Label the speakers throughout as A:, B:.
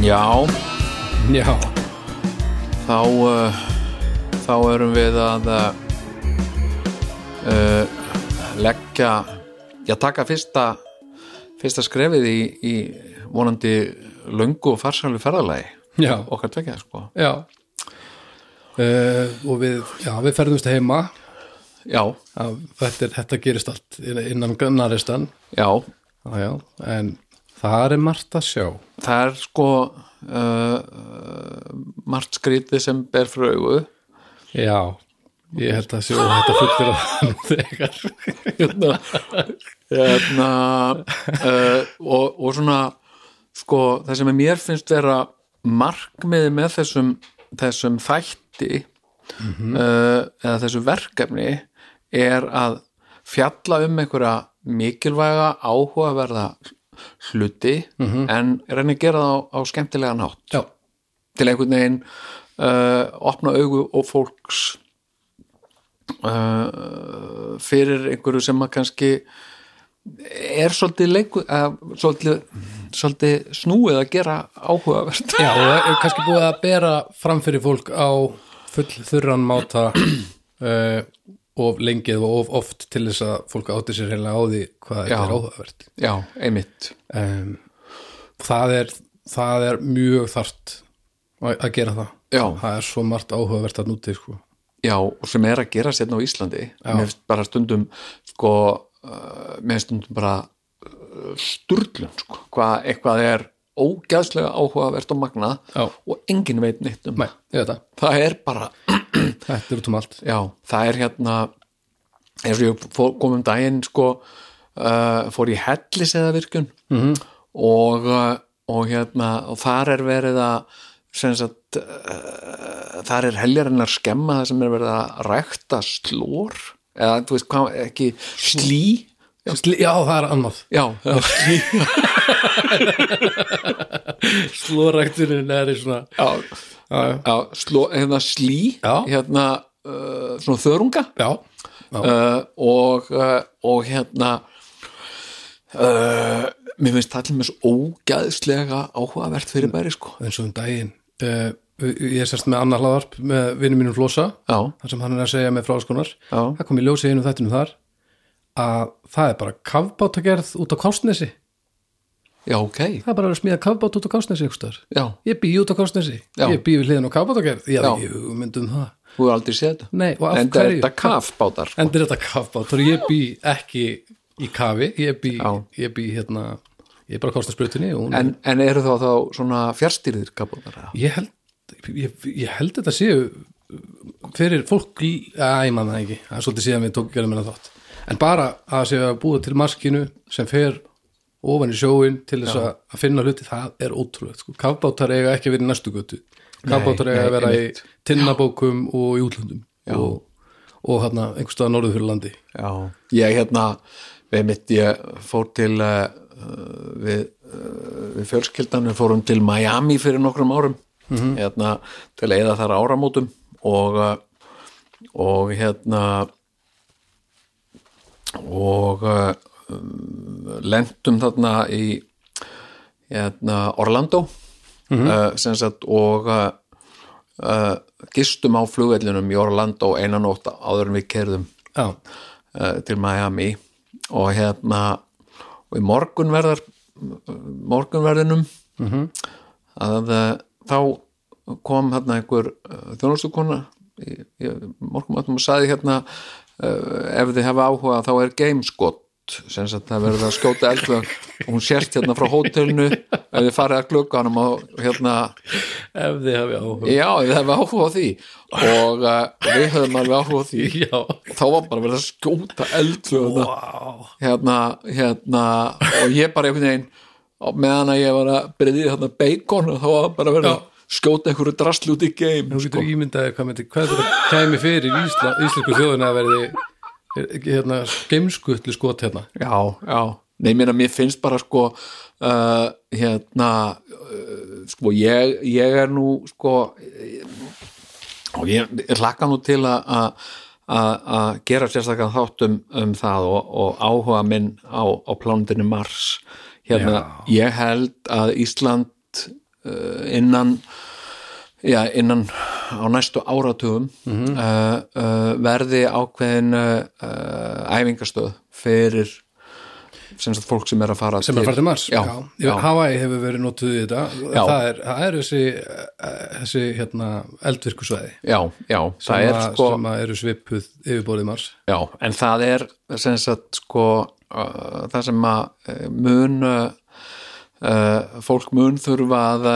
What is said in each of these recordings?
A: Já,
B: Já,
A: þá uh, þá erum við að uh, leggja já, taka fyrsta fyrsta skrefið í, í vonandi löngu og farsælu ferðalagi
B: já,
A: okkar tvekja, sko
B: já uh, Og við, já, við ferðumst heima
A: Já,
B: já, þetta, er, þetta gerist allt inn- innan gönnaristan
A: já,
B: já, já, En það er margt að sjá
A: það er sko uh, margt skrítið sem ber frögu
B: Já, ég held að sjá þetta fullir að það nú þegar
A: hérna, hérna uh, og, og svona sko, það sem mér finnst vera markmiði með þessum þessum þætti uh, eða þessu verkefni er að fjalla um einhverja mikilvæga áhugaverða hluti en reyna að gera það á, á skemmtilega nátt
B: Já,
A: til einhvern veginn uh, opna augu og fólks uh, fyrir einhverju sem að kannski er svolítið, leiku, að, svolítið, svolítið snúið að gera áhugavert
B: já og það er kannski búið að bera fram fyrir fólk á full þurran máta uh, of lengið og of oft til þess að fólk átti sér heila á því hvað þetta
A: Já.
B: er áhugavert
A: Já, einmitt
B: um, það, er, það er mjög þart að að gera það
A: Já.
B: Það er svo margt áhugavert að núti sko.
A: Já, og sem er að gera sérna á Íslandi mér finnst bara stundum sko, uh, mér finnst stundum bara uh, sturlun sko, hvað eitthvað er ógæðslega áhugavert og magna
B: Já.
A: og engin veit neitt um
B: Nei, ég veit það,
A: það er bara
B: þetta er út um allt
A: Já, það er hérna eins og ég fór, kom um daginn sko, uh, fór í hellis eða virkun -hmm. og, uh, og hérna og þar er verið að sem sagt, uh, þar er heljarinnar skemma það sem er verið að rækta slór eða þú veist hvað, ekki slí
B: Já, sli- já það er annað
A: Já, já,
B: Slóræktunin er í svona
A: já,
B: já.
A: já sló, hérna slí
B: Já.
A: hérna uh, svona þörunga
B: Já, já.
A: uh, og, uh, og hérna uh, mér finnst það til mér svo ógæðslega áhugavert fyrir bæri sko
B: eins og um daginn uh, ég er sérst með annar hlaðvarp með vinnum mínum Flosa
A: já,
B: þar sem hann er að segja með fráskunar
A: Já.
B: það kom í ljósið einum þættinum þar að það er bara kafbátagerð út á Kástnesi það
A: já, ok
B: er bara að smíða kafbát út á Kástnesi einhverstaðar.
A: já,
B: ég bý út á Kástnesi,
A: Já.
B: ég bý við hliðin á kafbátagerð ég
A: Já.
B: hafði ekki hugmynd um það
A: þú er aldrei séð þetta
B: Nei, og af
A: en
B: hverju?
A: þetta kafbátar sko.
B: endur þetta kafbát, þá er ég bý ekki í kafi, ég bý,
A: Já.
B: ég bý hérna, ég er bara á Kástnesbrutinni og hún er
A: en, en eru þá þá svona fjárstýrðir kafbátar eða?
B: ég held, ég, ég held þetta séu fyrir fólk í, að ég manna ekki, það er svolítið síðan við tók gerðum hérna þátt, en bara að séu að búa til maskinu sem fer ofan í sjóin til þess að, að finna hluti, það er ótrúlegt, sko, kafbátar eiga ekki að vera í næstu götu,
A: Nei,
B: kafbátar eiga að
A: nei,
B: vera
A: einmitt.
B: í tinnabókum og í útlöndum og, og hérna einhverstaða norður fyrir landi,
A: já, ég hérna við mitt ég fór til uh, við, uh, við fjölskyldan við fórum til Miami fyrir nokkrum árum hérna til að eða þar áramótum og uh, og hérna og uh, lendum þarna í hérna, Orlando mm sem sagt og uh, uh, gistum á flugvellinum í Orlando einanótt áður en við kerðum
B: já,
A: uh, til Miami og hérna og í morgunverðar morgunverðinum að uh, þá kom hérna einhver uh, þjónustukona í, í morgunmatnum og saði hérna uh, ef þið hafa áhuga þá er gameskott sem sagt það verður að skjóta eldlög og hún sérst hérna frá hótelinu ef þið farið að glugga hann og hérna
B: ef þið hafi áhuga
A: já, ef þið hafa áhuga á því og uh, við höfum alveg áhuga á því
B: já,
A: og þá var bara verið að skjóta eldfluguna
B: wow
A: hérna, hérna og ég bara einhvern veginn og meðan að ég var að byrðið þarna bacon þá var bara verið að skjóta einhverju drasl út í game
B: Nú getur sko. ímyndaði hvað, myndi, hvað þetta kæmi fyrir Ísla, íslensku þjóðuna að verði er- ekki, hérna, geimskutlu skot hérna
A: já, já, nei, mér að mér finnst bara sko uh, hérna uh, sko, ég, ég er nú sko eh, og ég, ég hlakka nú til að- að að að gera sérstakann þátt um, um það og, og áhuga minn á, á plánundinu Mars hérna, ég held að Ísland uh, innan já, innan á næstu áratugum
B: Mhm.
A: uh, uh, verði ákveðin uh, uh, æfingastöð fyrir sem sagt fólk sem er að fara
B: sem er að fara til Mars
A: já,
B: já.
A: já,
B: Hawaii hefur verið notuð í þetta
A: Já.
B: það er, það er þessi, eh, þessi hérna, eldvirkusvæði
A: já, já
B: sem,
A: það er
B: að-
A: sko
B: sem að eru svipuð yfirborðið Mars
A: já, en það er sem sagt sko uh, það sem að eh, mun uh, uh, fólk mun þurfa að,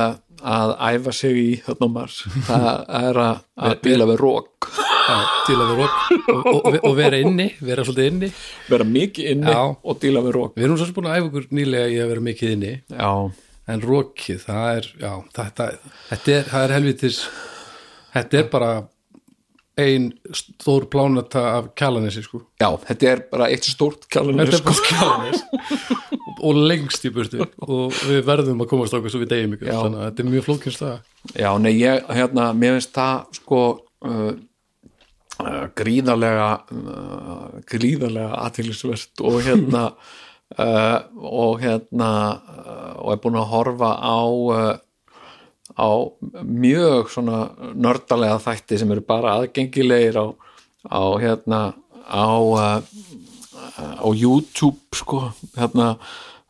A: að æfa sig í þarna á Mars það er að, að bíla við rók
B: já, til að vera og, og, og, og vera inni vera svolítið inni
A: vera mikið inni
B: Já.
A: og díla við rók
B: við erum svo sem búin að æfa okkur nýlega í að vera mikið inni
A: já,
B: en rokið, það er já, þetta, þetta er, það er helvitis þetta er bara ein stór plánata af kjalanesi sko
A: já, þetta er bara eitt stórt kjálunir
B: Þetta er
A: sko.
B: bara skjánis og lengst í burtu og við verðum að komast okkur svo við deyjum ykkur
A: Já.
B: þannig að þetta er mjög flókin staða
A: já, nei, ég, hérna, mér finnst það sko uh, uh, gríðarlega uh, gríðarlega aðtýlisvert og hérna uh, og hérna uh, og er búin að horfa á uh, á mjög svona nördalega þætti sem eru bara aðgengilegir á, á hérna á uh, á YouTube sko, hérna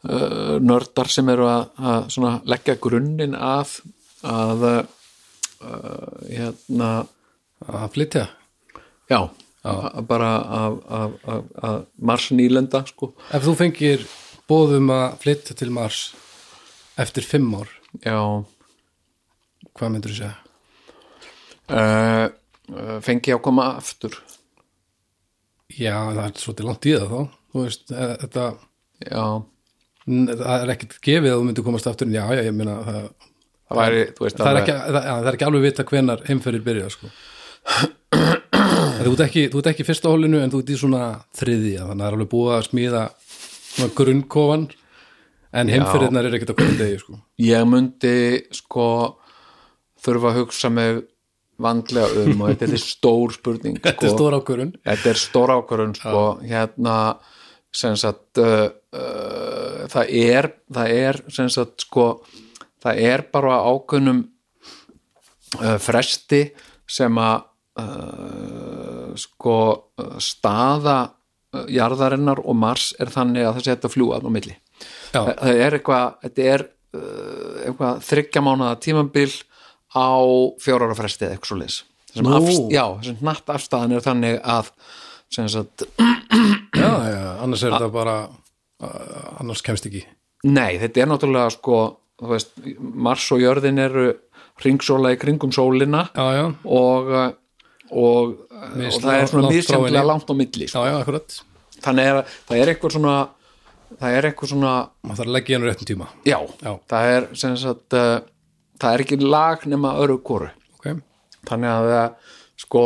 A: uh, nördar sem eru að, að svona leggja grunninn að að uh, hérna
B: að flytja
A: já, já. bara að, að, að, að marsnýlenda sko,
B: Ef þú fengir bóðum að flytja til Mars eftir fimm ár
A: já
B: hvað myndur þú segja?
A: uh, fengi ég að koma aftur
B: Já, það er svolítið langt í það þá þú veist, eh, þetta
A: já,
B: n- það er ekkit gefið að þú myndir komast aftur en já, já, ég meina það,
A: það væri þú veist,
B: það, er
A: alveg-
B: ekki, það, já, það er ekki alveg vita hvenar heimferðir byrja sko En þú ert ekki, þú ert ekki í fyrsta hólinu en þú ert í svona þriðja þannig að það er alveg búið að smíða svona grunnkofan en heimferðirnar er ekkit að koma degi sko
A: ég myndi sko þurfa að hugsa mig vandlega um og þetta er stór spurning sko.
B: þetta er stóra ákvörun
A: þetta er stór ákvörðun sko, hérna sem sagt uh, uh, það er það er sem sagt sko það er bara á ákvörnum uh, fresti sem að uh, sko uh, staða uh, jarðarinnar og Mars er þannig að þessi þetta fljúa á milli
B: Já.
A: það það er eitthvað, þetta er uh, eitthvað þryggja mánaða tímambil á fjórara fresti eða eitthvað svo leis
B: Nú.
A: afst, já, þessum hnatt afstæðan er þannig að sem sagt,
B: já, já, annars er þetta bara uh, annars kemst ekki
A: nei, þetta er náttúrulega sko, þú veist, Mars og jörðin eru ringsóla í kringum sólina
B: já, já,
A: og uh, og, uh,
B: Mis-
A: og það er svona
B: langt frá
A: misjæmlega
B: henni.
A: langt á milli sko.
B: já, já, akkurat
A: þannig er, að- það er eitthvað svona það er eitthvað svona
B: maður þarf að leggja í hennu réttum tíma
A: já,
B: Já.
A: það er sem sagt uh, það er ekki lag nema öru koru
B: okay.
A: þannig að það, sko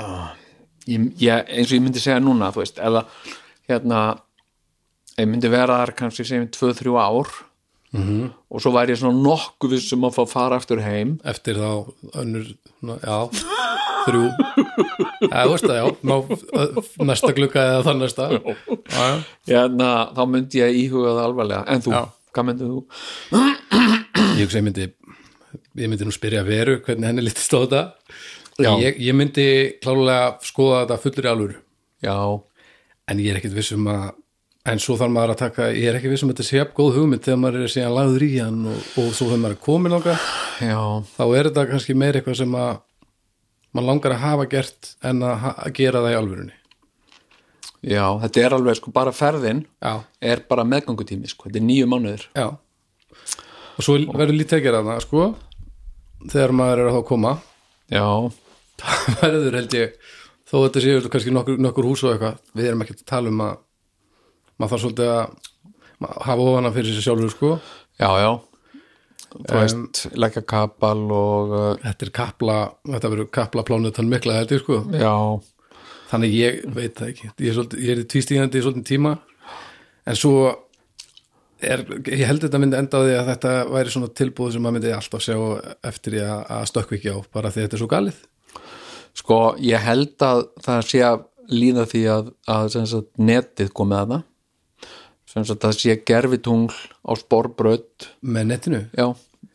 A: uh, ég, ég, eins og ég myndi segja núna þú veist, eða hérna ég myndi vera þar kannski segjum 2-3 ár -hmm. og svo væri ég svona nokkuð vissum að fá að fara aftur heim
B: eftir þá önnur, na, já, þrjú já, þú veist það, já ná, ö- næsta glugga eða þann næsta já, já,
A: hérna, þá myndi ég íhuga það alvarlega en þú,
B: Já.
A: hvað myndið þú?
B: ég hugsa ég myndi ég myndi nú spyrja Veru hvernig henni lítist á þetta
A: Já.
B: ég, ég myndi klálega skoða þetta fullur í alvöru
A: Já,
B: en ég er ekkit viss um að en svo þarf maður að taka, ég er ekki viss um að þetta sé jafn góð hugmynd þegar maður er síðan lagður í hann og, og svo þegar maður er komin ánga
A: já,
B: þá er þetta kannski meir eitthvað sem að maður langar að hafa gert en að, ha- að gera það í alvörunni
A: já þetta er alveg sko bara ferðin
B: já,
A: er bara meðgangutími sko, þetta er nýju mánuður
B: Já Og svo verður lítið að gera þarna sko þegar maður er að þá að koma
A: Já,
B: það verður held ég þó þetta séu kannski nokkur, nokkur hús og eitthvað við erum ekki að tala um að maður þarf svolítið að ma- hafa ofana fyrir sér sjálfur sko
A: já, já þú veist, leggja kapal og uh,
B: þetta er kapla, þetta verður kapla plánutan mikla þetta sko
A: já,
B: þannig ég veit það ekki ég er, svolítið, ég er tvístíðandi í svolítið tíma en svo er, ég held þetta myndi enda á því að þetta væri svona tilbúð sem maður myndi alltaf sjá eftir í að, að stökkvi ekki á bara því þetta er svo galið
A: Sko, ég held að það sé að líða því að, að sem sagt, netið komið að það sem sagt, það sé gerfitungl á sporbraut
B: með netinu
A: já,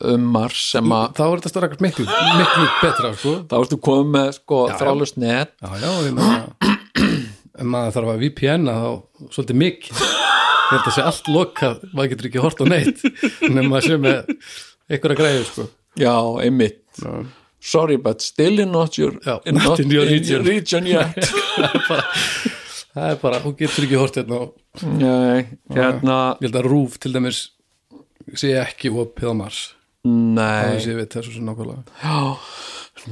A: um Mars sem að
B: þá er þetta stöðrakast miklu, miklu betra sko.
A: þá ertu komið með sko þrálust net
B: já, já, ég meina ef maður þarf að VPN-a þá svolítið mikið ég held að sé allt lokað, maður getur ekki hort á neitt nema að sé með einhverja græði sko.
A: já, einmitt sorry but still in not your,
B: Já, not in your region.
A: yet
B: það er bara, hún getur ekki hort hérna á
A: Nei, hérna
B: ég held að rúf til dæmis sé ekki opið á Mars það
A: nei,
B: sé við þessu sem nákvæmlega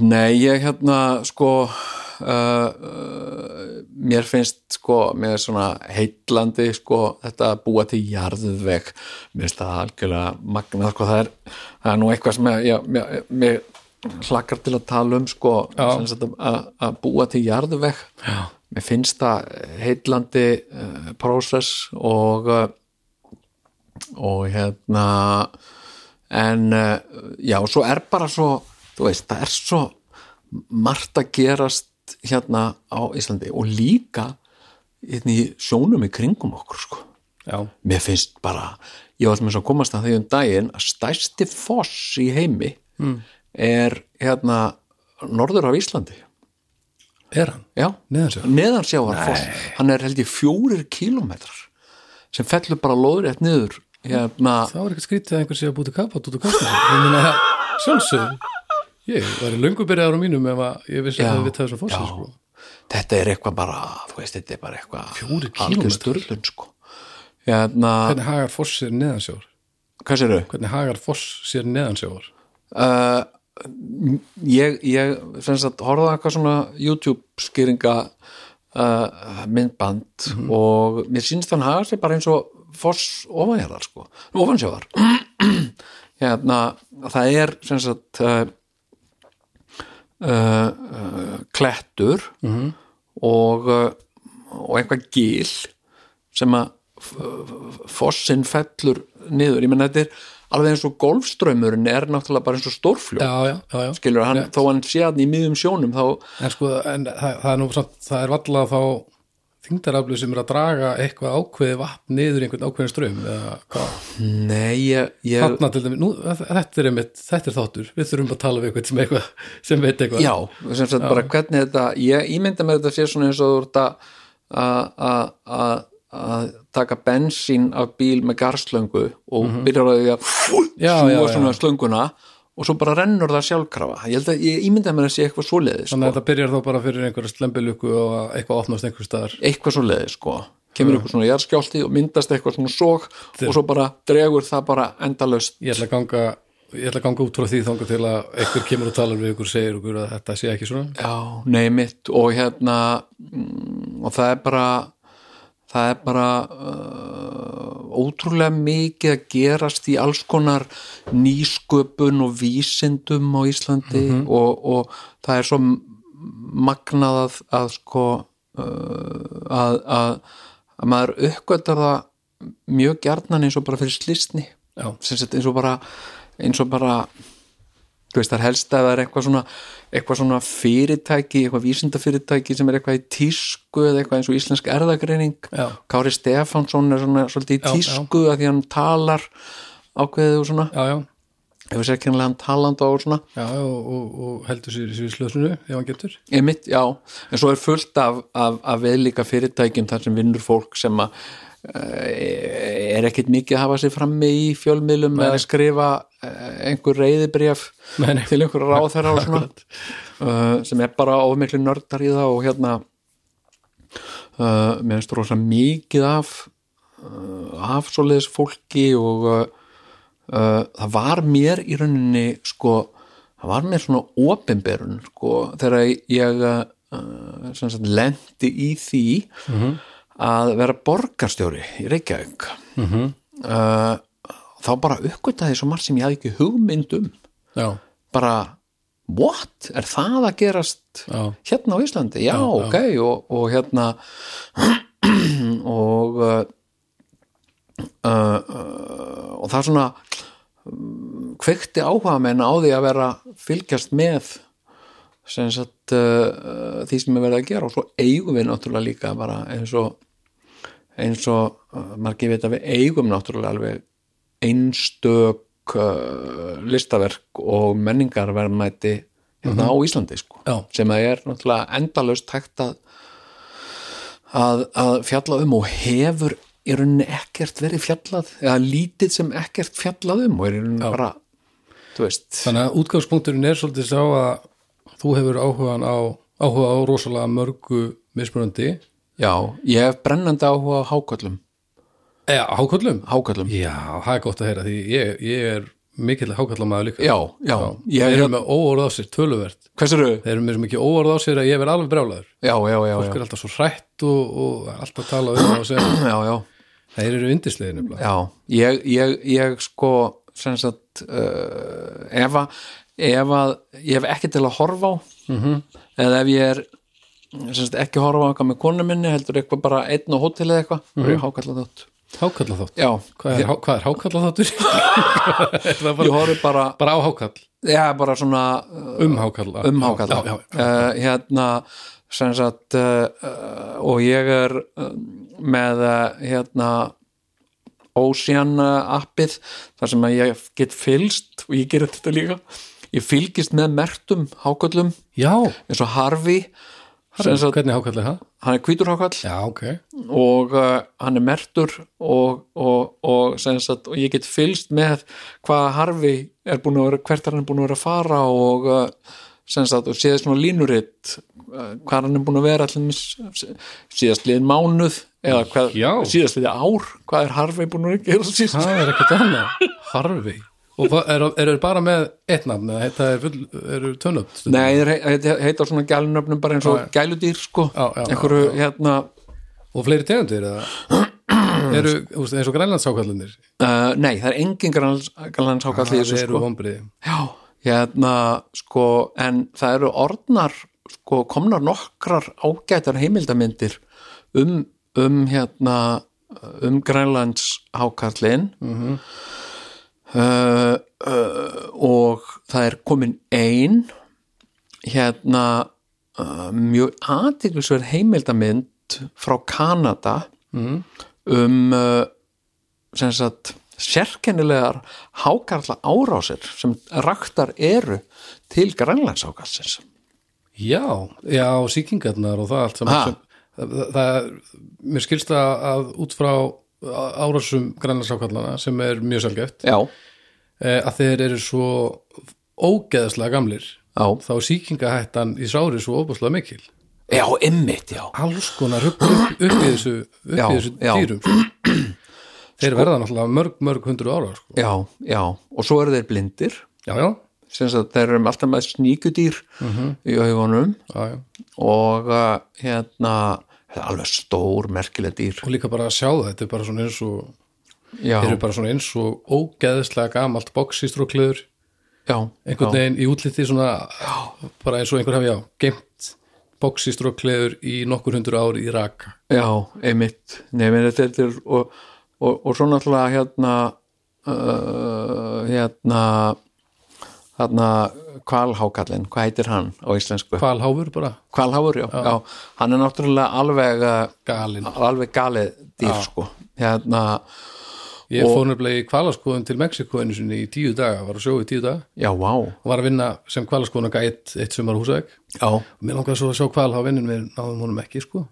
A: nei, ég hérna sko uh, uh, mér finnst sko, mér er svona heitlandi sko, þetta að búa til jarðveg mér finnst það algjörlega magnað sko, það er, það er nú eitthvað sem ég, ég, mér, mér hlakkar til að tala um sko,
B: Já.
A: sem sagt að- að að búa til jarðveg Já. mér finnst það heitlandi uh, process og uh, og hérna en eh, já, svo er bara svo þú veist, það er svo margt að gerast hérna á Íslandi og líka hérna í sjónum í kringum okkur sko.
B: já,
A: mér finnst bara ég var með svo að komast að því um daginn að stærsti foss í heimi er hérna norður af Íslandi
B: er hann
A: já,
B: Neðansjávar?
A: neðansjávarfoss hann er held ég fjórir kílómetrar sem fellur bara lóðrétt niður hérna
B: þá er ekkert skrítið að einhver sé að búti kapat út úr kastan ég meina, sjálfsög ég var í löngu byrjaður á mínum ef að ég vissi
A: Já,
B: að það við það svo fórsins
A: já.
B: sko.
A: þetta er eitthvað bara, þú veist, þetta er bara eitthvað
B: Fjórir
A: algjör
B: kílómetrar?
A: störlun, sko hérna,
B: hvernig hagar foss sér neðansjávar
A: hvað sérðu?
B: hvernig hagar foss sér neðansjávar
A: Uh, ég, ég sem sagt, horfði á eitthvað svona YouTube skýringa uh, myndband og mér sýnst hann hafa sér bara eins og foss ofanjarðar, sko, ofansjáðar hérna, það er sem sagt uh, uh, uh, klettur -hmm. og uh, og eitthvað gil sem að f- f- fossinn fellur niður, ég menn þetta er alveg eins og golfströmmurinn er náttúrulega bara eins og stórfljó
B: já, já, já, já.
A: skilur hann, þó hann sé hann í miðjum sjónum þá,
B: en sko, en, það, það er nú samt, það er valla þá þingdaraflu sem er að draga eitthvað ákveði vatn niður í einhvern ákveðin ströym eða hvað,
A: nei ég, ég
B: þarna til dæmi nú, þetta er, einmitt, þetta er þáttur, við þurfum að tala við eitthvað sem, eitthvað, sem veit eitthvað
A: já, sem sagt bara hvernig þetta ég ímynda með þetta sé svona eins og þú ert að- að- að að- að taka bensín af bíl með garslöngu og byrjar að því að
B: Já, já,
A: snúa
B: já.
A: svona slönguna og svo bara rennur það sjálfkrafa ég held að ég ímynda með að sé eitthvað svoleiðis
B: þannig að þetta byrjar þá bara fyrir einhverja slembilukku og að eitthvað opnast einhver staðar
A: eitthvað svo leiði sko kemur eitthvað svona jarðskjálti og myndast eitthvað svona sók og svo bara dregur það bara endalaust
B: ég ætla að ganga ég ætla að ganga út frá því þangað til að einhver kemur og talar við ykkur og segir ykkur að þetta sé ekki svona
A: já, neymitt og hérna mm, og það er bara það er bara uh, ótrúlega mikið að gerast í alls konar nýsköpun og vísindum á Íslandi og, og það er svo magnað að, að sko uh, að, að, að maður uppgötar það mjög gjarnan eins og bara fyrir slistni
B: Já.
A: sem sagt eins og bara eins og bara þú veist, það er helst að það er eitthvað svona eitthvað svona fyrirtæki, eitthvað vísindafyrirtæki sem er eitthvað í tísku eða eitthvað eins og íslensk erðagreining
B: Já.
A: Kári Stefánsson er svona svolítið í
B: Já,
A: tísku að því hann talar ákveðið og svona,
B: já, já,
A: ef við sér kynlega hann talanda og svona,
B: já og, og, og heldur sér í sér slösunu ef hann getur
A: einmitt, já en svo er fullt af, af, af veðlíka fyrirtækjum þar sem vinnur fólk sem að eh, er ekkit mikið að hafa sér frammi í fjölmiðlum Nei. eða skrifa eh, einhver reyðibréf
B: Nei, nei.
A: til einhver ráð þeirra og svona uh, sem er bara ofmikli nördar í það og hérna uh, mér finnst rosa mikið af uh, af svoleiðis fólki og uh, uh, það var mér í rauninni sko, það var mér svona opinberun sko, þegar ég uh, sem sagt lendi í því Mhm. að vera borgarstjóri í Reykjavík -hmm. uh, þá bara uppgötaði svo margt sem ég hafði ekki hugmynd um
B: já,
A: bara what, er það að gerast
B: já,
A: hérna á Íslandi, já, ok Og, og hérna og uh, uh, uh, og það svona um, kveikti áhuga menn á því að vera fylgjast með sem sagt uh, uh, því sem er verið að gera og svo eigum við náttúrulega líka bara eins og eins og uh, margir veit að við eigum náttúrulega alveg einstök uh, listaverk og menningarverðmæti hérna á Íslandi sko
B: Já.
A: sem að er náttúrulega endalaust hægt að, að, að fjalla um og hefur í rauninni ekkert verið fjallað eða lítið sem ekkert fjallað um og er í rauninni bara þú veist,
B: Þannig að útgangspunkturinn er svolítið sá að þú hefur áhugan á, áhuga á rosalega mörgu mismunandi
A: já, ég hef brennandi áhuga á háköllum,
B: eða háköllum?
A: háköllum.
B: Já, það er gott að heyra því ég, ég er mikill hákallamæður líka
A: Já, já,
B: Þeir
A: ég
B: eru
A: hef,
B: með óorð á sér, töluvert
A: hvers eru?
B: Þeir eru með svo mikið óorð á sér að ég verð alveg brjálaður
A: Já, já, já,
B: Þeir
A: já,
B: eru alltaf svo hrætt og, og alltaf að tala um það og segja
A: já, já.
B: Þeir eru yndislegir nefnilega
A: Já, ég, ég, ég sko sem sagt uh, ef, að, ef að ég hef ekki til að horfa á
B: Mhm.
A: eða ef ég er sem sagt, ekki að horfa á eitthvað með konu minni heldur eitthvað bara einn á hótel eða eitthvað mm -hmm.
B: Mhm.
A: ég hákalla þátt
B: Hákallaþátt
A: Já,
B: Hvað er, há- hvað er hákallaþáttur? Er það
A: ég
B: bara,
A: horfi bara,
B: bara á hákall,
A: já, bara svona uh,
B: um hákalla
A: um hákalla
B: Já, já,
A: uh, hérna sem sagt uh, uh, og ég er uh, með uh, hérna Ocean uh, appið þar sem að ég get fylgst og ég gerir þetta líka ég fylgist með mertum háköllum
B: já.
A: eins og Harfi
B: já hvernig hákall er það?
A: hann er hvítur hákall
B: Já, ok
A: og uh, hann er mertur og, og, og, sem sagt, og ég get fylgst með hvað Harfi er búin að vera hvert hann er búin að vera að fara og, uh, sem sagt, og séð svona línuritt uh, hvað hann er búin að vera allir síðast liðin mánuð eða hvað,
B: Já.
A: síðast liðin ár hvað er Harfi búin að gera síðast
B: Það er ekkert annað, harfi Og það- eru er, er bara með eitt nafn eða þetta er full, eru tönnöpt
A: Nei, þeir he- he- heita svona gælunöfnum bara eins og gæludýr sko,
B: Já, já, já,
A: einhverju hérna
B: og fleiri tegundir eða eru, úst, eins og grænlandsákallinir
A: uh, nei, það er engin grannlandshákall í
B: það
A: þessu
B: eru
A: sko
B: vombriði
A: Já, hérna sko, en það eru orðnar sko, komnar nokkrar ágætar heimildamindir um, um hérna um Grænlands hákallin -hmm. uh, uh, og það er komin ein hérna uh, mjög aðtiklisverð heimildamind frá Kanada mm. um uh, sem sagt sérkennilegar hákarla árásir sem raktar eru til grænlandshákarlsins
B: já, já, sýkingarnar og það allt
A: Ha?
B: saman sem, það, það- það er, mér skilst það að út frá árásum grænlandsákallana sem er mjög sjálfgeft
A: já,
B: eh, að þeir eru svo ógeðslega gamlir
A: já,
B: þá er sýkingahættan í sári svo óbúslega mikil
A: já, ymmit já,
B: alls konar upp, upp, upp í þessu, upp
A: Já,
B: í þessu
A: já. Sko-
B: dýrum sko. þeir verða náttúrulega mörg, mörg hundru ára sko.
A: já, já og svo eru þeir blindir
B: já, já,
A: sem sagt þeir eru alltaf með sníkudýr
B: Mhm.
A: í augunum
B: já, já
A: og uh, hérna þetta er alveg stór merkileg dýr
B: og líka bara að sjá það, þetta er bara svona eins og
A: já,
B: þeir eru bara svona eins og ógeðslega gamalt boxistrókleður
A: já,
B: einhvern veginn í útliti svona bara eins og einhver hafi já, geimt boxistrókleður í nokkur hundur ár í raka
A: já, ymmit nefnir þetta er og, og, og svo náttúrulega hérna uh, hérna hérna kvalhákallin, hvað heitir hann á íslensku?
B: hvalháfur bara,
A: Kvalháfur, já, já. hann er náttúrulega alveg uh,
B: galinn
A: alveg galið dýr, sko hérna,
B: ég fór nefnilega í hvalaskoðun til Mexiko einu sinni í tíu daga, var að sjóa í tíu daga
A: já, vá
B: og var að vinna sem hvalaskoðun að gætt eitt sumar á húsæk
A: já,
B: og mér langaði svo að sjá hvalháfinn en við náðum honum ekki sko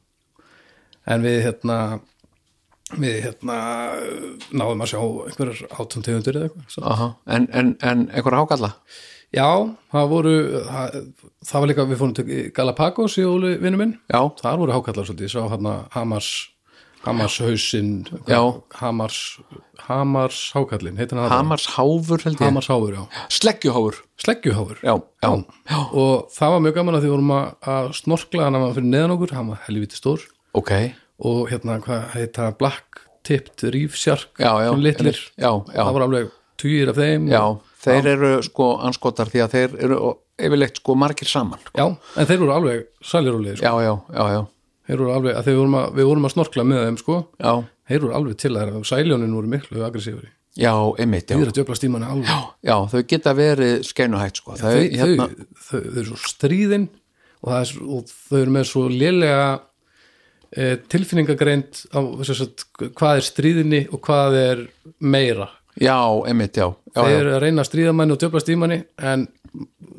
B: en við hérna við hérna náðum að sjá einhverjar áttum tegundur eða eitthvað svo.
A: aha, en, en, en einhver hákalla?
B: já, það voru það, það var líka við fórum til Galapagos í Óli vinnu minn
A: Já,
B: þar voru hákallar svolítið, ég sá hérna Hamars Hamars hausinn
A: Já.
B: Hamars, Hamars hákallin heitir hann það?
A: hamarsháfur held ég
B: Hamars háfur, já
A: Sleggjuháfur,
B: sleggjuháfur
A: já, já, já.
B: og það var mjög gaman að því vorum að, að snorkla hann að fyrir neðan okkur, hann var helviti stór
A: ok
B: og hérna hvað heita Black Tipped Reef Shark
A: Já, já,
B: svona litlir,
A: einmitt. Já, já.
B: það var alveg týr af þeim
A: Já,
B: og,
A: þeir eru sko anskotar því að þeir eru yfirleitt sko margir saman
B: já, en þeir voru alveg sælirúlega, sko.
A: Já, já, já, já,
B: þeir voru alveg að þeir vorum að, við vorum að snorkla með þeim sko
A: já,
B: þeir voru alveg til að sæljónin voru miklu aggressífari,
A: já, einmitt, já
B: þeir eru að djöfla stímanu alveg já,
A: Já, þau geta verið skeinuhætt sko Þau,
B: þau,
A: hérna,
B: þau, þau, þau eru svo stríðin og, það er, svo- og þau eru með svo lélega eh, e, tilfinningagreind á, sem sagt, hvað er stríðinni og hvað er meira
A: já, einmitt, já, já,
B: þeir
A: já.
B: eru að reyna að stríða manni og djöflast í manni en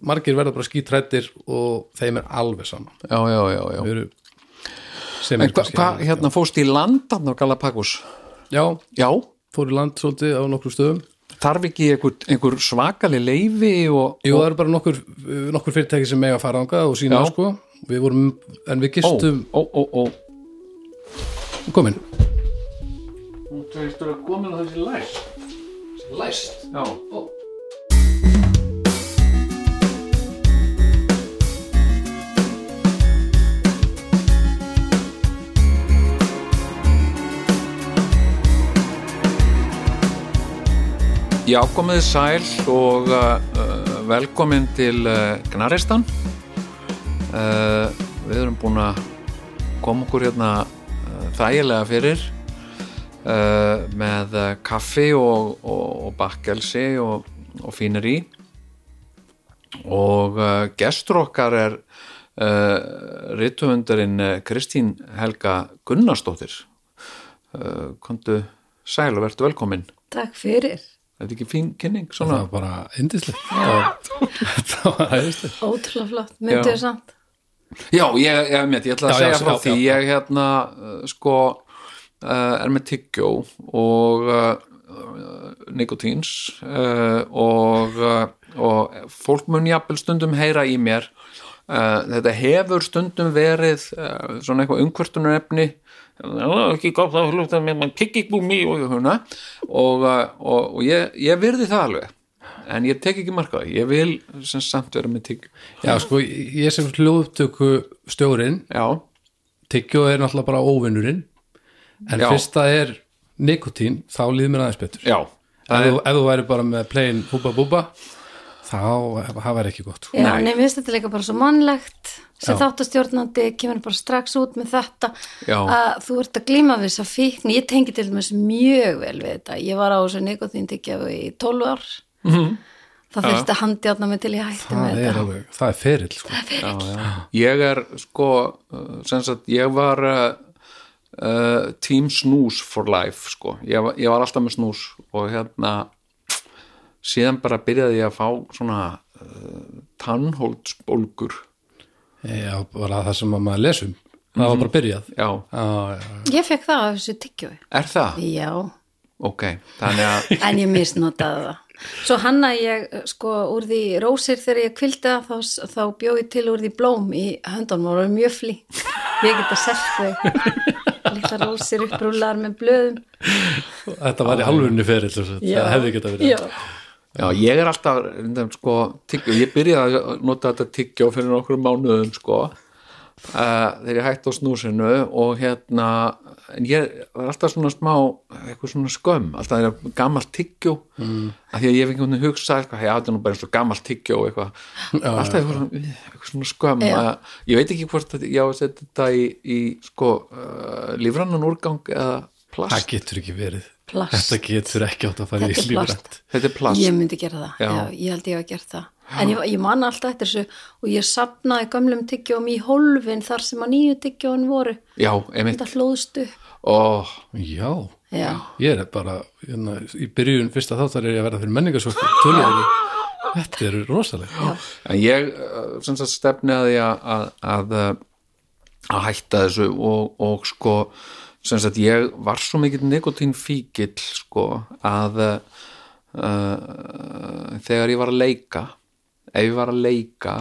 B: margir verða bara skítrættir og þeim er alveg saman
A: já, já, já, já.
B: Þeir eru sem
A: En
B: er
A: hva,
B: kannski-
A: hva, hérna fórst í landan á Galapagos?
B: já,
A: Já,
B: fór í land svolítið á nokkrum stöðum
A: þarf ekki einhver, einhver svakali leifi og,
B: Jú, það eru bara nokkur, nokkur fyrirtæki sem mega fara þangað og sína
A: Já.
B: sko við vorum, en við
A: ó,
B: gistum
A: ó, ó, ó.
B: komin
A: Hún tveistur að komin á þessi læst.
B: Læst
A: Já. Já, komið þið sæl og uh, velkomin til uh, Gnaristan. Uh, við erum búin að koma okkur hérna uh, þægilega fyrir uh, með uh, kaffi og, og, og bakkelsi og, og fínir í. Og uh, gestur okkar er uh, rithöfundurinn eh, Kristín Helga Gunnarsdóttir. Uh, komdu sæl og vertu velkomin.
C: Takk fyrir,
A: Er þetta ekki fín kynning?
B: það
A: Svona?
B: var bara yndislegt það var æðislegt
C: ótrúlega flott,
A: Já.
C: myndið samt.
A: Já, ég, ég, ég, ég ætla að
B: Já, já,
A: segja frá
B: já,
A: því
B: já.
A: ég hérna uh, sko uh, er með tyggjó og uh, nikotíns uh, og, uh, og fólk mun jafnvel stundum heyra í mér uh, þetta hefur stundum verið uh, svona eitthvað umkvörtunarefni "Já, ekki gott að hluta með mann kikkikbúmi og, huna. og, uh, og, og ég, ég virði það alveg en ég tek ekki marka það, ég vil sem samt vera með tyggjó
B: já, sko, ég sem hljóðtöku stjórinn
A: já,
B: tyggjó er náttúrulega bara óvinnurinn en
A: Já.
B: fyrst það er nikotín þá líður mér aðeins betur
A: já
B: ef, þú, ef þú væri bara með plain húba búba þá, það væri ekki gott sko.
C: Já,
A: Nei.
C: nei, mér finnst þetta líka bara svo mannlegt sem
B: Já.
C: þáttastjórnandi kemur bara strax út með þetta
A: Já.
C: að þú ert að glíma við þessa fíkn ég tengi til dæmis mjög vel við þetta ég var á þessu nikotín tyggjafu í 12 ár mm -hmm. það þurfti að handjána mig til ég hætti
B: það
C: með
B: er
C: þetta
B: alveg, það er ferill sko.
A: ég er sko uh, sem sagt, ég var uh, uh, team snooze for life sko, ég, var- ég var alltaf með snooze og hérna síðan bara byrjaði ég að fá svona uh, tannhóldsbólgur
B: já, bara það sem að maður lesum það
C: Mhm.
B: var bara byrjað
A: já,
B: já, já,
C: ég fekk það af þessu tyggjafu
A: er það?
C: já,
A: ok, þannig að
C: en ég misnotaði það svo hanna ég sko úr því rósir þegar ég kvildi þá, þá bjóði til úr því blóm í höndunum og það var mjög flink ég geta selt þau litla rósir upprúlar með blöðum
B: Þetta var í alvörinu ferill sem sagt. það hefði geta verið
C: já.
A: Já, ég er alltaf, reyndar, sko, tyggjó, ég byrjaði að nota þetta tyggjó fyrir nokkrum mánuðum, sko, uh, þegar ég hætti á snúsinu og hérna, en ég var alltaf svona smá, eitthvað svona skömm, alltaf þegar gammalt tyggjó, mm. af því að ég hef einhvern veginn hugsað, eitthvað, hei, þetta er nú bara eins og gammalt tyggjó, eitthvað, alltaf eitthvað, svona- eitthvað svona skömm,
C: Já.
A: að, ég veit ekki hvort að ég á að setja þetta í, í sko, uh, lífrannan úrgang eða
B: Það
A: plast,
B: getur ekki verið
C: Plast.
B: Þetta getur ekki átt að fara í
C: Þetta er
B: lífrænt
A: þetta er plast,
C: ég myndi gera það,
A: Já.
C: já. ég held ég að gera það en ég, ég man alltaf eftir þessu og ég sapnaði gamlum tyggjóum í hólfin þar sem að nýju tyggjóun voru
A: já, einmitt,
C: þetta hlóðst upp
A: og...
B: Já,
C: já,
B: ég er bara hérna, í byrjun fyrsta þáttar er ég að verða fyrir menningarsókn tölvöðu Þetta er rosalega
A: En ég eh, sem sagt stefni að því að, að, að, eh, að hætta þessu og, og sko sem sagt ég var svo mikill nikotín fíkil sko að uh, þegar ég var að leika ef ég var að leika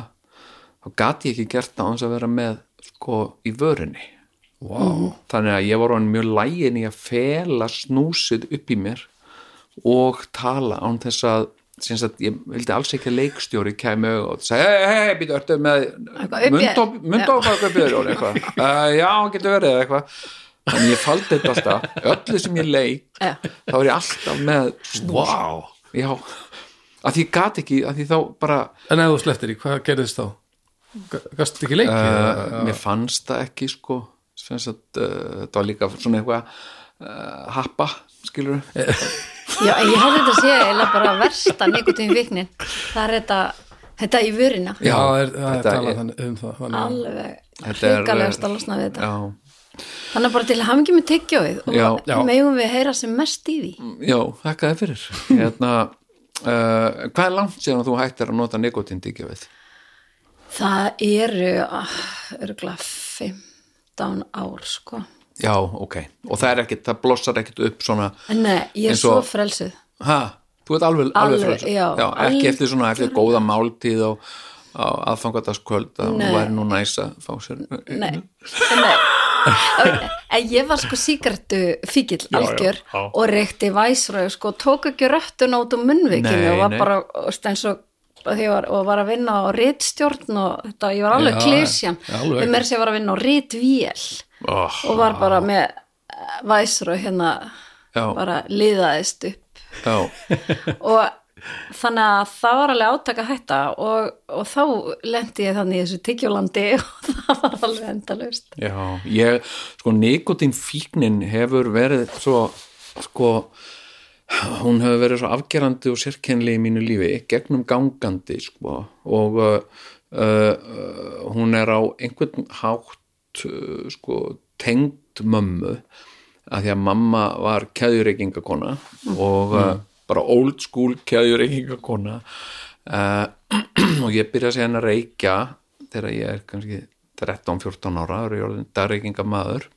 A: þá gat ég ekki gert það á hans að vera með sko í vörinni
C: Mhm.
B: wow.
A: þannig að ég var hann mjög lægin í að fela snúsið upp í mér og tala án þess að sinns að ég vildi alls ekki að leikstjóri kæmi auðvitað og sagði hei, hei, hei, býtu, ertu með
C: Eitthvað upp í-
A: mundófag upp yfir og eitthvað, uh, já, getur verið eða eitthvað, þannig ég faldi þetta alltaf öllu sem ég leik
C: Já.
A: þá er ég alltaf með snús
B: wow.
A: já, að því ég gat ekki að því þá bara,
B: En ef þú sleftir í, hvað gerðist þá? Gast ekki leikið?
A: uh,
B: eða?
A: mér fannst það ekki sko, sinns að uh, þetta var líka svona eitthvað uh, happa, skilur
C: já en ég held þetta að sé eiginlega bara versta nikotín viknin það er þetta, þetta í vörina
B: já, það er, það er
A: þetta
B: talað
A: er-
B: þannig um það þannig.
C: alveg
A: Þetta er- eh,
C: hrikalegast að losna við þetta
A: já,
C: Þannig bara til að hafa ekki með tyggjóið og
A: Já. Mm.
B: Já.
C: megum við heyra sem mest í því.
A: Já, þakka þið fyrir hérna, uh, Hvað er langt síðan þú hættir að nota nikotindíkjöfið?
C: Það eru örgla 15 ár sko.
A: Já, ok, og það er ekkit, það blossar ekkit upp svona,
C: En nei, ég er
A: Eins
C: svo
A: og-
C: frelsuð.
A: ha, þú ert alveg, alveg,
C: Alveg,
A: frelsað.
C: já,
A: ekki
C: algjörlega.
A: eftir svona, eftir góða máltíð á, á aðfangataskvöld að hún
C: Nei.
A: væri nú næsa fá sér
C: Nei,
A: Mhm.
C: nei. En ég var sko síkartu fíkil
A: já,
C: algjör
A: já.
C: og reykti væsröð sko, tók ekki röttun át úr munnvikinu
A: Nei,
C: og var
A: nei.
C: bara þú veist, eins og því ég var, og var að vinna á ritstjórn og þetta, ég var alveg
B: Já,
C: klísjan
B: já, alveg.
C: með mér sem ég var að vinna á ritvél
A: oh,
C: og var bara með eh, væsröð hérna
A: Já.
C: bara liðaðist upp
A: Já,
C: og þannig að það var alveg átaka hætta og, og þá lendi ég þannig í þessu tyggjólandi og það var alveg endalaust
A: já, ég, sko, nikotín hefur verið svo, sko, hún hefur verið svo afgerandi og sérkennli í mínu lífi, gegnum gangandi sko og uh, uh, hún er á einhvern hátt uh, sko tengd mömmu að því að mamma var keðjureikingakona og uh, bara old school keðjureikingakona uh, og ég byrja að segja henni að reykja þegar ég er kannski 13-14 ára og ég er orðin dagreikingamaður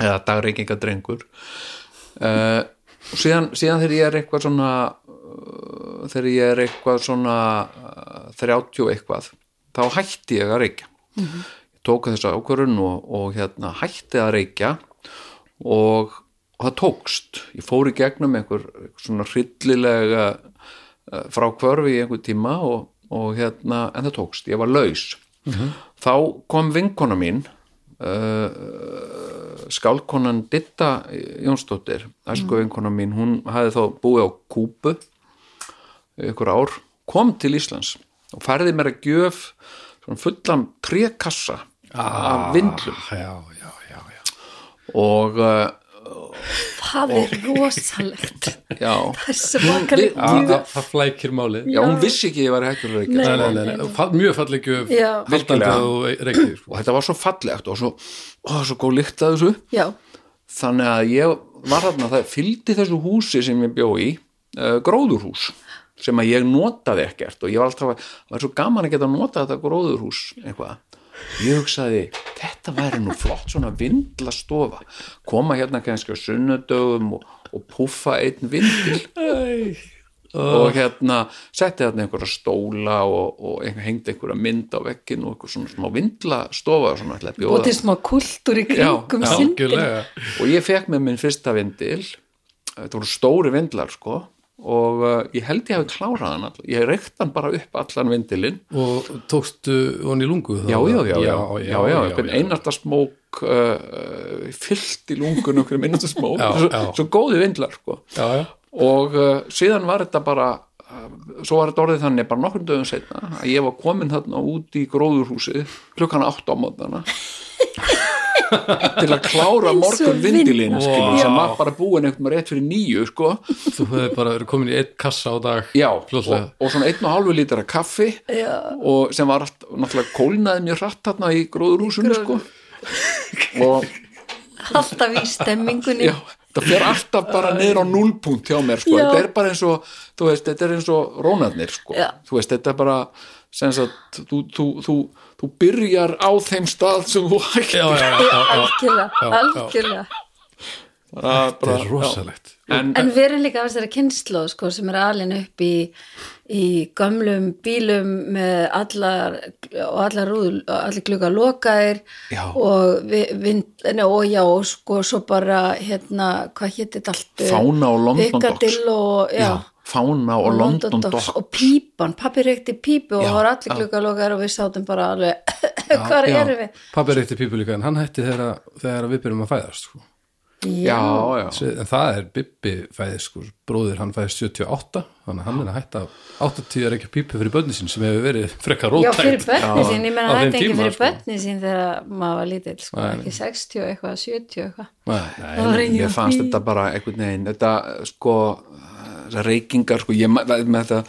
A: eða dagreikingadrengur uh, og síðan, síðan þegar ég er eitthvað svona uh, þegar ég er eitthvað svona uh, 30 eitthvað þá hætti ég að reykja ég tók þessa ákvörun og, og hérna hætti að reykja og, og það tókst ég fór í gegnum einhver einhver svona hryllilega uh, frákvörfi í einhver tíma og, og hérna, en það tókst, ég var laus þá kom vinkona mín eh, skálkonan Ditta Jónsdóttir æsku vinkona mín, hún hafði þá búið á Kúbu í ykkur ár, kom til Íslands og færði mér að gjöf svona fullan trékassa af vindlum
B: já, já, já, já.
A: og uh,
C: það er rosalegt
A: já,
C: það er svakaleg
A: Hún-
B: Það,
A: við-
C: djúð
B: það, það flækir málið
A: já, hún vissi ekki að ég var hættur að reykja
B: Nei, nei, nei, nei. Fa- mjög falleg gjöf
C: Já.
B: haldandi
A: Virkilega.
B: að þú reykir
A: og þetta var svo fallegt og svo, ó, svo góð lykt að þessu
C: já,
A: þannig að ég var þarna það fylgdi þessu húsi sem ég bjó í uh, gróðurhús sem að ég notaði ekkert og ég var alltaf að það var svo gaman að geta notað þetta gróðurhús eitthvað, ég hugsaði þetta væri nú flott svona vindla stofa koma hérna kannski á sunnudögum og, og púffa einn vindil og hérna setti þarna einhverja stóla og, og einhver, hengdi einhverja mynd á vekkin og einhver svona smá vindla stofa svona ætlaði að bjóða
C: bótið smá kultúr í kringum
A: Já, já.
C: syndin
B: algjörlega
A: og ég fekk með minn fyrsta vindil þetta voru stóri vindlar sko og uh, ég held ég hafi klárað hann all, ég reykti hann bara upp allan vindilinn
B: og tókstu hann í lungu þá?
A: já, já, já, já, já, já, já,
B: já,
A: já,
B: já.
A: einarta smók uh, uh, fyllt í lungun okkur einarta smók,
B: Já,
A: svo,
B: já.
A: svo góði vindlar sko
B: já, já.
A: og uh, síðan var þetta bara uh, svo var þetta orðið þannig bara nokkur dögum setna að ég var komin þarna út í gróðurhúsið klukkan 8 á mótana til að klára
C: Eins og
A: morgun
C: vind.
A: vindilinn skilur,
B: Vá.
A: sem var bara búin einhvern veginn rétt fyrir nýju sko.
B: þú hefði bara verið komin í einn kassa á dag
A: já, og,
B: fljótlega
A: og svona einn og halvu lítra kaffi og sem var allt, náttúrulega kólnaði mjög hratt þarna í gróðurhúsinu sko. og
C: alltaf í stemmingunni
A: já, það fer alltaf bara niður á núlpunkt hjá mér sko.
C: Já.
A: þetta er bara eins og þú veist, þetta er eins og rónarnir sko.
C: Já.
A: þú veist, þetta er bara sem sagt, þú, þú, þú, þú byrjar á þeim stað sem þú hægt
B: já, já, já, já.
C: algjörlega,
B: Já, já.
C: algjörlega
A: þetta
B: það er rosalegt
A: en,
C: en við erum líka af þessari kynslu sko, sem er alin upp í, í gömlum bílum með allar og allar, rúð, allir glugga lokaðir
A: Já.
C: og, vi- vind, nei, og já, og sko, svo bara hérna, hvað hétt þetta allt
A: Fána og London Docks.
C: Piccadilly og, já,
A: já, fána og London Docks
C: og pípan, pappi reykti pípu og
A: Já,
C: það var allir
A: já.
C: glugga lokaðir og við sátum bara alveg hvað
A: já.
C: erum við
B: pappi reykti pípu líka en hann hætti þegar, þegar við byrjum að fæðast sko.
A: já, já,
B: Sve- en það er Bibbi fæðið sko bróðir hann fæðið 78 þannig að hann er að hætta 80 er ekki pípu fyrir bönni sín sem hefur verið frekka
C: Já,
B: rótækt
C: fyrir börni sín, ég
B: á
C: meina það
B: þeim
C: er ekki
B: tíma,
C: fyrir
B: sko.
C: börni sín þegar maður var lítill, sko,
B: Nei, nei.
C: ekki 60 eitthvað, 70 eitthvað.
B: Nei, nei.
C: Það var engin
A: ég fannst
C: fín.
A: þetta bara einhvern veginn þetta sko þessar reykingar sko ég með þetta,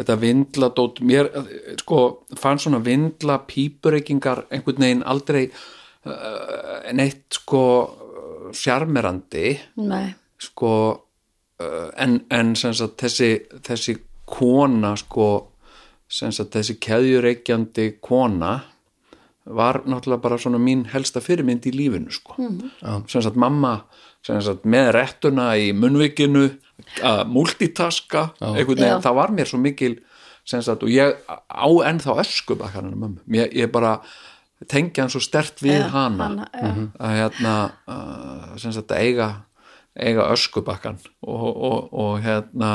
A: þetta vindladót mér eh, sko fannst svona vindla pípureykingar einhvern veginn aldrei uh, neitt sko uh, sjarmerandi
C: nei,
A: sko uh, en, en sem sagt þessi, þessi kona sko sem sagt þessi keðjureikjandi kona var náttúrulega bara svona mín helsta fyrirmynd í lífinu sko mm. sem sagt mamma sem sagt með réttuna í munvikinu að multitaska einhvern
C: Já.
A: veginn, það var mér svo mikil sem sagt og ég á ennþá öskubakkanina mömmu, ég, ég bara tengja hann svo stert við
C: Já,
A: hana,
C: hana, já.
A: að hérna uh, sem sagt að eiga eiga öskubakkan og, og, og hérna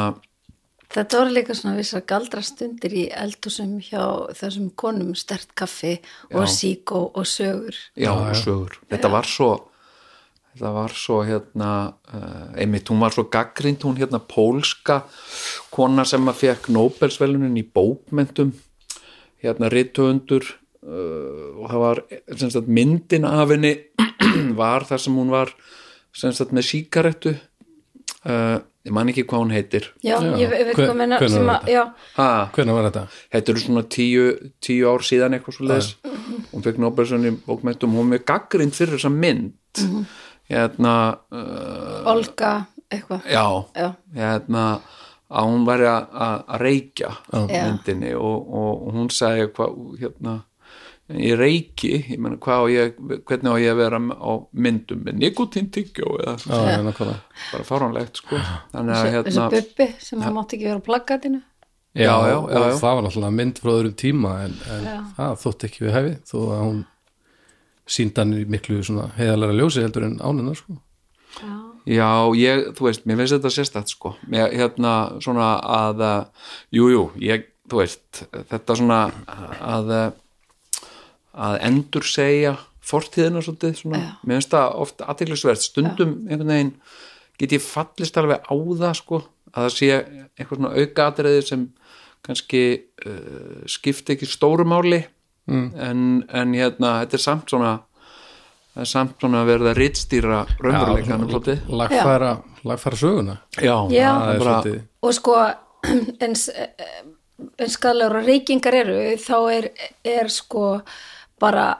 C: þetta voru líka svona vissar galdra stundir í eldhúsum hjá þessum konum stert kaffi og síkó og sögur
A: já, og sögur þetta var svo þetta var svo hérna uh, einmitt, hún var svo gaggrind hún hérna pólska kona sem að fekk Nobelsvelunin í bókmentum hérna rithöfundur uh, og það var sem sagt myndin af henni var þar sem hún var sem sagt með síkarettu uh, ég man ekki hvað hún heitir
C: já,
B: Já.
C: ég ve- veit
B: Hve-
C: hvað meina
B: hvenær
C: sem
B: var
C: að,
B: þetta?
C: já,
A: ha,
B: Hvernig var þetta?
A: þetta eru svona tíu, tíu ár síðan eitthvað svo leðis
C: Mhm.
A: hún fekk Nobelsun í bókmæntum hún með gaggrind fyrir þessa mynd
C: Mhm.
A: hérna uh,
C: Olga eitthvað,
A: já,
C: Já.
A: hérna að hún væri að- að að reykja
C: Já.
A: myndinni og, og, og hún sagði hvað, hérna ég reiki, ég meina hvað á ég hvernig á ég að vera á myndum með nikotintyggjó eða
B: Já, já, nákvæmlega.
A: bara fáránlegt sko þannig að
C: þessu
A: hérna
C: bubbi sem hann mátti ekki vera á plaggatinu
B: Já,
A: Já, já,
B: og
A: já, já.
B: það var náttúrulega mynd frá öðrum tíma en, en það þótt ekki við hæfi þó að hún síndi hann í miklu svona heiðalega ljósi heldur en ánina sko.
C: já,
A: Já, ég, þú veist, mér finnst þetta sérstætt sko, mér, hérna svona að, uh, jú, jú, ég, þú veist, þetta svona að, uh, að endur segja fortíðina svolítið, svona, mér finnst það oft aðtiklisvert, stundum einhvern veginn get ég fallist alveg á það sko, að það sé eitthvað svona auka atriði sem kannski uh, skipti ekki stórumáli mm. en, en hérna, þetta er samt svona það er samt svona að verða rittstýra raunveruleikanum svolítið
B: lagfæra, lagfæra söguna
A: Já,
C: Já.
A: það er bara,
B: svolítið-
C: og sko eins, eins skalegur og reykingar eru þá er, er sko bara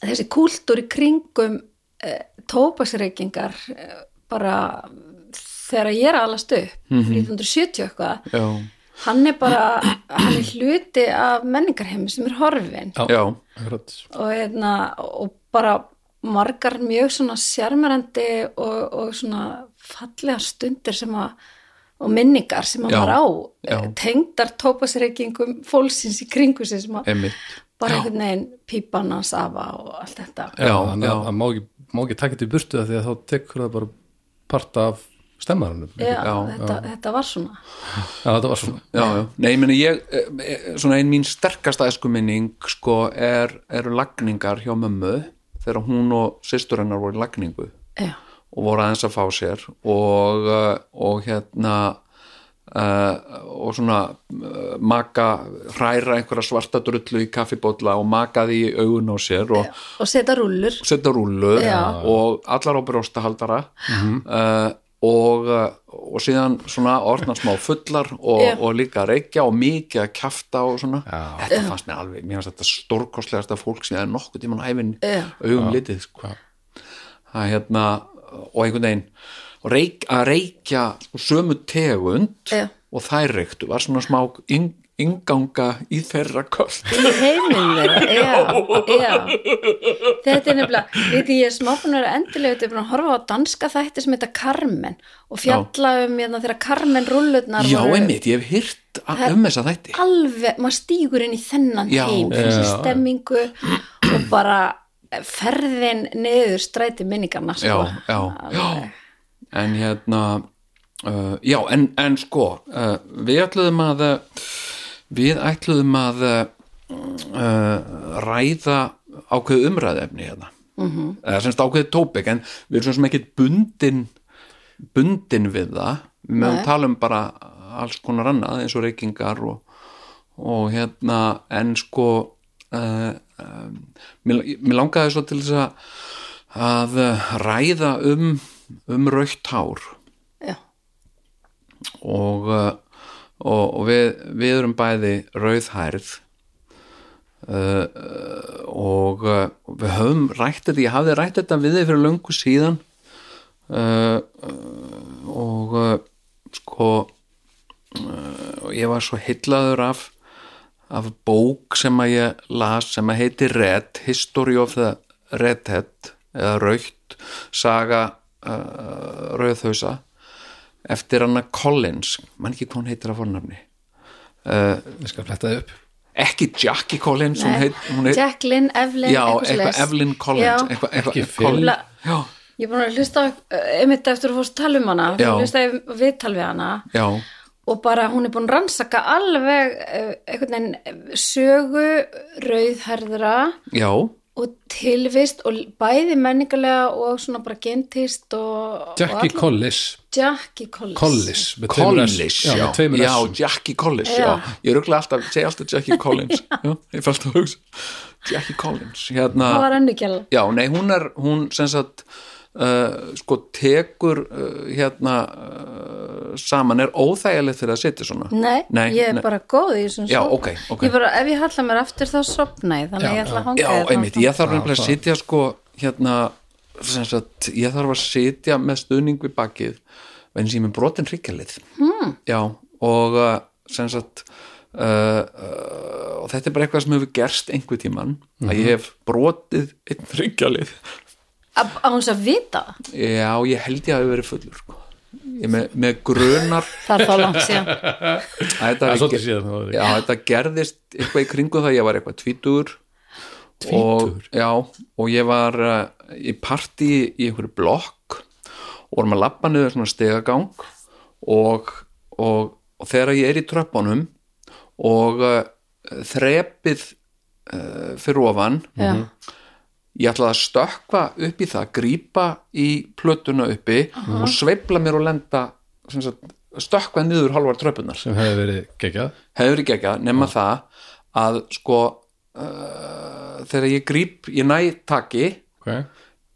C: þessi kúltúr í kringum e, tópasreykingar e, bara þegar ég er að alast upp 1970 eitthvað
A: já,
C: hann er bara, hann er hluti af menningarheimi sem er horfin
B: Já.
A: já,
B: Akkurat.
C: og, hérna, og bara margar mjög svona sérmerandi og, og svona fallega stundir sem að og minningar sem að
A: Já,
C: maður á
A: já.
C: eh, tengdar tópasreikingum fólksins í kringu sig sem að
A: einmitt
C: bara einhvern veginn pípan hans afa og allt þetta
A: Já,
B: þannig
A: já.
B: að það má ekki, má ekki taka þetta í burtu af því að þá tekur það bara part af stemmaranum
C: já, þetta, þetta var svona
B: þetta var svona
A: Já, já, nei, ég meina ég eh, eh, svona ein mín sterkasta eskuminning sko er, eru lagningar hjá mömmu þegar hún og systur hennar voru í lagningu
C: já,
A: og voru aðeins að fá sér og, eh, og hérna uh, og svona uh, maka, hræra einhverja svarta drullu í kaffibólla og maka því í augun á sér og,
C: og setja rúllur
A: setja rúlu
C: Já.
A: og allar á brjóstahaldara uh, og, uh, og síðan svona orðna smá fullar og,
C: Já.
A: og líka reykja og mikið að kjafta og svona þetta fannst mér alveg, mér fannst þetta stórkostlegasta fólk sem ég hefði nokkuð tímann æfin
C: Já.
A: augum litið sko. það er hérna og einhvern veginn og reyk, að reykja sko sömu tegund
C: Já.
A: og þær reyktu var svona smá inn, inganga í þeirra köld
C: í heiminn þeirra já, já. þetta er nefnilega veit ég er smáfunar endilega þetta er búin að horfa á danska þætti sem heita Carmen og fjalla um hérna, þegar Carmen rullutnar
A: já,
C: voru
A: einmitt, ég hef hýrt um þess að þætti
C: alveg, maður stígur inn í þennan
A: Já,
C: heim,
A: já.
C: þessi stemmingu og bara ferðin niður stræti minningarna sko.
A: já, já, já en hérna uh, já, en, en sko uh, við ætluðum að uh, við ætluðum að uh, ræða ákveð umræðefni hérna -hmm. eða semst ákveðið tópik en við erum svo sem ekkit bundin bundin við það við mögum tala um bara alls konar annað eins og reykingar og, og hérna en sko uh, um, mér, mér langaði svo til þess að að eh, ræða um, um raukt hár
C: já,
A: og, eh, og, og við, við erum bæði rauðhærð uh, og eh, við höfum höfum rætt þetta, ég hafði rætt þetta við þið fyrir löngu síðan uh, uh, og uh, sko uh, og ég var svo heillaður af af bók sem að ég las sem að heiti Red, History of the Redhead eða Raukt, saga uh, Rauðhausa eftir hana Collins, mann ekki hvað hún heitir af fornafni
B: ég skal fletta þið upp
A: ekki Jackie Collins hún heit, hún heit,
C: Jacqueline Evelyn
A: já,
C: eitthvað
A: eitthvað
C: svoleiðis.
A: Evelyn Collins
C: Já.
A: eitthvað, eitthvað,
B: Ekki Phil.
A: Collins.
C: Nefnilega-
A: já,
C: Ég er búin að hlusta á- einmitt eftir að fórst tala um hana
A: Já.
C: hlusta viðtal við hana
A: já,
C: og bara hún er búin að rannsaka alveg eh, einhvern veginn eh, sögu rauðherðra
A: já
C: og tilvist og bæði menningarlega og svona bara gentist og
B: Jackie
C: og alla-
B: Collis
C: Jackie Collis,
B: Collis með tveimur S.
A: Collins,
B: já,
A: já,
B: með tveimur
A: já,
B: S-um.
A: Jackie Collins, já,
C: Já.
A: ég ruggla alltaf, segi alltaf Jackie Collins, já, ég fælt að hugsa Jackie Collins, hérna
C: það var önnugjala
A: já, nei, hún er, hún sem sagt uh, sko tekur uh, hérna uh, saman, er óþægilegt fyrir að sitja svona
C: Nei, ég er bara góð í þessum
A: Já,
C: sófa.
A: ok, ok.
C: Ég bara, ef ég halla mér aftur þá sopna ég, þannig
B: Já,
C: að ég ætla að hanga hérna.
A: Já,
C: þér
A: einmitt, ég þarf
B: Já,
A: nefnilega að
B: það-
A: sitja sko hérna sem sagt, ég þarf að sitja með stuðning við bakið venni sem ég er með brotin hryggjallið mm. já, og uh, sem sagt uh, uh, og þetta er bara eitthvað sem hefur gerst einhver tíman, að ég hef brotið einn hryggjallið
C: Á- á hans að vita það.
A: já, ég held ég að hefur verið fullur sko. ég með, með grunar
C: það er þá langt síðan
A: að þetta,
B: Já,
A: hafi
B: svolítið
A: ge-
B: síðan, það var-
A: já, þetta gerðist eitthvað í kringum það, ég var eitthvað tvítugur og, já, og ég var uh, í partí í einhverju blokk og vorum að labba niður svona stegagang og, og, og þegar ég er í tröppunum og uh, þrepið uh, fyrir ofan
C: Já,
A: ég ætlaði að stökkva upp í það grípa í plötuna uppi og sveifla mér og lenda sem sagt, stökkva niður hálfar tröppunar
B: sem hefði verið geggjað
A: hefur ekki ekki nema það að sko uh, þegar ég gríp, ég næ taki
B: okay.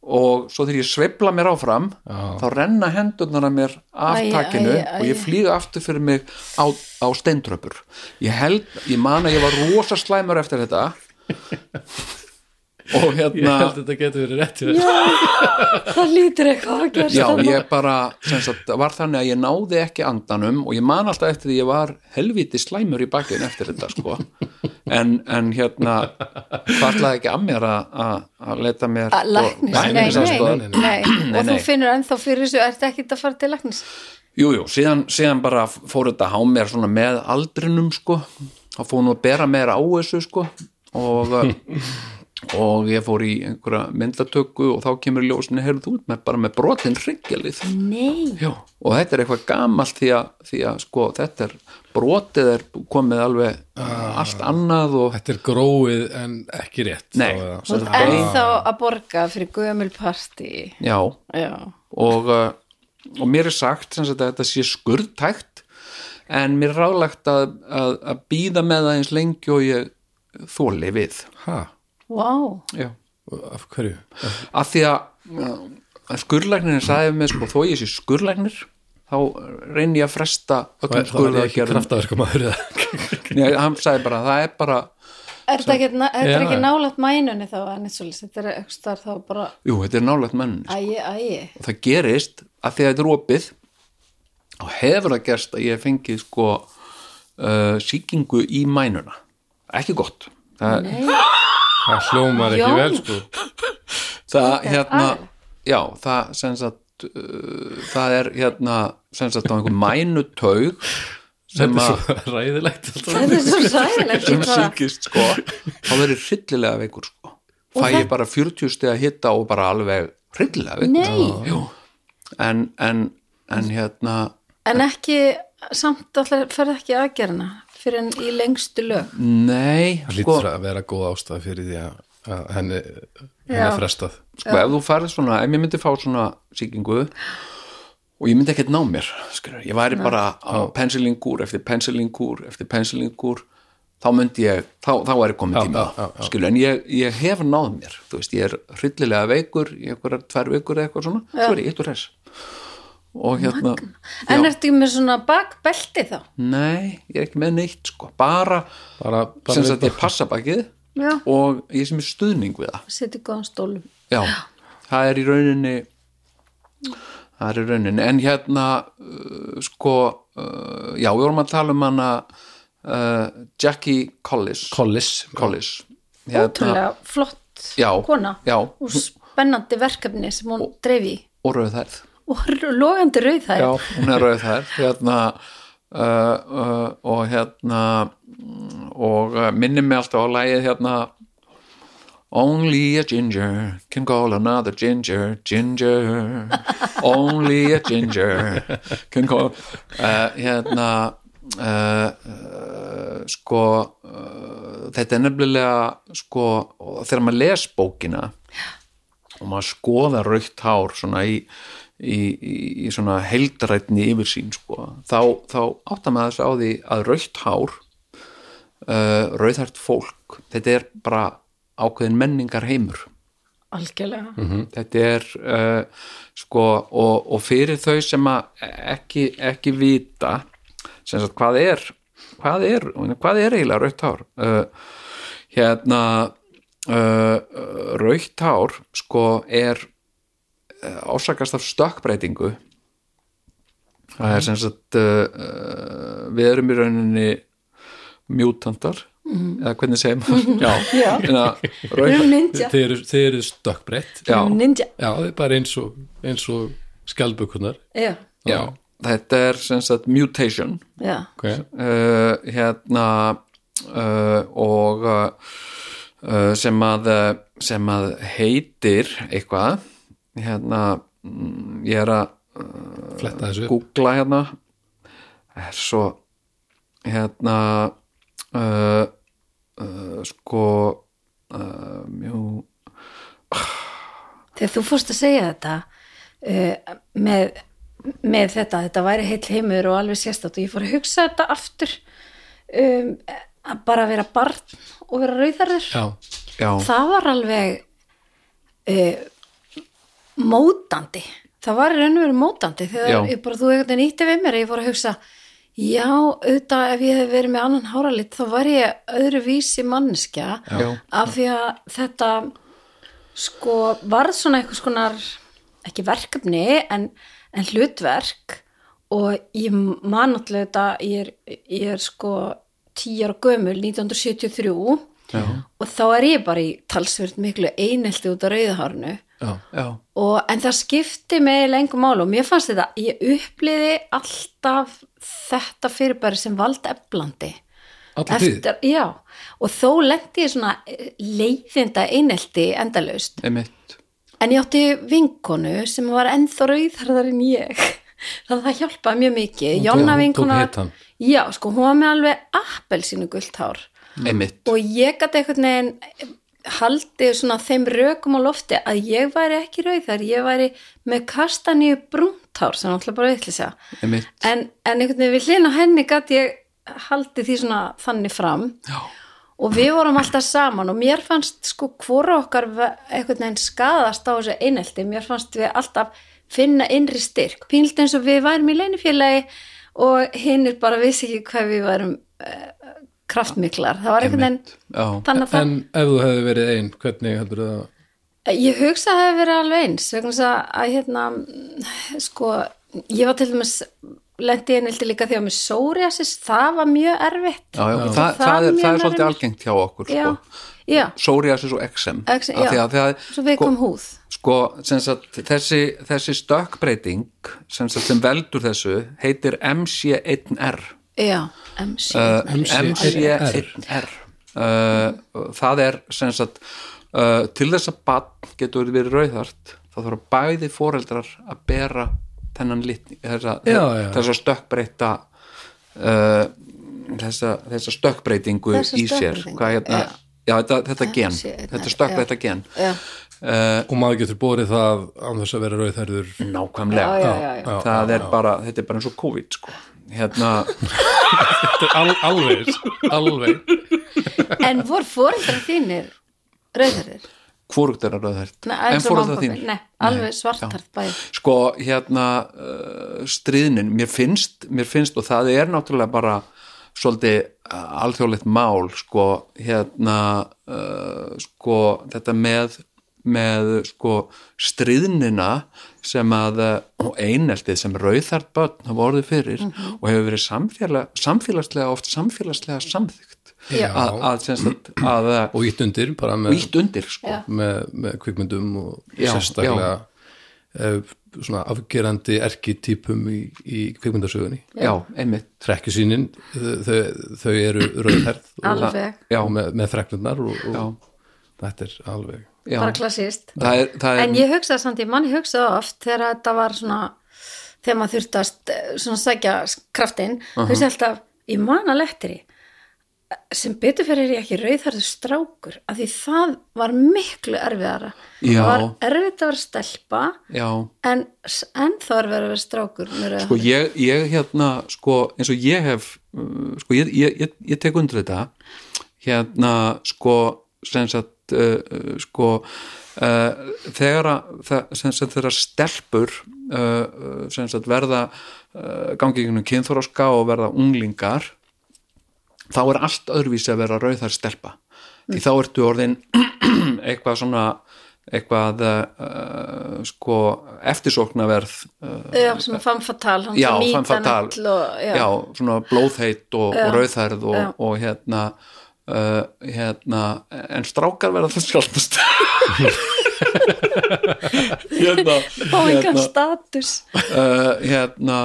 A: og svo þegar ég sveifla mér áfram
B: Já.
A: þá renna hendurnar að mér af
C: Æ,
A: takinu
C: æ, æ.
A: og ég flýga aftur fyrir mig á, á steintröpur ég held, ég man að ég var rosa slæmur eftir þetta og
B: ég
A: hérna
B: held þetta getur verið rétt hjá þér.
C: það lítur eitthvað að gerst
A: Já,
C: þarna.
A: ég bara, sem sagt, var þannig að ég náði ekki andanum og ég man alltaf eftir því ég var helviti slæmur í bakinn eftir þetta, sko. En, en hérna, fallaði ekki að mér að- að að leita mér.
C: Að
A: sko,
C: læknis, nei, nei, nei,
A: læknisaðstoðar.
C: nei,
A: Nei,
C: og þú
A: nei.
C: finnur ennþá fyrir þessu ert ekki að fara til læknis
A: Jú, jú, síðan, síðan bara fór þetta há mér svona með aldrinum, sko. Það fór nú að bera meira á þessu, sko. Og, og ég fór í einhverja myndatöku og þá kemur í ljósinni, heyrðu þú út með bara með brotin hryggjalið.
C: nei,
A: Já, og þetta er eitthvað gamalt því að, því að sko, þetta er brotið er komið alveg
B: Ah.
A: allt annað og
B: þetta er gróið en ekki rétt
A: Nei.
B: þá,
C: þú
B: svo,
C: ert ennþá að borga fyrir gömul partí
A: já,
C: já,
A: og, uh, og mér er sagt sem sagt að þetta sé skurðtækt en mér er ráðlagt að, að, að býða með það eins lengi og ég þóli við
B: ha,
C: wow
A: já.
B: af hverju
A: að því að, að skurðlæknirinn sagði með sko þó ég sé skurðlæknir þá reyni ég að fresta öllum
B: það var ég ekki
A: skurðaðgerðum
B: kraftaverkumæður
A: Nei, hann sagði bara það er bara
C: er þetta ekki, na- þetta er
B: Já.
C: ekki nálægt mænunni þá en eins og lýs, þetta er ekki starf þá bara
A: jú, þetta er nálægt menn
C: ægi, ægi,
A: og það gerist að því að þetta er opið og hefur það gerst að ég hef fengið sko uh, síkingu í mænuna ekki gott það,
B: það hljómar ekki
C: Jón.
B: vel sko
A: það hérna
C: aðeins.
A: já, það sem sagt uh, það er hérna sem sagt á einhver mænutaug sem
B: þetta
A: að
B: er svo ræðilegt alltaf.
C: þetta er svo sæðilegt
A: sem síkist sko þá verður hryllilega veikur sko fæ ég bara 40 stið að hitta og bara alveg hryllilega veikur
C: Nei.
A: Jú. en, en, en hérna
C: en ekki, samt allar ferð ekki aðgerna fyrir en í lengstu lög
A: nei,
B: það
A: sko
B: lítur að vera góð ástæð fyrir því að að henni, henni
C: Já.
B: er frestað
A: sko ef þú farið svona, ef ég myndi fá svona sýkingu og ég myndi ekkert ná mér skur, ég væri bara á pensilingúr eftir pensilingúr eftir pensilingúr þá myndi ég, þá, þá er ég komið tíma
B: já, já.
A: skilur, en ég, ég hef náð mér þú veist, ég er hryllilega veikur í einhverjar tvær vikur eða eitthvað svona svo er ég eitt og res og hérna,
C: en ertu ekki með svona bakbelti þá
A: nei, ég er ekki með neitt sko, bara,
B: bara,
A: sem
B: bara
A: sagt ég passa bakið
C: já,
A: og ég sem er stuðning við það
C: setja í góðan stólum
A: Já, það er í rauninni það er í rauninni en hérna uh, sko, uh, já, við vorum að tala um hana uh, Jackie Collis
B: Collis
A: Collis
C: ótrúlega flott
A: Hérna- Já,
C: kona
A: já.
C: og spennandi verkefni sem hún dreifi í.
A: og rauðhærð
C: og r- logandi rauð
A: Já,
C: þær
A: hún er rauðhærð hérna uh, uh, og hérna mm, og uh, minnir mig alltaf á lagið hérna Only a ginger can call another ginger ginger Only a ginger can call uh, hérna uh, uh, sko uh, þetta er nefnilega sko og þegar maður les bókina og maður skoða raukt hár svona í, í, í, í svona heldrætni yfirsýn sko þá, þá áttar maður þess á því að raukt hár uh, rauðhært fólk þetta er bara ákveðin menningar heimur
C: algjörlega
A: Mm. þetta er uh, sko og, og fyrir þau sem að ekki, ekki vita sem sagt hvað er hvað er, hvað er eiginlega rautt hár uh, hérna uh, rautt hár sko er uh, ásakast af stökkbreytingu það er sem sagt uh, uh, við erum í rauninni mjútantar eða hvernig segir maður já, já.
C: Mhm. við
A: Rautt,
C: erum ninja,
B: Þið eru, þið eru stökkbreytt
C: við erum ninja.
B: Já, það er bara eins og, eins og skjaldbökunar
C: Já,
A: já, þetta er sem sagt mutation
C: já,
B: okay.
A: uh, hérna uh, og uh, sem að sem að heitir eitthvað hérna mm, ég er að
B: Fletta þessu upp.
A: googla hérna Það er svo hérna uh, uh, sko uh, mjú,
C: þegar þú fórst að segja þetta uh, með, með þetta, þetta væri heill heimur og alveg sérstætt og ég fór að hugsa þetta aftur um, að bara vera barn og vera rauðarður
B: Já,
A: já,
C: það var alveg uh, mótandi það var í raun og veru mótandi þegar
A: Já.
C: ég bara þú einhvern veginn ítti við mér að ég fór að hugsa já, auðvitað ef ég hef verið með annan háralit þá var ég öðruvísi mannskja
A: Já.
C: af því að þetta sko varð svona einhvers konar ekki verkefni en, en hlutverk og ég man alltaf þetta ég er, ég er sko tíjar gömul 1973
A: já,
C: og þá er ég bara í talsvörð miklu einelti út á rauðahárnu
B: já,
A: já
C: og, en það skipti mig lengum mál og mér fannst þetta, ég uppliði alltaf þetta fyrirbæri sem vald eflandi
B: alla tíð
C: já, og þó lendi ég svona eh, leiðinda einelti endalaust
A: einmitt
C: En ég átti vinkonu sem var ennþá rauðharðar en ég. Það, það hjálpaði mjög mikið.
B: Hún tók-
C: Jonna
B: hún tók
C: vinkona...
B: hitann.
C: Já, sko, hún var með alveg appelsínu gult hár.
A: einmitt,
C: Og ég gæti einhvern veginn haldið svona þeim rökum á lofti að ég væri ekki rauðar, ég væri með kastaníu brúnt hár sem náttúrulega bara vitlisa.
A: einmitt
C: En, en einhvern veginn við hlina henni gæti ég haldið því svona þannig fram.
A: já,
C: Og við vorum alltaf saman og mér fannst sko hvora okkar ve- einhvern veginn skadast á þessu einelti. Mér fannst við alltaf finna innri styrk. Pínlítið eins og við værum í leinifélagi og hinn er bara vissi ekki hvað við værum uh, kraftmiklar. Það var einhvern
A: einmitt,
C: veginn
A: já
C: þannig að það,
B: En ef þú hefði verið einn, hvernig heldur það
C: ég hugsa að það hefur verið alveg eins vegna þess að, að hérna sko, ég var til dæmis lendi einelti líka þegar með psoriasis, það var mjög erfitt.
A: já,
C: Sko,
A: já,
B: Já.
A: Það, það, er,
C: Það
A: það
C: munar
A: er svolítið
C: um-
A: algengt hjá okkur
C: já,
A: sko.
C: já,
A: psoriasis og XM
C: Exem, já. svo við kom húð.
A: sko, sem sagt, þessi, þessi stökkbreyting sem, sagt, sem veldur þessu heitir MC1R
C: Já, MC.
A: uh,
B: MC1R.
A: MC1R uh, það er sem sagt uh, til þess að bann getur verið rauðart þá þarf bæði foreldrar að bera þennan litni þessa,
B: Já, já.
A: þessa stökkbreyta uh, þessa, þessa stökkbreytingu
C: Þessa
A: í sér
C: stökkbreytingu,
A: Hvað hérna,
C: já.
A: já, þetta, þetta gen,
C: sé-
A: þetta stökkbreyta gen
C: Já.
B: Og maður getur borið það án þess að vera rauðherður
A: nákvæmlega
C: Já, já, já,
B: já.
A: það er bara, þetta er bara eins og COVID sko. hérna,
B: Al, Alveg, alveg
C: En voru foreldrar þínir rauðarir?
A: hvorugt er að rauðhært
C: En
A: foreldrar
C: þín?
A: þínir?
C: Nei, alveg svartarð bæði.
A: sko eh, hérna uh, stríðnin, mér finnst, mér finnst og það er náttúrulega bara svolítið eh, alþjóðlegt mál sko hérna uh, sko þetta með með sko stríðnina sem að eh, og eineltið sem rauðart börn hafa orðið fyrir
C: Mhm.
A: og hefur verið samfélag, samfélagslega oft samfélagslega samþygt
B: Já.
A: að, að, sem sagt, að eh,
B: og ítt undir bara með,
A: ítt undir sko
C: Já.
B: með, með kvikmyndum og
A: Já,
B: sérstaklega eh, svona afgerandi erkitýpum í, í kvikmyndasögunni
A: já, einmitt
B: trekkjusýnin, þau, þau eru rauðherð og,
C: Alveg.
A: Já.
B: og með, með freknurnar og,
A: Já.
B: og þetta er alveg
A: já.
C: bara klassist
A: það er, það er
C: en ég hugsaði samt, ég manni hugsaði oft þegar þetta var svona þegar maður þurfti að st- svona sækja kraftinn, þú veist alltaf ég man að lettri sem betur fyrir ég ekki rauðharðu strákur af því það var miklu erfiðara
A: Já.
C: það var erfitt að vera stelpa
A: já
C: en, en þá er verið að vera strákur með
A: sko
C: rauðhærða.
A: ég, ég hérna sko eins og ég hef uh, sko ég, ég, ég, ég tek undir þetta hérna sko sem sagt uh, uh, sko uh, þegar að það- sem sagt þegar stelpur uh, uh, sem sagt verða uh, gangi gegnum kynþóraska og verða unglingar þá er allt öðruvísi að vera rauðar stelpa því þá ertu orðin eitthvað svona eitthvað uh, sko eftirsóknarverð uh,
C: já, svona fanfatal, hann
A: já,
C: sem
A: fann það
C: nýtan öll og, já,
A: já, svona blóðheit og, og rauðhærð og,
C: já.
A: og hérna uh, hérna en strákar verða það sjálfnast hérna,
C: fá engan status
A: uh, hérna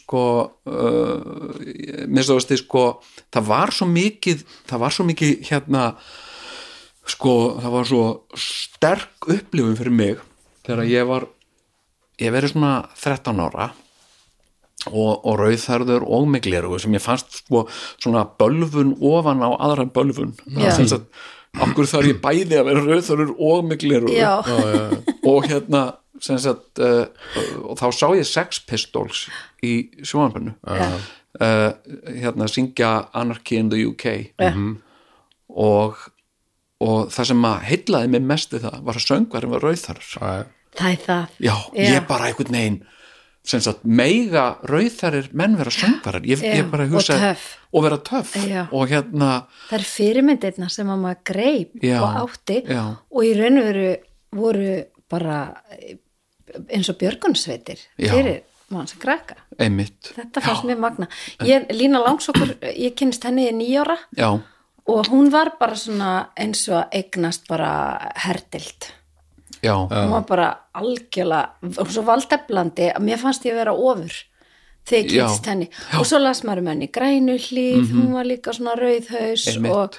A: sko uh, minnst það veist sko það var svo mikið það var svo mikið hérna sko það var svo sterk upplifun fyrir mig þegar ég var ég verið svona 13 ára og, og rauðþærður og með glerugu sem ég fannst sko, svona bölvun ofan á aðra bölvun
C: Já.
A: sem sagt, okkur þarf ég bæði að vera rauðþærður og með glerugu
C: já,
A: og hérna sem sagt uh, og þá sá ég Sex Pistols í sjónarbennu
C: já,
A: uh, hérna syngja Anarchy in the UK
C: já,
A: og, og það sem að heillaði mig mest við það var að söngvarinn var rauðþarur
B: að,
C: það er það
A: já,
C: Já.
A: ég bara einhvern veginn sem sagt, meiga rauðþarir menn vera söngvarar, ég,
C: Já,
A: ég bara
C: og
A: hugsa
C: töff.
A: og vera töff
C: Já.
A: og hérna,
C: það er fyrirmyndirna sem að maður greip
A: Já,
C: og átti
A: já.
C: og í raun og veru voru bara eh, eins og björgunsveitir
A: Já.
C: fyrir mann sem krakka
A: einmitt
C: þetta fannst mér magna ég, Lína Langsokkur, ég kynst henni í nýjóra
A: já,
C: og hún var bara svona eins og að eignast bara herdild
A: já,
C: hún var bara algjörlega hún var svo valdeflandi að mér fannst ég vera ofur þegar ég
A: Já. Mhm.
C: kynntist henni og svo las maður um henni grænu hlýð hún var líka svona rauðhaus
A: Einmitt.
C: og,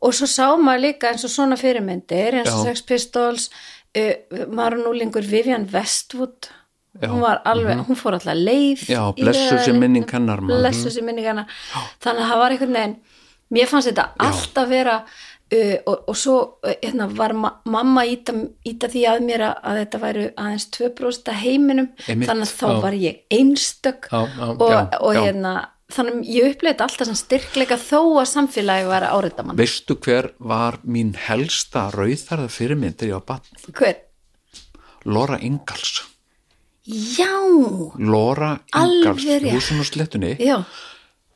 C: og svo sá maður líka eins og svona fyrirmyndir eins og
A: Já.
C: Sex Pistols uh, maður er nú lengur Vivian Westwood
A: Já. Mhm.
C: hún var alveg, hún fór alltaf leið
A: Já,
C: í
A: blessuð sé
C: rauðhærðingnum,
A: minning hennar, maður.
C: blessuð sem minning hennar þannig að það var einhvern veginn mér fannst þetta allt að vera uh, og, og svo uh, hérna, var ma mamma íta, íta því að mér að, að þetta væru aðeins 2% af heiminum
A: Einmitt,
C: þannig að þá
B: já.
C: var ég einstök
B: Já, já,
C: og,
A: já,
C: og
A: já.
C: hérna þannig að ég upplega þetta alltaf sem styrkleika þó að samfélagi var að áreita mann
A: veistu hver var mín helsta rauðþarða fyrirmynd þegar ég var bann,
C: hver?
A: Laura Ingalls
C: Já,
A: Laura
C: Alveg
A: Ingalls,
C: rétt.
A: húsum og slettunni
C: já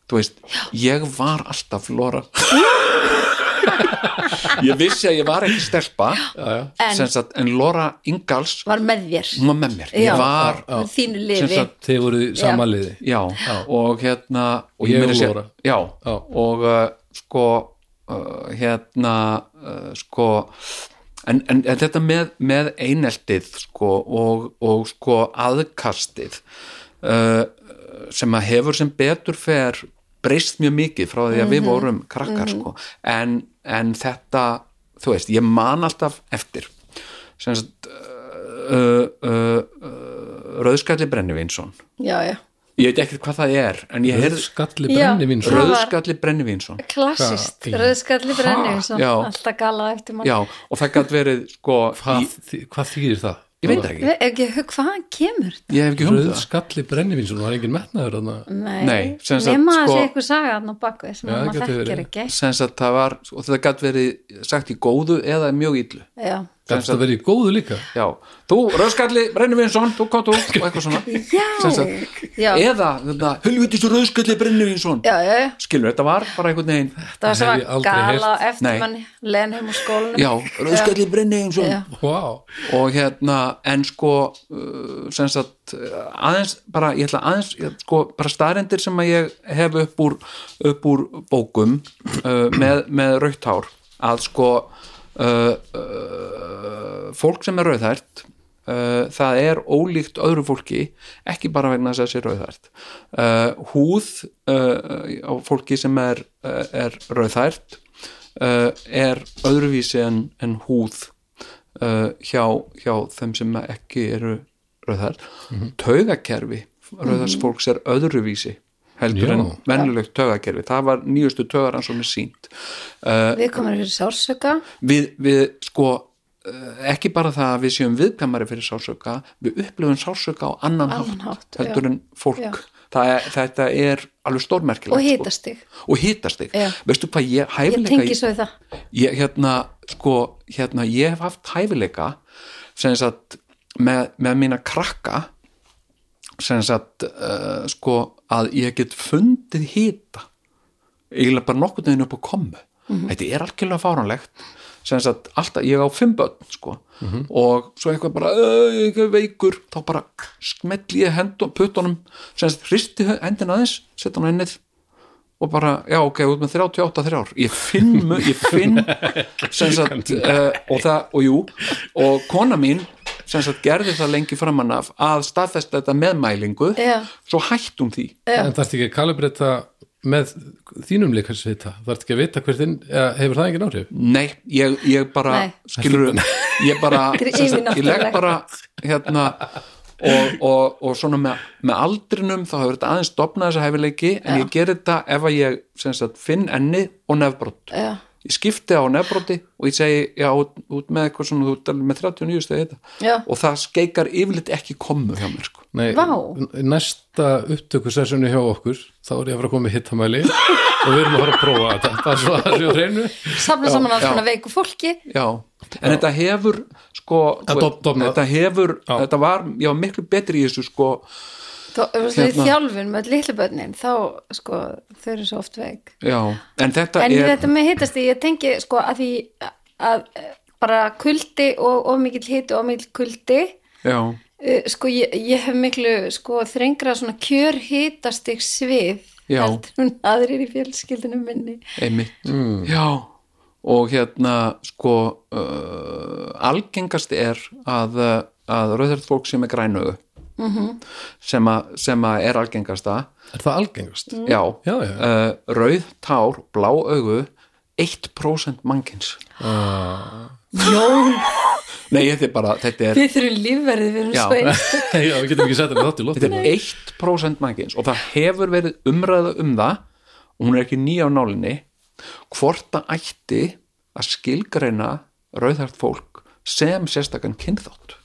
A: þú veist, ég var alltaf Flora ég vissi að ég var ekki stelpa
C: En-
A: en, sagt, en Laura Ingalls
C: var með þér
A: hún var með mér, ég
C: Já,
A: var
C: með þínu
A: sem
C: lifi
A: sagt,
B: þeir voru í sama liði
A: já, og hérna og
B: Ég
A: meira
B: og
A: að segja-
B: Laura.
A: já,
B: Já.
A: og uh, sko uh, hérna uh, sko en, en, en þetta með, með eineltið sko og, og sko aðkastið uh, sem að hefur sem betur fer breyst mjög mikið frá því að við vorum krakkar sko en, en þetta, þú veist, ég man alltaf eftir sem sagt uh, uh, uh, Rauðskalli Brennivinsson
C: já, já,
A: ég veit ekkert hvað það er en ég heyrði
B: skalli
C: Já.
B: brenni mín
C: Rauð-
A: Rauðskalli Brennivínsson
C: klassist
B: Hvað í-
C: rauðskalli brenni
A: Já.
C: alltaf galað eftir mann
A: já, og það gætt verið sko,
B: hvað,
A: ég,
B: þý- hvað þýðir það?
A: ég veit það
C: Ég
A: ekki,
C: veit ekki hug- hvaðan kemur þetta?
A: ég hef ekki
B: Rauð
A: humið það
B: skalli brennivínsson var engin metnaður þarna.
C: Nei,
A: Nei, sem sagt,
C: nema að
A: sko-
C: segja eitthvað saga hann á bakvið sem
B: Já,
C: maður
B: getur
C: þekkir
B: verið.
C: ekki
A: sko, sem sagt það var, og þetta gætt verið sagt í góðu eða mjög illu
C: Já,
B: Þetta verið í góðu líka
A: já, þú rauðskalli, Brennivinsson, þú kottu og eitthvað svona Sem
C: já,
A: sagt,
C: já, já,
A: eða þetta, hulvitis rauðskalli Brennivinsson
C: já, já.
A: skilur, þetta var bara einhvern veginn
C: það var
B: Það hef ég
C: svona
B: aldrei
C: gala
B: heyrt.
A: Nei.
C: eftir manni Lenheim og skólanum
A: já, sko, rauðskalli Brennivinsson
C: Já.
B: Vá,
A: og hérna, en sko uh, sem sagt, uh, aðeins bara, ég ætla aðeins, ég, sko, bara staðrendir sem að ég hef upp úr upp úr bókum uh, með, með rauðtár að sko uh, uh, fólk sem er rauðhært uh, það er ólíkt öðru fólki ekki bara vegna þess að þessi rauðhært uh, húð uh, á fólki sem er, uh, er rauðhært uh, er öðruvísi en, en húð uh, hjá, hjá þeim sem ekki eru rauðar taugakerfi rauðars
C: Mhm.
A: fólks er öðruvísi heldur
B: Já.
A: en venjulegt taugakerfi það var nýjustu taugarann sem er sínt uh,
C: við komum fyrir sársöka
A: við, við sko uh, ekki bara það að við séum viðkvæmari fyrir sásöka, við upplifum sásöka á annan,
C: Annan hátt,
A: heldur
C: já.
A: en fólk
C: Já.
A: Það er, þetta er alveg stórmerkilegt
C: og
A: sko.
C: hitastig
A: og hitastig,
C: Já.
A: veistu hvað ég
C: ég
A: hæfileika
C: tengi svo í það
A: ég, hérna, sko, hérna, ég hef haft hæfileika sem sagt með, með mína krakka sem sagt uh, sko að ég get fundið hýta eiginlega bara nokkurn veginn upp á komu þetta er algjörlega fáranlegt sem sagt alltaf, ég á fimm börn sko og svo eitthvað bara "Æ, ég er veikur, þá bara smetli ég hendun, puttunum sem sagt hristi hendin aðeins, setja hann ennið og bara, já ok, út með 38 þrjár ég finn, mu- ég finn sem sagt, uh, og það, og jú og kona mín sem sagt gerði það lengi framan af að staðfesta þetta meðmælingu
C: Já.
A: svo hættum því
B: en þarfst ekki að kalibrita með þínum líkansvita þarfst ekki að vita hvert inn, eða hefur það engin áhrif
A: Nei, ég, ég bara
C: Nei.
A: skilur, ég bara
C: Þetta er
A: sem sagt, ég legg
C: yfirnáttúrulegt.
A: bara hérna og, og, og svona með, með aldrinum þá hefur þetta aðeins stopnað þessa hefileiki en ég ger þetta ef að ég sem sagt, finn enni og nefbrott
C: Já.
A: ég skipti á nefbrotti og ég segi já, út, út með eitthvað svona, þú ert alveg með 39 stegi
C: Já.
A: þetta og það skeikar yfirleitt ekki komu hjá mér sko
B: Nei,
C: Vá.
B: n- næsta upptöku sessjónu hjá okkur þá er ég að fara að koma með hittamæli og við erum að fara að prófa þetta það er svo að séu reynu
C: safna saman alls
A: já.
C: konar veiku fólki
A: Já, en þetta hefur sko,
B: Að dof- dofnað.
A: þetta hefur
B: Já.
A: þetta var, ég var miklu betri í þessu sko
C: Þó, hérna.
A: Hérna.
C: þjálfun með litlu börnin þá sko þau eru svo oft veik
A: já, en þetta
C: en
A: er
C: þetta með hitastig ég tengi sko að því að eh, bara kuldi og ómikill hiti og ómikill kuldi
A: já,
C: Eh, sko ég, ég hef miklu sko þrengra svona kjör hitastig svið
A: Já.
C: heldur hún aðrir í fjölskyldinu minni
A: einmitt
B: Mm.
A: já og hérna sko uh, algengast er að, uh, að rauðhært fólk sem er grænuðu sem, að, sem að er algengasta
B: er það algengast?
A: já,
B: Já, já.
A: Uh, rauð tár, blá augu 1% mannkins
B: Ah.
C: Jón,
A: nei, þetta er bara þetta er,
C: við þurfum lífverðið við erum
A: Já.
C: svo eins
B: Já, við getum ekki sett þetta þátt í
A: þetta
B: lóttin
A: er 1% mannkins og það hefur verið umræða um það og hún er ekki nýja á nálinni hvort það ætti að skilgreina rauðhært fólk sem sérstakann kynþátt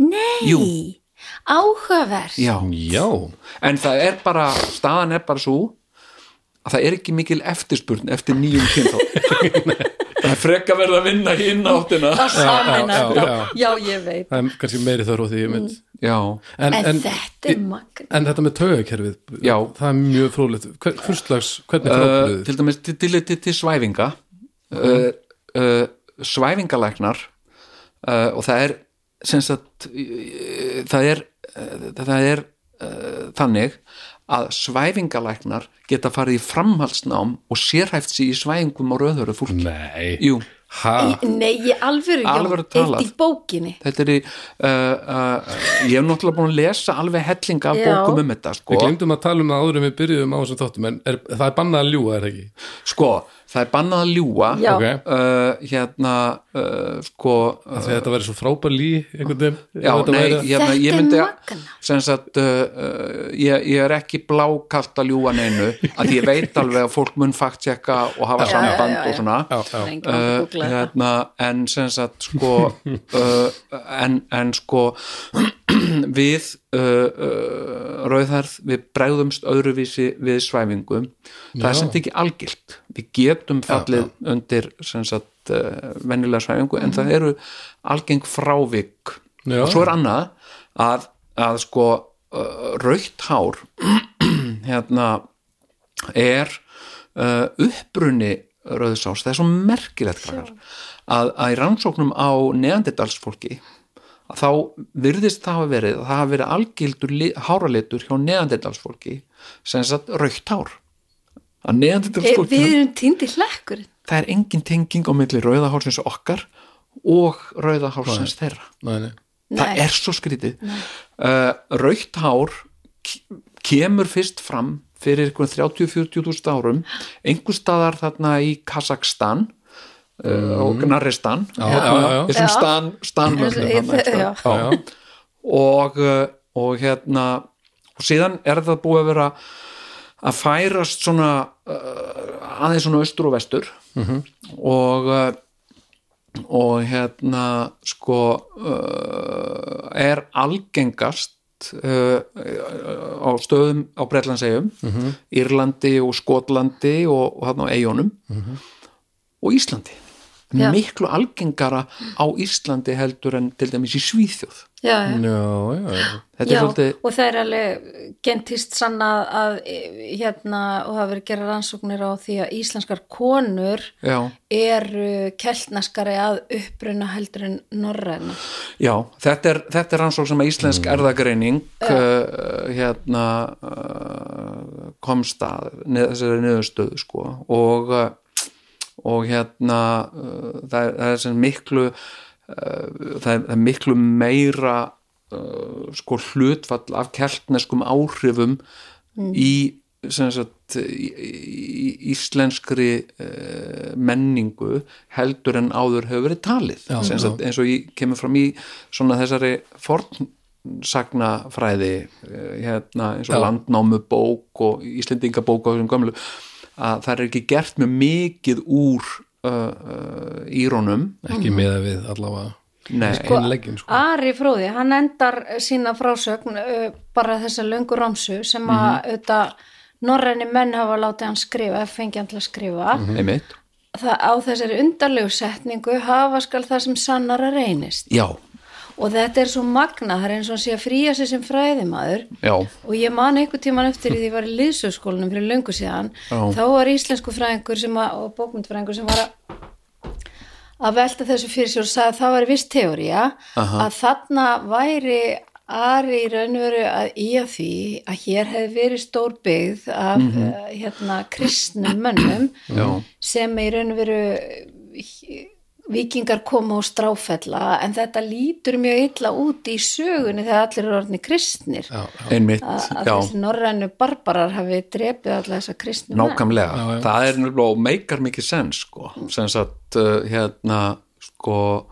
C: Nei,
A: Jú.
C: áhugaverð
A: Já,
B: Já,
A: en það er bara, staðan er bara svo að það er ekki mikil eftirspurn eftir nýjum kynþá það er frekka verið að vinna hinn áttina
C: Það sameina
B: já, já, já.
C: já, ég veit
B: það er kannski meiri þörf á því ég mynd
A: Já,
B: en,
C: Mm. En,
B: en,
C: þetta er magn
B: en þetta með taugakerfið
A: Já.
B: það er mjög fróðlegt Hver, fyrstlags, hvernig
A: uh,
B: fráblöðu?
A: til dæmis til, til, til, til svæfinga uh, uh, svæfingalæknar uh, og það er sem sagt uh, það er, uh, það er uh, þannig að svæfingalæknar geta farið í framhaldsnám og sérhæft sér í svæfingum á rauðhöru fólki
B: Nei,
A: Jú,
B: ha,
C: Nei, ég alvöru,
A: Alvöru
C: Jón,
A: talað.
C: eitt í bókinni
A: þetta er í uh, uh, ég hef náttúrulega búin að lesa alveg hellinga af
C: Já.
A: bókum um þetta sko.
B: við glemdum að tala um það áður en við byrjuðum á þessum þáttum en er, það er bannað að ljúga, er það ekki?
A: sko, það er bannað að ljúa
C: Já.
B: Ok.
A: uh, hérna uh, sko uh,
B: Þegar þetta væri svo frábær lí einhvern veginn
A: já,
B: ef þetta
A: nei,
B: væri-
A: hérna,
C: Þetta
A: ég
C: er
A: myndi
C: magnað.
A: sem sagt uh, uh, ég, ég er ekki blákalt að ljúa neinu að ég veit alveg að fólk mun faktsjekka og hafa
C: Já,
A: samband
C: já, já,
A: og svona
B: Já, já.
C: Það er enginn að
A: uh,
C: googla þetta
A: hérna, en sem sagt sko uh, en, en sko við uh, uh, rauðhærð, við bregðumst öðruvísi við svæfingum það er
B: Já.
A: samt ekki algilt við getum fallið undir sem sagt uh, venjulega svæfingu en það eru algeng frávik
B: Já.
A: og svo er annað að, að sko uh, rautt hár hérna er uh, upprunni rauðsás, það er svo merkilegt krakkar, að, að í rannsóknum á neanderdalsfólki að þá virðist það hafa verið að það hafa verið algildur li- háralitur hjá neanderdalsfólki sem sagt raukt hár að
C: E,
A: neanderdalsfólki
C: við erum týndi hlekkur
A: það er engin tenging á milli rauðahársins okkar og rauðahársins þeirra
B: Nei, nei.
A: það er svo skrítið uh, raukt hár ke- kemur fyrst fram fyrir einhvern 30-40.000 árum einhver staðar þarna í Kazakstan uh, og Naristan
B: Mm. já, já.
A: þessum
C: Já.
A: stan, stanmöndum þarna, ekki?
C: Eh, Já.
B: Já,
A: og, uh, og hérna og síðan er það búið að vera að færast svona uh, aðeins svona austur og vestur og uh, og hérna sko uh, er algengast uh, á stöðum á Bretlandsegjum Írlandi og Skotlandi og, og þarna á Eyjónum og Íslandi
C: Já.
A: miklu algengara á Íslandi heldur en til dæmis í Svíþjóð
C: Já,
A: Mm.
C: já.
B: já, já, já.
A: þetta
C: Já,
A: er svolítið
C: og það er alveg gentist sannað að e, hérna, og það verið gera rannsóknir á því að íslenskar konur
A: já,
C: eru keltnaskari að uppruna heldur en norræna
A: já, þetta er, þetta er rannsók sem að íslensk erðagreining uh, hérna uh, komst að neð, þessari niðurstöðu sko og, uh, og hérna uh, það, er- það er sem miklu uh, það, er, það er miklu meira uh, sko hlutfall af keltneskum áhrifum í sem sagt í, í íslenskri uh, menningu heldur en áður hefur verið talið
B: Já,
A: sem
B: já.
A: sagt, eins og ég kemur fram í svona þessari fornsagnafræði eh, hérna, eins og
B: Já.
A: landnámubók og Íslendingabók og þessum gömlu að það er ekki gert mjög mikið úr uh, uh, írónum
B: ekki meða við allavega
A: Nei,
B: sko, innleggin sko.
C: Ari Fróði, hann endar sína frásögn ö, bara þessa löngu rámsu sem að
A: Mhm.
C: auðvitað norræni menn hafa látið hann skrifa, eða fengið hann til að skrifa
A: Mhm. einmitt
C: það á þessari undarlegu setningu hafa skal það sem sannara reynist
A: Já,
C: og þetta er svo magna, það er eins og hann sé að fríja sig sem fræðimaður
A: já,
C: og ég man einhvern tíman eftir því ég var í liðsöskólanum fyrir löngu síðan
A: Já.
C: þá var íslensku fræðingur sem að, og bókmyndfræðingur sem var að að velta þessu fyrir sér og sagði að það var viss teória að þarna væri Ari í raunveru að í að því að hér hefði verið stór byggð af uh, hérna kristnum mönnum
A: Mhm. já
C: sem í raunveru eh, vikingar koma og stráfella en þetta lítur mjög illa út í sögunni þegar allir eru orðni kristnir
B: já,
A: einmitt,
C: að að
A: já
C: þessi norrænu barbarar hafi drepið alla þessa kristnum
A: nákvæmlega,
B: Já, já.
A: það er nefnilega og meikar mikið sens sko sem sagt uh, hérna sko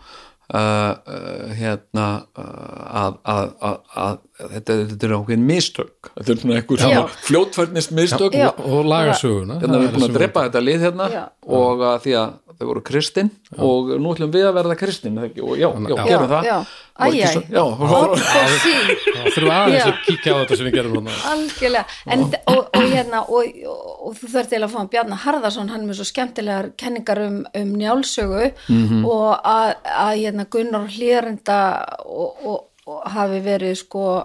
A: uh, uh, hérna uh, að, að, að, að þetta, þetta er ákveðin mistök þetta er svona einhver
C: Já.
A: svona fljótfærnist mistök
C: Sko, Já.
B: og laga söguna
A: hérna
B: það
A: við
B: er
A: erum búin að
B: sem-
A: drepa þetta lið hérna
C: Já.
A: og að því að þau voru kristin og nú ætlum við að verða kristin eða ekki? og já, já,
B: Já.
A: gerum það
C: já,
A: Og ekki
C: æjæ,
A: svo- já, og-
C: opposí
B: Já, þurfum aðeins
C: Já.
B: að kíkja á þetta sem við gerum þarna
C: algjörlega en, þe- og, og hérna og, og, og þú þarf til að fá hann Bjarnar Harðarsson hann er með svo skemmtilegar kenningar um, um njálsögu
A: Mhm.
C: og að, að hérna Gunnar Hlýrenda og, og, og hafi verið sko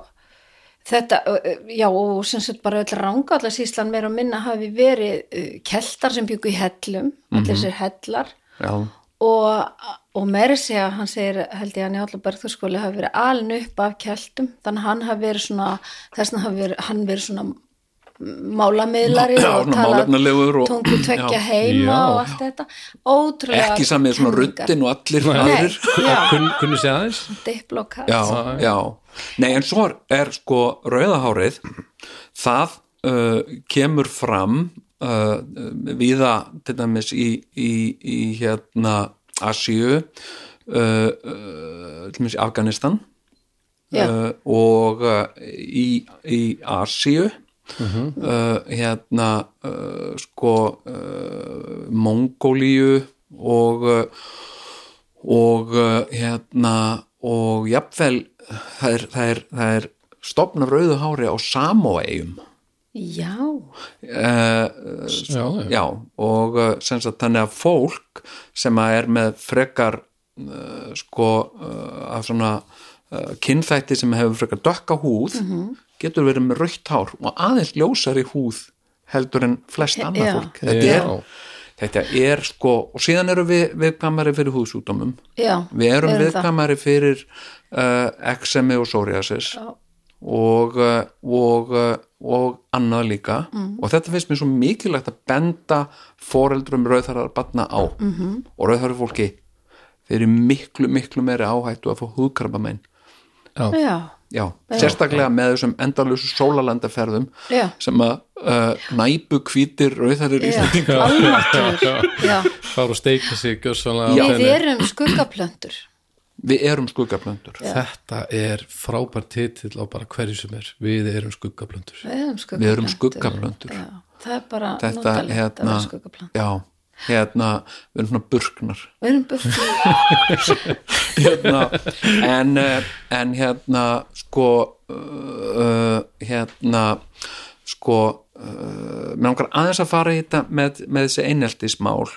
C: þetta, ö, ö, já og sem sett bara öll rángallasíslan meira og minna hafi verið ö, keltar sem byggu í hellum
A: Mhm.
C: allir sér hellar
A: já,
C: og, og meiri segja hann segir held ég að Njála Bergþórskóli hafi verið alin upp af keltum þannig að hann hafi verið svona þessna hafi verið, hann verið svona málamiðlari
A: Já,
C: og
A: svona málefnalegur og-
C: tungu tvekja
A: Já.
C: heima
B: Já.
C: og allt þetta ótrúlega
A: ekki samið svona
C: kenningar.
A: ruttin og allir
C: Nei.
A: aðrir
C: Já.
B: Kun, kunni sé aðeins
C: Diplocats.
A: já, já. Nei, en svo er sko rauðahárið það uh, kemur fram uh, viða til dæmis í, í, í hérna Asíu uh, uh, til dæmis í Afganistan
C: Já.
A: uh, og uh, í, í Asíu uh, hérna uh, sko uh, Mongólíu eh, og uh, og uh, hérna og jafnvel það er, það er, það er stopn af rauðu hári á Samoeum
C: Já,
A: uh,
B: já, já,
A: já, og eh, sem sagt þannig að fólk sem að er með frekar uh, sko uh, af svona uh, kynþætti sem hefur frekar dökka húð
B: Mhm.
A: getur verið með rautt hár og aðeins ljósari húð heldur en flest annað
C: já.
A: fólk þetta
B: Já.
A: er, þetta er sko og síðan eru við viðkamari fyrir húðsúdómum
C: já
A: við erum,
C: það.
A: viðkamari fyrir uh, eksemi og psoriasis
C: Já.
A: og, uh, og, uh, og annað líka
C: Mhm.
A: og þetta finnst mér svo mikilvægt að benda foreldrum rauðarar batna á
C: Mhm.
A: -hmm. og rauðarar fólki þeir eru miklu, miklu meiri áhættu að fá húðkrabamenn
C: Já,
A: Já, sérstaklega með þessum endalösu sólalandaferðum
C: Já.
A: sem að uh, næpu hvítir rauðarir
C: já,
A: íslendingar
C: almáttur Já,
B: fara og steika sig gjörsamlega á
C: við
B: henni.
C: erum skuggaplöntur
A: við erum skuggablöndur
B: þetta er frábær titill á bara hverju sem er við erum skuggablöndur
C: Við erum
A: við erum skuggablöndur
C: skuggaplöntur Já, það er bara
A: þetta
C: notalegt að
A: hérna
C: vera skuggaplöntur
A: já, hérna, við erum svona burknar
C: Við erum buffi
A: hérna, en, eh, en hérna sko uh, hérna sko uh, með langar aðeins að fara í þetta með, með þessi eineltismál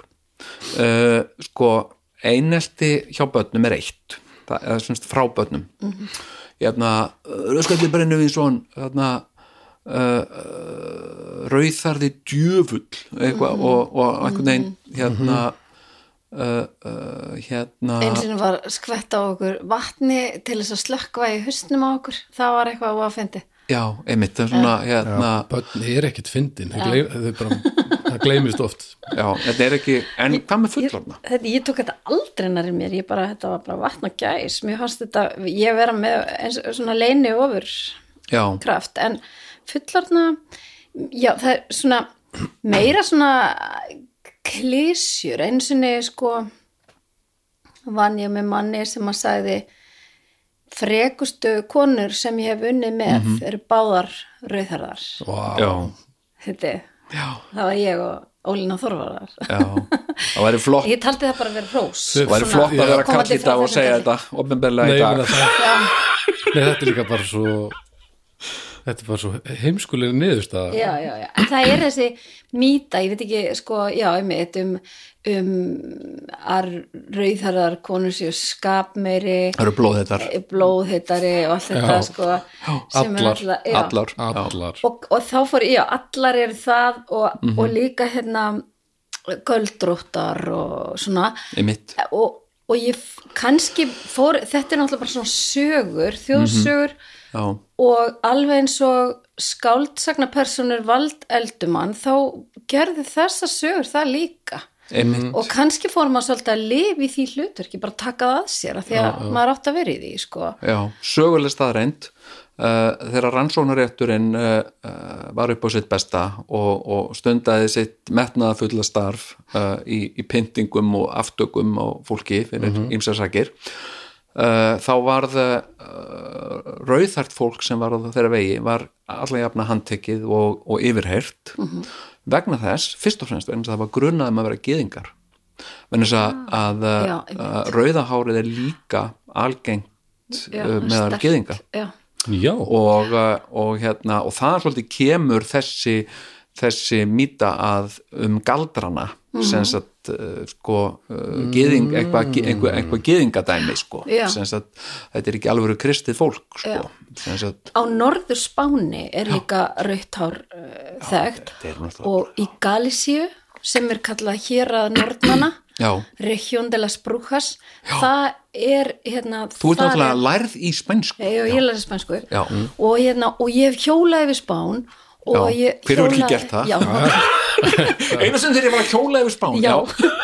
A: uh, sko einelti hjá börnum er eitt það er semst frá börnum mm -hmm. hérna, rauðskalli brennu við svona hérna, þarna rauðarði djöfull eitthvað og, og einhvern veginn hérna uh, uh, hérna
C: Einu sinni var skvett á okkur vatni til þess að slökkva í hustnum á okkur Það var eitthvað að fyndi
A: já, einmitt, það er svona hérna,
B: bönn er ekkit fyndin þau gleym- þau bara- það gleymist oft
A: já, þetta er ekki en hvað með fullorna?
C: Þetta, ég tók þetta aldrei nærið mér, ég bara, þetta var bara vatn og gæs, mér fannst þetta, ég vera með eins, svona leini ofur
A: Já,
C: kraft, en fullorna, já, það er svona meira svona klísjur, eins og niður sko vann ég með manni sem að sagði frekustu konur sem ég hef unnið með
A: Mhm.
C: eru báðar rauðherðar,
B: wow.
A: já,
C: þetta, er-
A: já,
C: það var ég og Ólína Þorvarðar.
A: já það væri flott,
C: Ég taldi það bara að vera hrós.
A: það væri
C: Svona
A: flott að vera
C: komandi
A: kall í
C: frá
A: dag og
C: þessum
A: segja
C: kalli.
A: þetta
B: Nei,
A: ofnbeglega í
B: ég meina
A: dag
B: það,
C: Já,
B: nei, þetta er líka bara svo þetta er bara svo heimskulega niðurstaða
C: já, já, já. En það er þessi mýta, ég veit ekki, sko, já, einmitt um, um að rauðharðar konur séu skapmeiri,
A: það eru blóðheitar
C: blóðhittari og allt þetta,
B: Já.
C: sko. sem er
B: allar,
C: náttúrulega- já.
A: allar, já,
B: allar
C: Og, og þá fór, já, allar eru það og, og líka hérna göldróttar og svona.
A: einmitt
C: og, og ég f- kannski fór, þetta er náttúrulega bara svona sögur, þjóðsögur
A: já,
C: og alveg eins og skáldsagnapersonur vald eldumann, þá gerði þessa sögur það líka
A: einmitt,
C: og kannski fór maður svolítið að lifa í því hlutur, ekki bara taka það að sér af því að maður átt að vera í því, sko
A: já, söguleg staðreind Uh, þegar rannsónarétturinn uh, uh, var upp á sitt besta og, og stundaði sitt metnaða fulla starf uh, í, í pyntingum og aftökum á fólki fyrir mm ímsasakir uh, þá varð uh, rauðhært fólk sem var á þeirra vegi var allar jafna handtekið og, og yfirheyrt vegna þess, fyrst og fremst vegna þess að það var grunað um að vera geðingar vegna þess að, að,
C: Já,
A: að, að rauðahárið er líka algengt
C: Já,
A: uh, meðal
C: sterkt,
A: geðinga
C: Já,
B: já,
A: og, uh, og hérna og það svolítið kemur þessi þessi mýta að um galdrana
C: Mhm.
A: sem sagt uh, sko uh, geðing, eitthvað eitthva, eitthva geðingadæmi sko
C: Já.
A: sem sagt þetta er ekki alveg kristið fólk sko sem sagt
C: á norður Spáni er líka rautthár uh, þekkt
A: þetta er náttúrulega-
C: og í Galísíu sem er kallað hér að norðnana
A: Já.
C: Región de las Brujas það er hérna
A: þú ert
C: þar
A: náttúrulega
C: er-
A: lærð í spænsku
C: Já, ég læri spænsku
A: Já.
C: og, hérna, og ég hef hjólaði við Spán
A: Já,
C: og ég
A: hver hefur ekki
C: hjólaði-
A: gert það?
C: Já,
A: einu sem þegar ég var að hjóla yfir spán
C: já.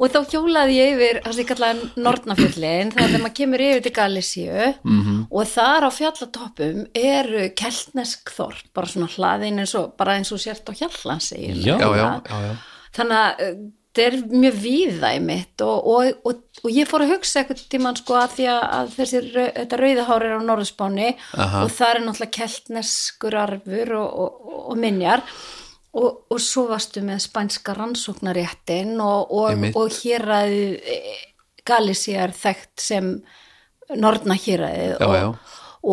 C: og þá hjólaði ég yfir það sem ég kallaði Nornafjöllin það er þegar maður kemur yfir til Galísíu -hmm.
A: Mhm.
C: og þar á fjallatoppum eru keltnesk þorp bara svona hlaðin eins og bara eins og sért á hjallansi
B: Já.
A: já, já, já, já.
C: þannig að eh, þetta er mjög víða í mitt og, og, og, og ég fór að hugsa eitthvað tímann sko að því að, að þessi rau- þetta rauðahár er á Norðspáni
A: Aha.
C: og það er náttúrulega keltneskur arfur og, og, og, og minjar og, og svo varstu með spænska rannsóknaréttin og, og,
A: Einmitt.
C: og hér að Galisía er þekkt sem nornahýraðið
A: Já,
C: og,
A: já.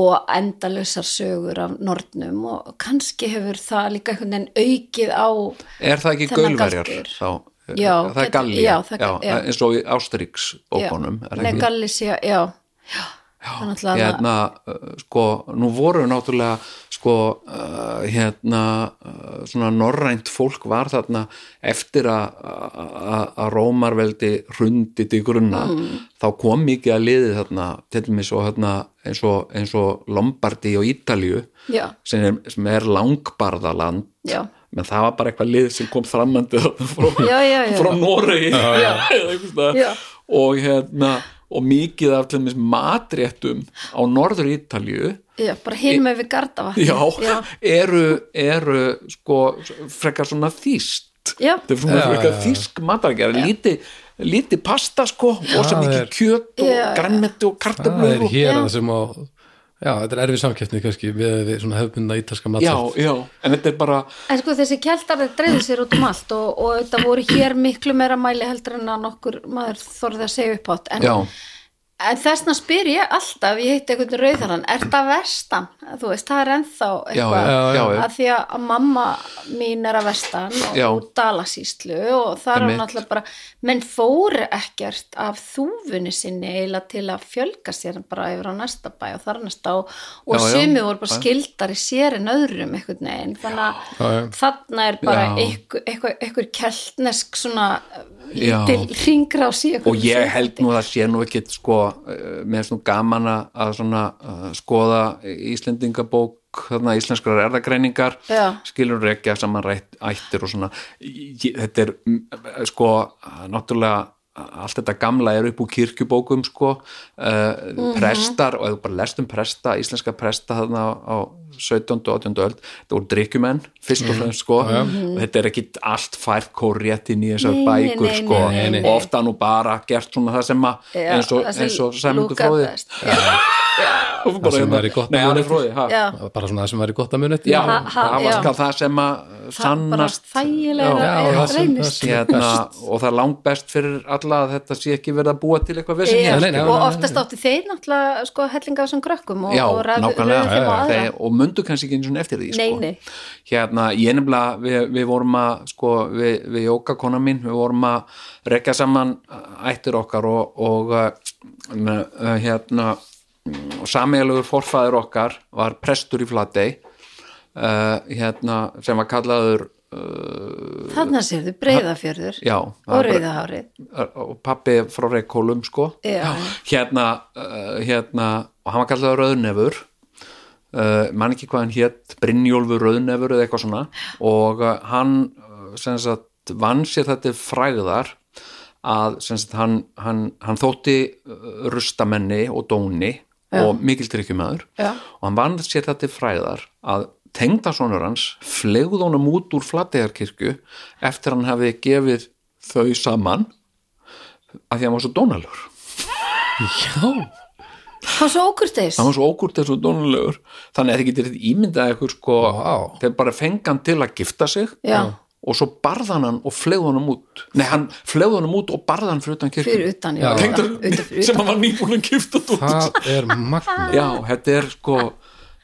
C: og endalausar sögur af nornum og kannski hefur það líka einhvern veginn aukið á
A: Er það ekki
C: Þennan
A: gulverjar?
C: galdur.
A: Þá, Eh,
C: Já,
A: það er
C: getur-
A: gallið,
C: já, það er- já.
A: eins og í Ástriks ókonum.
C: já, Nei, Galisía, já, já, þannig að hérna,
A: hérna, uh, sko, nú voru náttúrulega, sko, uh, hérna, uh, svona norrænt fólk var þarna eftir að- að að Rómarveldi hrundið til grunna,
C: Mm.
A: þá kom mikið að liði þarna, til dæmis og hérna, eins og, eins og Lombardi og Ítalju,
C: já,
A: sem er, sem er langbarðaland,
C: já,
A: menn það var bara eitthvað lið sem kom framandi þarna frá,
C: Já, já, já.
A: frá Noregi Eða einhvers staðar.
C: Já.
A: og hérna og mikið af til þess matréttum á norður Ítalju
C: já, bara hinn með við gardavatn
A: já,
C: já,
A: eru, eru sko frekar svona þýst
C: já,
A: þetta er svona
B: Já,
A: frekar
B: já, já.
A: þýsk matargerð lítið líti pasta sko og svo
B: Það
A: mikið
B: er-
A: kjöt og
C: Já.
A: grænmeti og
B: það
A: kartöflur
B: er
A: og,
B: hér
C: Já.
B: að sem á já, þetta er erfið samkeppni kannski við, við svona hefbunda ítalska
A: já,
B: matsætt
A: já, en þetta er bara
C: En sko þessi keltar þeir dreifðu sér út um allt og, og þetta voru hér miklu meira mæli heldur en að nokkur maður þorði að segja upp átt en,
A: já,
C: en þessna spyr ég alltaf, ég heiti einhvern rauðarann er það vestan? Þú veist, það er ennþá
A: já,
C: eitthvað
A: já, já, já.
C: að því að mamma mín er að vestan og
A: Já.
C: úr Dalasýslu og þar er
A: Einmitt.
C: hún alltaf bara menn fóru ekkert af þúfunni sinni eiginlega til að fjölga sér bara yfir á næsta bæ og þar næsta og, og
A: Já, já.
C: sumi voru bara
A: Já.
C: skildari sér en öðrum einhvern veginn þannig
B: Já,
C: að
B: já.
C: þarna er bara
A: Já.
C: einhver, einhver, einhver keltnesk svona
A: Já.
C: lítil ringra á síðan
A: og ég held nú að það sé nú ekkit sko, eh, mér er svona gaman að- að svona uh, skoða Íslendingabók, þarna íslenskrar erðagreiningar,
C: Já.
A: skilur rekja saman rætt, ættir og svona ég, þetta er mm, sko náttúrulega allt þetta gamla er upp úr kirkjubókum sko uh, prestar og ef þú bara lest um presta, íslenska presta þarna á, á 17. og 18. öld þetta voru drikkjumenn, fyrst og fremst sko og þetta er ekki allt fært korrétt inn í þessar
C: Nei, nei,
A: bækur
C: nei,
A: sko
C: nei, nei, nei.
A: og ofta nú bara gert svona það sem að
C: Já,
A: eins og,
C: það sem
A: eins og sæmundu
C: Luca
A: fróði
C: best.
A: það hérna-
B: sem væri gott
A: nei,
B: að
A: hann er
B: vera.
A: fróði, ha
C: Já.
B: bara svona það sem væri gott að muni
A: já,
C: Ha- ha-
A: það var
C: já.
A: skal það sem að uh,
C: það bara
A: sannast
C: þægilega
B: Já, það sem- það sem-
A: hérna,
B: best.
A: og það er langt best fyrir alla að þetta sé ekki verið að búa til eitthvað vesen
C: Já,
A: hér,
B: nei, nei,
A: sko.
B: nei,
C: og
B: nei,
C: oftast áttu þeir náttúrulega sko hellinga á þessum krökkum og,
A: já,
C: og ræðu
A: nákvæmlega
C: þeim á aðra
A: Þeir- og mundu kannski ekki eins og eftir því
C: Nei,
A: sko.
C: nei.
A: hérna, ég nefnilega við, við vorum að, sko, við, við jókakona mín, við vorum að rekja saman ættir okkar og, og uh, uh, hérna sameilugur forfæður okkar var prestur í Flatey uh, hérna, sem var kallaður
C: þarna séu þau breyðafjörður
A: já,
C: og rauðahárið
A: eh, og pappi frá Reykjólum sko
C: Já.
A: hérna, uh, hérna og hann var kallaður Rauðnefur uh, mann ekki hvað hann hétt Brynjólfur Rauðnefur eða eitthvað svona og uh, hann uh, sem sagt vann sér þetta fræðar að sem sagt hann, hann, hann þótti uh, rustamenni og dóni og mikildrykkjumæður
C: Já.
A: og hann vann sér þetta fræðar að tengdasonur hans flegð honum út úr flategarkirkju eftir hann hafi gefið þau saman af því að hann var svo dónalur
B: já,
C: hann svo ókurteis
A: hann var svo ókurteis og dónulegur þannig að þið getur þetta ímyndað ykkur sko
B: Vá.
A: þeir bara fengan til að gifta sig
C: Já.
A: og svo barðan hann og flegð honum út nei, hann flegð honum út og barðan fyrir utan kirkju
C: fyrir utan, já,
B: Já.
C: utan,
A: Tengdur-
C: utan, utan.
A: sem hann var nýbúin að gifta út
B: það er magna
A: já, þetta er sko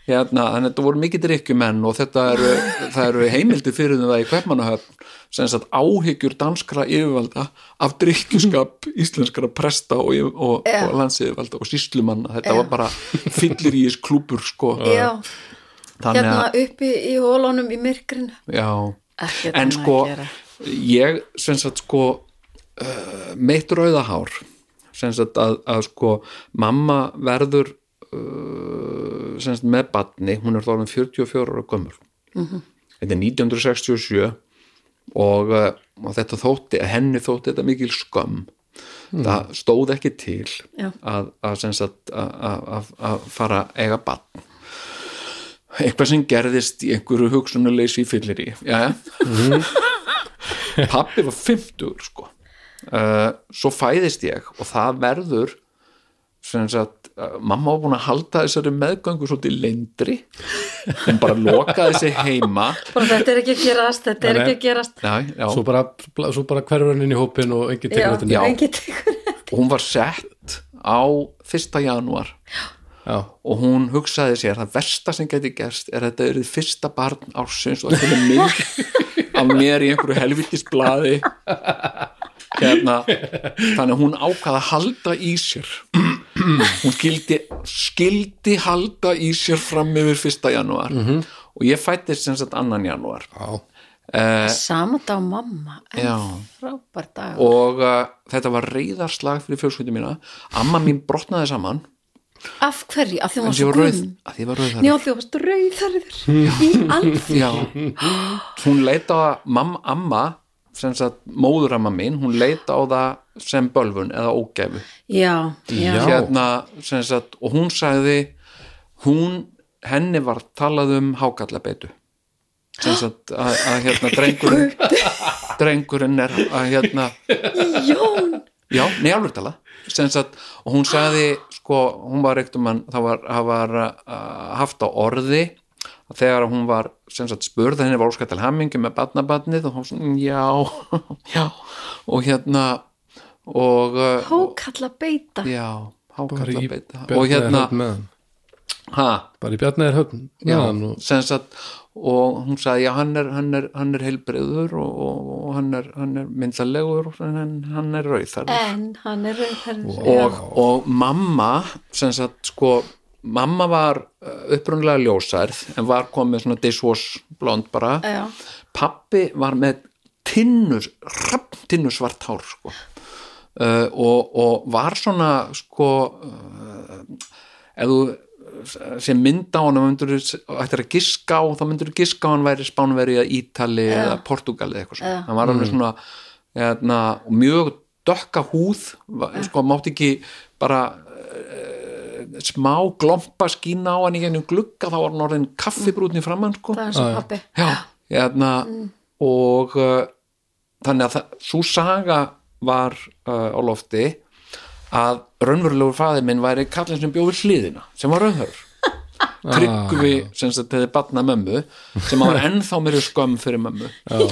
A: hérna, þannig að þetta voru mikið drikkjumenn og þetta eru, það eru heimildi fyrir það í Kveppmannahöfn sem sagt áhyggjur danskra yfirvalda af drikkjuskap íslenskra presta og, yfir- og,
C: Já.
A: og landsiðvalda og síslumanna þetta var bara fyllir í þess klúpur sko.
C: Já,
A: þannig
C: hérna
A: að
C: uppi í hólunum í myrkrinu
A: já,
C: Ekkert
A: en
C: annað
A: sko
C: að gera.
A: ég sem sagt sko uh, meitt rauðahár sem sagt að, að sko mamma verður uh, sem sagt með batni hún er þá orðin 44 ára gömur
C: Mhm.
A: þetta er 1967 og, uh, og þetta þótti henni þótti þetta mikil skömm það stóð ekki til
C: Já.
A: að, að, sem sagt, að, að, að- að fara að eiga batn eitthvað sem gerðist í einhverju hugsunuleysi í fyllir í Jæja. pappi var 50 sko uh, svo fæðist ég og það verður sem sagt, uh, mamma var búin að halda þessari meðgöngu svolítið lendri hún bara lokaði sig heima
C: bara þetta er ekki að gerast, þetta er
B: Nei, nei.
C: ekki að gerast
A: já, já.
B: svo bara, svo bara hverfur hann inn í hópin og enginn tekur þetta
C: já,
A: Já.
C: engin tekur
A: hún var sett á 1. janúar
B: já,
A: og hún hugsaði sér það versta sem geti gerst er að þetta eru fyrsta barn ársins og þetta er mynd af mér í einhverju helvitisblaði hérna þannig að hún ákvað að halda í sér hún skildi skildi halda í sér fram yfir fyrsta janúar og ég fættist sem sagt annan janúar
B: já,
C: Sama dag mamma en
A: Eh. Já.
C: frábær dag
A: og uh, þetta var reyðarslag fyrir fjölskyldum mína amma mín brotnaði saman
C: Af hverju? Af því
A: en
C: hún var
A: því
C: svo
A: var rauð,
C: grunn
A: að því var rauð
C: Njá því hún var svo rauðarður Í allt
A: Já, hún leita á það- mam, amma, sem sagt móðuramma mín, hún leita á það sem bölvun eða ógæfu
C: Já, já,
B: Já.
A: hérna, sem sagt, og hún sagði hún, henni var talað um hákallabeitu sem sagt að, að hérna drengurinn drengurinn er að hérna
C: Jón
A: Já, nei, alveg tala Sem sagt, og hún sagði sko, hún var eitt um hann það var, það var uh, haft á orði að þegar hún var sem sagt spurð henni var óskætt til hammingi með batnabatnið og hún svona, já, já og hérna og, uh,
C: Hókalla beita
A: já,
B: bara
A: hákalla
B: í
A: beita
B: Bjarneyjar
A: og hérna,
B: höfn með hann
A: ha,
B: bara í Bjarnæðir höfn með
A: já,
B: hann og,
A: sem sagt og hún sagði, já, hann er, hann er, hann er heilbreyður og, og, og hann er, hann er myndalegur og hann, hann er rauðar
C: En hann er rauðarður
A: og, og mamma sem sagt sko mamma var upprunlega ljósærð en var komið svona dishwash blond bara
C: Já.
A: pappi var með tinnur tinnur svart hár sko uh, og, og var svona sko uh, ef þú sem mynda á hann myndur, ættir að giska á þá myndur giska á hann væri Spánveri eða Ítali eða Portugali eða eitthvað svona hann var alveg svona hérna, og mjög dökka húð va- sko mátti ekki bara eh, smá glompa skína á hann í gennum glugga þá var hann orðin kaffibrútin í framann sko
C: Það er svo pappi
A: já, hérna og uh, þannig að það, svo saga var uh, á lofti að raunverulegur faðir minn væri kallinn sem bjóði hliðina sem var raunhör tryggvi sem sagt hefði batna mömmu sem var ennþá mér skömm fyrir mömmu uh,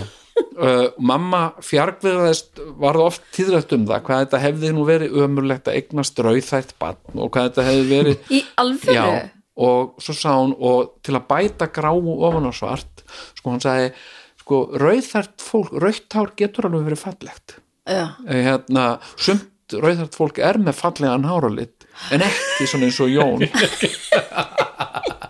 A: mamma fjargviðaðist varð oft tíðrætt um það hvað þetta hefði nú verið ömurlegt að eignast rauðþætt batn og hvað þetta hefði verið
C: Í alvöru
A: Já, og svo sá hún og til að bæta gráu ofan á svart sko hún sagði sko rauðhært fólk, rauðtár getur alveg verið fallegt
C: Já.
A: Eh, hérna, sumt rauðhært fólk er með fallegan háralit en ekki svona eins og Jón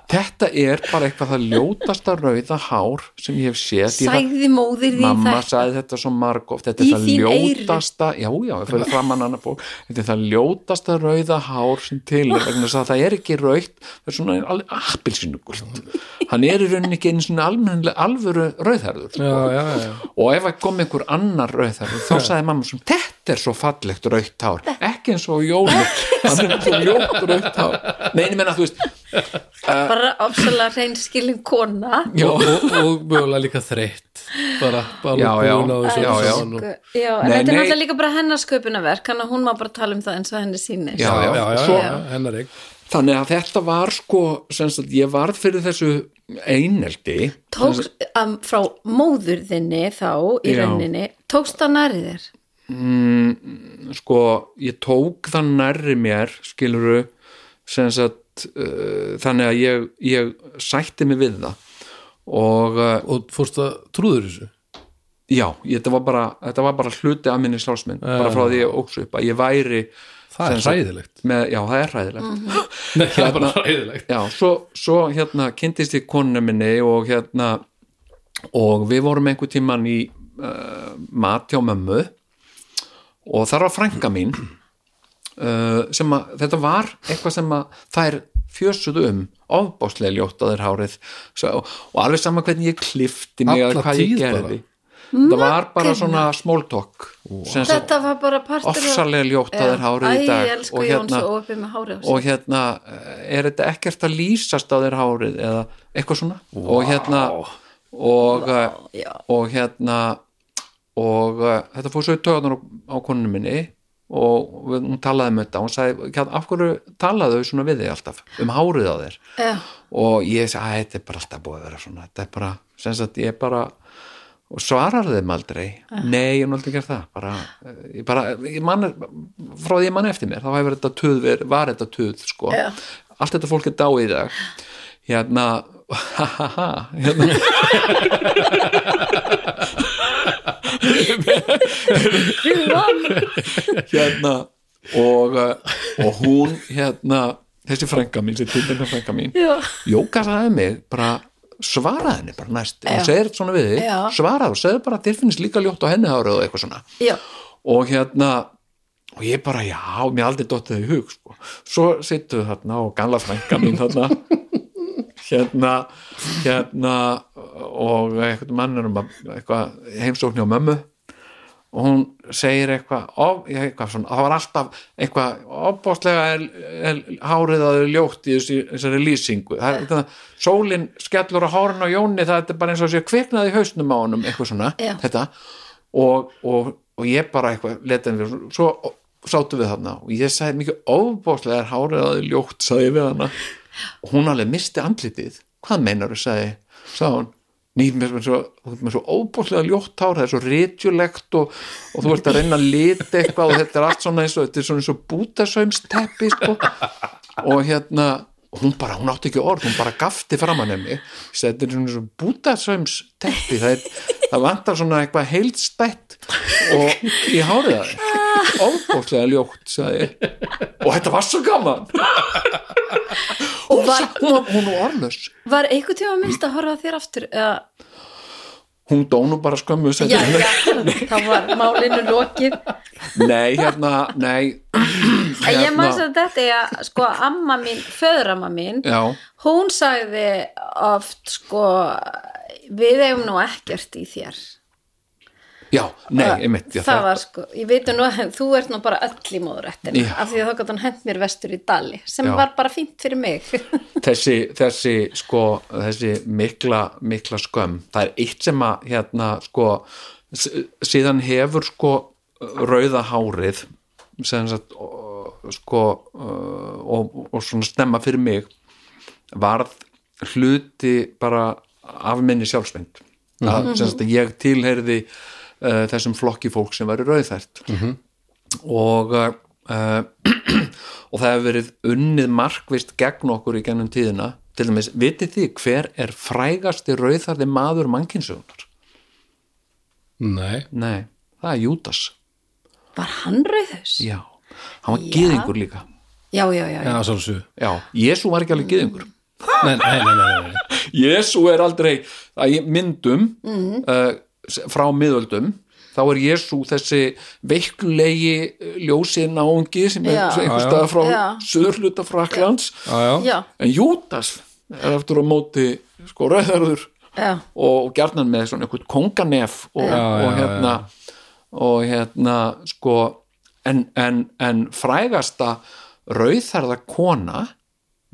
A: þetta er bara eitthvað það ljótasta rauða hár sem ég hef séð Ég var-
C: Sæði móðir því
A: mamma
C: þetta
A: sagði þetta svo margóft þetta
C: Í
A: er það
C: þín eyru.
A: ljótasta já, já, ég fyrir framann annar fólk þetta er það ljótasta rauða hár sem til er vegna þess að það er ekki rautt það er svona alveg appilsinugult hann er í rauninni ekki einu svona almennilega alvöru rauðherður
B: já, já, já,
A: og ef það kom einhver annar rauðherður þá sagði mamma svona, þetta er svo fallegt rautt hár ekki eins og Jónu hann er svo ljótt rautt hár nei, ég menna, þú veist,
C: Bara ofsalega reynskilin kona
A: já,
B: Og, og, og mögulega líka þreytt bara, bara
A: Já, já.
B: búin á þessu
A: Já, já.
B: saman og-
C: Já, en
A: Nei,
C: þetta er
A: nei.
C: náttúrulega líka bara hennar sköpunarverk hann að hún má bara tala um það eins og henni sýnir
A: Já,
B: já, já, já,
A: Svo-
B: já, hennar ekki
A: þannig að þetta var sko, sem sagt, ég varð fyrir þessu eineldi
C: Tók um, frá móður þinni þá í
A: Já.
C: rauninni Tókst það nærið þér
A: sko, ég tók það nærri mér, skiluru sem sagt uh, þannig að ég, ég sætti mig við það og uh,
B: og fórst að trúður þessu
A: já, ég, þetta, var bara, þetta var bara hluti af minni sjálfsmynd, bara frá því ég óksu upp að ég væri
B: það er
A: sem sagt,
B: hræðilegt
A: með, já, það er hræðilegt
B: Nei, það er bara hræðilegt
A: já, svo, svo hérna kynntist ég konuna minni og hérna og við vorum einhver tíman í uh, mat hjá mömmu og þar var frænka mín uh, sem að þetta var eitthvað sem að þær fjössuðu um ofbáslega ljótt að þeir hárið svo, og alveg sama hvernig ég klifti mig
B: Alla
A: eða hvað ég
B: tíð
A: gerði það var bara svona smóltokk wow.
C: Þetta var bara partur af-
A: ofsalega ljótt að þeir hárið í
C: Æ,
A: dag hérna-
C: ég elsku Jón svo opið með hárið á sér.
A: og hérna er þetta ekkert að lýsast á þér hárið eða eitthvað svona og hérna og, eh,
C: já.
A: og hérna og uh, þetta fór svo í töðunar á, á konunum minni og við, hún talaði með þetta hún sagði, "Kjartan, af hverju talaðu þau svona við þig alltaf um hárið á þér
C: Já.
A: og ég sagði, að þetta er bara alltaf búið að vera svona þetta er bara, sem sagt, ég er bara og svarar þeim aldrei
C: Ah.
A: nei, ég hef nú aldrei gert það bara, eh, ég bara, ég man, frá því ég mann eftir mér þá hefur þetta tuð, verið- var þetta tuð sko.
C: Já.
A: allt þetta fólk er dáið í dag hérna ha ha ha hérna hérna og, eh, og hún hérna, þessi frænka mín, þessi tilbyrna frænka mín
C: Já.
A: Jóka sagði mig bara svaraði henni bara næst hún
C: Já.
A: segir svona við þig,
C: Já.
A: svaraði og segði bara að þér finnst líka ljótt á henni hárið og eitthvað svona
C: já,
A: og hérna og ég bara, já, mér aldrei dottið í hug sko. svo sittu þarna og gamla frænka mín þarna hérna, hérna og einhvern mann er um að eitthvað heimsókn hjá mömmu og hún segir eitthvað, ó, ég- eitthvað svona, það var alltaf eitthvað opbóðslega er, er hárið að þau ljótt í þessi, þessari lýsingu það, það, sólin skellur á hárun á Jóni það er bara eins og sé kviknaði í hausnum á honum eitthvað svona,
C: Já.
A: þetta og, og, og ég bara eitthvað letin við, svo sátum við þarna og ég sagði mikið opbóðslega er hárið að þau ljótt, sagði ég við hana og hún alveg misti andlitið hvað meinar þú, sagði, sagði hún nýtt mér sem svo, þú ert með svo óbúslega ljótt hár, það er svo ritjulegt og, og þú ert að reyna að lita eitthvað og þetta er allt svona eins og, þetta er svona eins og bútasaumsteppi sko. og hérna, hún bara, hún átti ekki orð hún bara gafti framan emi þetta er svona eins og bútasaumsteppi það, er, það vantar svona eitthvað heildstætt og í hárið að þér óbúslega ljótt sagði, ég. og þetta var svo gaman
C: og var,
A: Sa- hún, var- hún var orðlaus
C: var einhvern tíma minnst að horfa á þér aftur eða,
A: hún dó nú bara skömmu seinna.
C: já, já, þá var málinu lokið
A: nei, hérna, nei
C: En ég maður
A: Hérna,
C: sem þetta er að sko amma mín, föðramma mín
A: Já.
C: hún sagði oft sko við eigum nú ekkert í þér
A: já, nei, einmitt já,
C: það, var sko, ég veit nú að þú ert nú bara öll í móðurættin
A: Já.
C: af því að þá gott hann hent mér vestur í dali sem
A: Já.
C: var bara fínt fyrir mig
A: þessi, þessi sko, þessi mikla, mikla skömm það er eitt sem að hérna, sko, s- síðan hefur sko rauða hárið sem sagt ó, sko og, og svona stemma fyrir mig varð hluti bara af minni sjálfsmynd að, sem sagt að ég tilheyrði uh, þessum flokki fólk sem væri rauðært og uh, og það hefur verið unnið markvist gegn okkur í gennum tíðina til dæmis, vitið þið hver er frægasti rauðarði maður mannkinsögunar?
B: Nei,
A: Nei, það er Júdas
C: var hann rauðus?
A: Já, hann var gyðingur líka
C: já, já, já, já.
B: já, sálsug
A: Já, Jésu var ekki alveg gyðingur
B: Nei, nei, nei, nei, nei, nei.
A: Jésu er aldrei að í myndum
C: Mhm.
A: mm. frá miðöldum þá er Jésu þessi veiklegi eh, ljósið náungi sem er
C: Já.
A: einhver stað frá
C: Já.
A: söðurluta fraklands
B: Já, já,
C: já,
A: en Júdas er eftir á móti sko rauðarður
C: já.
A: og gjarnan með svona einhvern konganef og, og
B: já,
A: hérna og hérna sko en, en, en frægasta rauðarða kona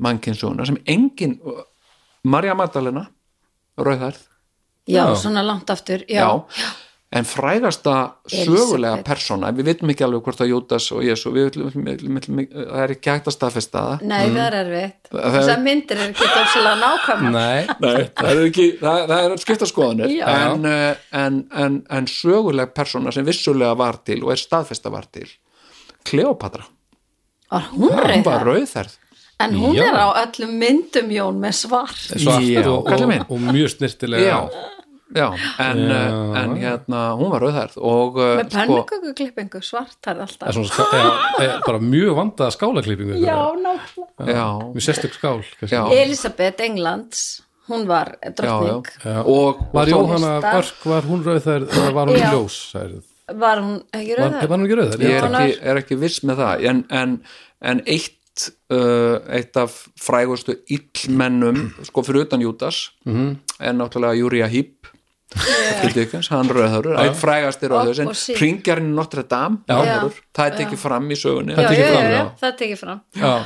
A: mannkinsuna sem engin Marja Magdalena rauðarð,
C: já
B: Já.
C: svona langt aftur já,
A: já, en frægasta sögulega
C: Elísabet.
A: persóna við vitum ekki alveg hvort að Júdas og Jésu við vitum, vitum, vitum, vitum, það er ekki hægt að staðfesta það
C: nei, það er erfitt
A: Það-
C: þessar myndir er ekki dofsilega nákvæmar
B: nei
A: Nei, það er ekki, það, það er skipta skoðanir
C: Já.
A: en, eh, en, en, en söguleg persóna sem vissulega var til og er staðfesta var til Kleopatra,
C: var hún
A: hún var
C: rauðar?
A: rauðherð
C: en hún
B: Já.
C: er á öllum myndum Jón með svart
B: Svart
A: Já,
B: og,
A: kallinn
B: og,
A: minn.
B: og mjög snirtilega
A: Já, já, en,
B: Já.
A: eh, en hérna, hún var rauðherð og eh,
C: með pönnukökuklippingu svart
B: Það
C: er
B: er
C: alltaf
B: svona, ska- já, eh, bara mjög vandaða skálaklippingu
C: já, nákvæmlega
A: já,
B: Mjög sérstök skál kannski.
A: Já.
C: Elisabeth Englands, hún var
A: já, já,
C: drottning
B: Já.
A: og
B: Eh, Var
A: og-
B: Jóhanna
C: Lista.
B: Börk, var hún rauð þær eða var hún
C: Já.
B: ljós? sagðirðu?
C: var hún ekki
B: Var,
C: rauðar?
B: var hún ekki rauð
A: ég
B: þær?
A: er
C: Jóhanna-
A: ekki, er ekki viss með það en, en, en eitt uh, eitt af frægustu illmennum, sko fyrir utan Júdas en náttúrulega Júria Hýpp Dickens, hann rauðhörur, eitt frægastir rauðhörur
C: Og síðan.
A: Pringjarinn Notre Dame
B: Já.
A: rauðhörur, það er tekið fram í sögunni
C: já,
B: tekið
C: já,
B: fram,
C: já,
B: já.
C: já, það tekið fram
B: Já,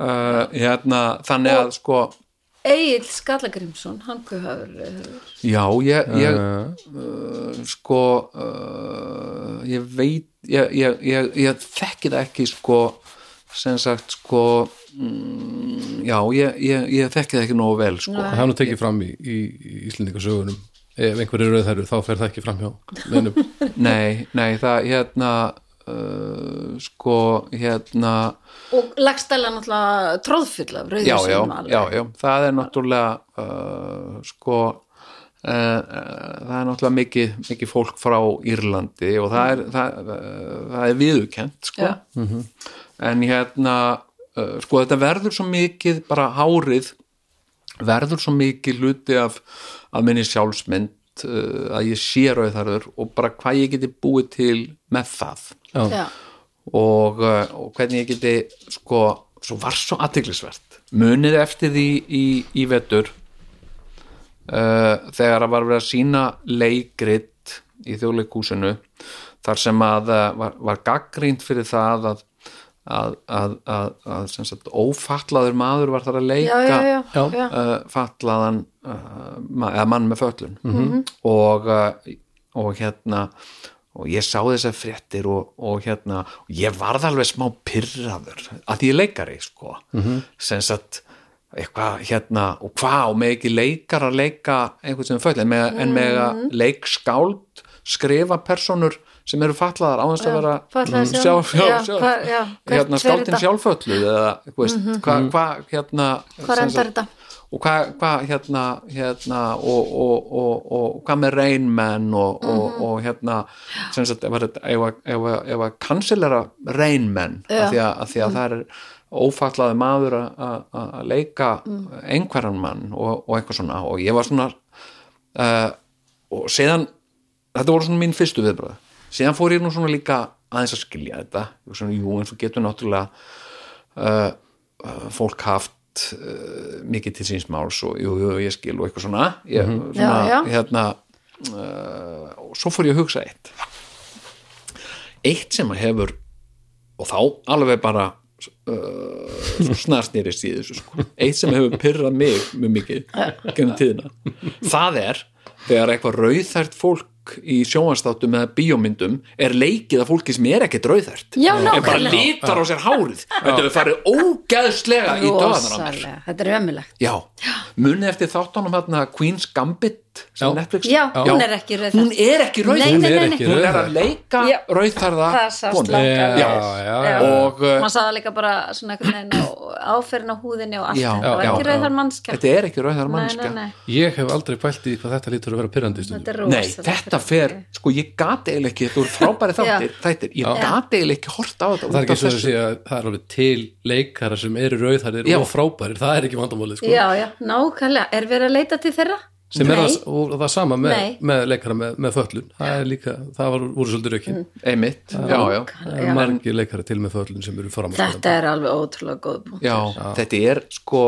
A: uh, hérna, þannig að sko
C: Egil Skallagrimsson, hann eh, guðhafur rauðar
A: Já, ég, ég
B: Eh,
A: uh, sko uh, ég veit ég, ég, ég, ég þekki það ekki sko sem sagt sko mm, já, ég, ég, ég þekki það ekki nógu vel sko
B: það er nú tekið fram í, í, í Íslendingasögunum ef einhverju rauðherru þá fer það ekki framhjá neinum.
A: nei, nei, það hérna uh, sko hérna
C: og lagstæla náttúrulega tróðfull af rauðu
A: já, já,
C: síma alveg.
A: já, já, það er náttúrulega uh, sko uh, það er náttúrulega mikið, mikið fólk frá Írlandi og það er, það, uh, það er viðukent sko
C: Já.
A: en hérna uh, sko þetta verður svo mikið bara hárið verður svo mikið hluti af að minni sjálfsmynd uh, að ég sé rauðarður og bara hvað ég geti búið til með það
B: Já,
C: Já.
A: og, uh, og hvernig ég geti sko, svo var svo aðtiklisvert munið eftir því í, í vetur uh, þegar að var verið að sína leikrit í þjóðleikúsinu þar sem að uh, var, var gaggrínt fyrir það að að, að, að, að sem sagt, ófatlaður maður var þar að
C: Já,
A: leika
C: já, já,
B: Já.
C: já.
A: uh, fatlaðan uh, ma eða mann með fötlun
C: Mhm.
A: og, uh, og hérna og ég sá þessar fréttir og, og hérna, og ég varð alveg smá pyrraður, að því ég er leikari sko,
C: Mhm.
A: sem sagt eitthvað hérna, og hvað og með ekki leikar að leika einhvern sem er fötlun með, en með að
C: Mhm.
A: leikskáld skrifa personur sem eru fatlaðar á þess að
C: Já,
A: vera
C: fatlaðar
A: Mm, sjálf,
C: sjálf-
A: sjálf,
C: já,
A: sjálf,
C: hvað- já, hvert
A: hérna
C: fer
A: skáldin
C: þetta?
A: sjálffölluð eða, þú veist, hvað hva, hérna
C: Mhm. Hvar
A: sem
C: endar
A: sagt-
C: þetta?
A: og hvað hva, hérna, hérna og, og, og, og hvað með reynmenn og,
C: Mhm.
A: og, og hérna sem sagt, ef, að- ef, að- ef, að- ef að kansilera reynmenn
C: Já. Mhm.
A: af því að, að, því að það er ófallaði maður að- að að leika
C: Mhm.
A: einhverjan mann og, og eitthvað svona og ég var svona uh, og síðan þetta voru svona mín fyrstu viðbröð síðan fór ég nú svona líka aðeins að skilja þetta og svona, jú, en svo getur náttúrulega uh, uh, fólk haft uh, mikið til síns máls og jú, jú, ég skil og eitthvað svona, ég, svona
C: Já, já.
A: hérna uh, og svo fór ég að hugsa eitt eitt sem að hefur og þá alveg bara uh, snarsnýrist í þessu sko. eitt sem hefur pyrrað mig mjög mikið gennum tíðina það er þegar eitthvað rauðært fólk í sjónvastáttum eða bíómyndum er leikið af fólki sem er ekkert rauðært
C: Já,
A: en bara
C: nákvæmlega.
A: litar á sér hárið þetta hefur farið ógeðslega í döðan á mér
C: Rosalega. þetta er ömulegt
A: já, munið eftir þáttanum hérna Queen's Gambit sem
B: Já.
A: Netflix
C: já, hún
B: Já.
C: er ekki rauð
A: hún er ekki rauðært
C: Nei, nei, nei,
B: nei.
A: hún er að leika
C: Já.
A: rauðærða
C: það sást
A: konu.
C: langt
B: Eh, já,
C: að
A: Já.
B: já,
C: Já.
B: já.
A: og uh,
C: maður sagði líka bara svona einhvern veginn á- áferðin á húðinni og allt
A: Já,
C: það var
A: já,
C: ekki
A: já.
C: rauð þar mannskja
A: þetta er ekki rauðært
C: nei, nei,
A: mannskja
C: nei,
B: Ég hef aldrei pælt í hvað þetta lítur að vera pyrrandi
C: þetta
B: stundum.
C: er
A: Nei,
C: rosalega
A: þetta fer, sko ég gat eiginlega ekki, þetta voru frábæri þáttir, þættir, ég gat eiginlega ekki hort á þetta
B: Það er
A: út
B: ekki
A: af
B: svo að
A: þessu.
B: segja að það er alveg til leikara sem eru rauðhærir
A: Já.
B: og frábærir, það er ekki vandamálið sko.
C: já, já, nákvæmlega, er verið að leita til þeirra?
B: sem er
C: Nei.
B: það, og það sama með,
C: Nei.
B: með leikara með, með föllun það er líka, það var úr svolítið rökin
A: Einmitt, já, Mm. já,
B: það eru margir leikara til með föllun sem eru fram
C: þetta er alveg ótrúlega góð punkt
A: já, þetta er sko,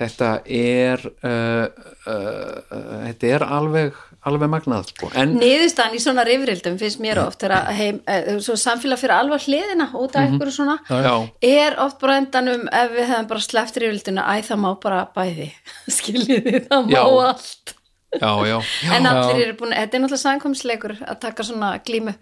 A: þetta er, uh, uh, uh, þetta er alveg, alveg magnað, sko, en
C: niðurstaðan í svona rifrildum finnst mér oft er að heim, eh, svo samfélag fyrir alvar hliðina út af einhverju svona
A: Mhm. já,
C: er oft bara á endanum ef við hefum bara sleppt rifrildinu æ það má bara bæði skiljiði það má
A: Já.
C: allt
A: já, já,
C: en allir eru búin, þetta er náttúrulega samkomsleikur að taka svona glímu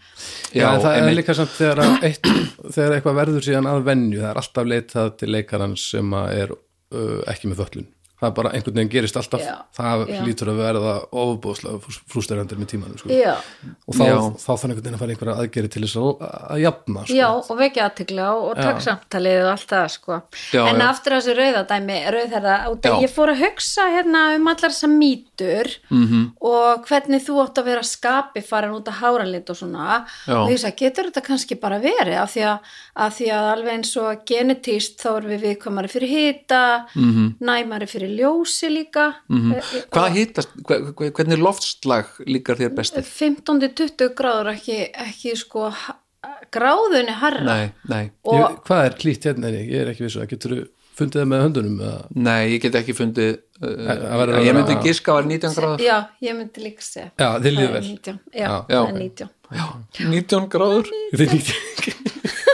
A: já,
B: já, en það er
A: einmitt,
B: líka samt þegar, að eitt, þegar eitthvað verður síðan að venju það er alltaf leitað til leikaran sem að er uh, ekki með föllun það er bara einhvern veginn gerist alltaf
C: Já.
B: það
C: Já.
B: lítur að verða ofubóðslega frústærandir með tímanum sko.
C: Mm. já,
B: og þá,
A: Já.
B: þá þannig einhvern veginn að fara einhverja aðgeri til þess að, að jafna sko.
C: já og vekja aðtegla og, og takk samtalið og allt það sko
A: Já,
C: en
A: já.
C: aftur að þessu rauðadæmi rauðherra, út
A: Já.
C: af ég fór að hugsa hérna um allar þessar mýtur
A: Mhm.
C: -hmm. og hvernig þú átt að vera skapi farin út að háranlit og svona
A: Já.
C: og ég sagði, getur þetta kannski bara verið af því að, af því að alveg eins og genetíst þá erum við viðkomari fyrir hita mm
A: Mhm.
C: -hmm. næmari fyrir ljósi líka mm -hmm.
A: hvað hittast, hve- hve- hvernig loftslag líkar þér besti?
C: 15-20 gráður ekki, ekki sko ha- gráðunni harra
A: Nei, nei,
C: og
B: ég, hvað er klítt hérna, Erik? ég er ekki viss að getur fundið það með höndunum eða
A: nei, ég get ekki fundið,
B: það verður
A: uh,
B: að
A: ég
B: vera-
A: myndi giska var 19 gráður,
C: Já, ég myndi líka segja
B: Já, þið líður
C: Það er
B: vel.
C: 19, Já,
B: Já,
C: það
A: ok.
C: er 19
A: 19 gráður,
B: Þið nýtt